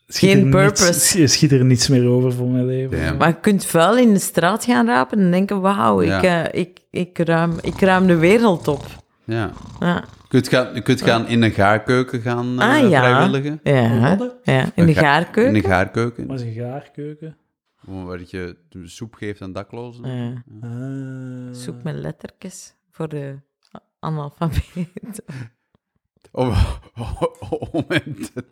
[SPEAKER 1] schiet
[SPEAKER 2] Geen
[SPEAKER 1] er
[SPEAKER 2] purpose.
[SPEAKER 1] Niets, schi- schiet er niets meer over voor mijn leven.
[SPEAKER 3] Damn.
[SPEAKER 2] Maar je kunt vuil in de straat gaan rapen en denken, wauw, ik,
[SPEAKER 3] Ja.
[SPEAKER 2] eh, ik, ik, ruim, ik ruim de wereld op.
[SPEAKER 3] Ja.
[SPEAKER 2] Ja.
[SPEAKER 3] Je kunt gaan, je kunt gaan in een gaarkeuken gaan eh,
[SPEAKER 2] Ah, ja.
[SPEAKER 3] vrijwilligen.
[SPEAKER 2] Ja,
[SPEAKER 1] Wat?
[SPEAKER 2] ja. in de
[SPEAKER 3] Een ga- In
[SPEAKER 2] gaarkeuken.
[SPEAKER 3] een gaarkeuken.
[SPEAKER 1] Maar ze gaarkeuken.
[SPEAKER 3] Waar je soep geeft aan daklozen.
[SPEAKER 2] Ja.
[SPEAKER 1] Ah.
[SPEAKER 2] Zoek mijn lettertjes voor de analfabeet.
[SPEAKER 3] Om, om, hen te,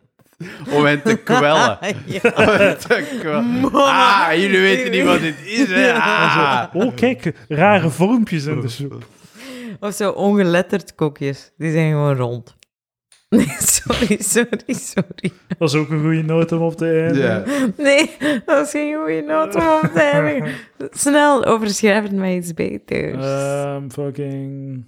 [SPEAKER 3] om hen te kwellen. Om hen te kwellen. Ah, jullie weten niet wat dit is, hè? Ah.
[SPEAKER 1] Oh, kijk, rare vormpjes in de soep.
[SPEAKER 2] Of zo ongeletterd koekjes. Die zijn gewoon rond. Nee, sorry, sorry, sorry.
[SPEAKER 1] Dat is ook een goede noot om op te eindigen.
[SPEAKER 3] Ja.
[SPEAKER 2] Nee, dat is geen goede noot om op te eindigen. Snel, overschrijf het mij iets beters.
[SPEAKER 1] Ehm, fucking...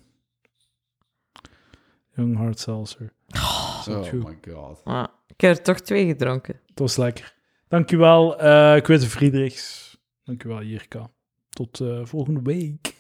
[SPEAKER 1] Young Hard Seltzer.
[SPEAKER 3] Oh
[SPEAKER 1] true.
[SPEAKER 3] my god.
[SPEAKER 2] Ah, ik heb er toch twee gedronken.
[SPEAKER 1] Het was lekker. Dankjewel, eh Quiz Friedrichs. Dankjewel, Jirka. Tot eh, volgende week.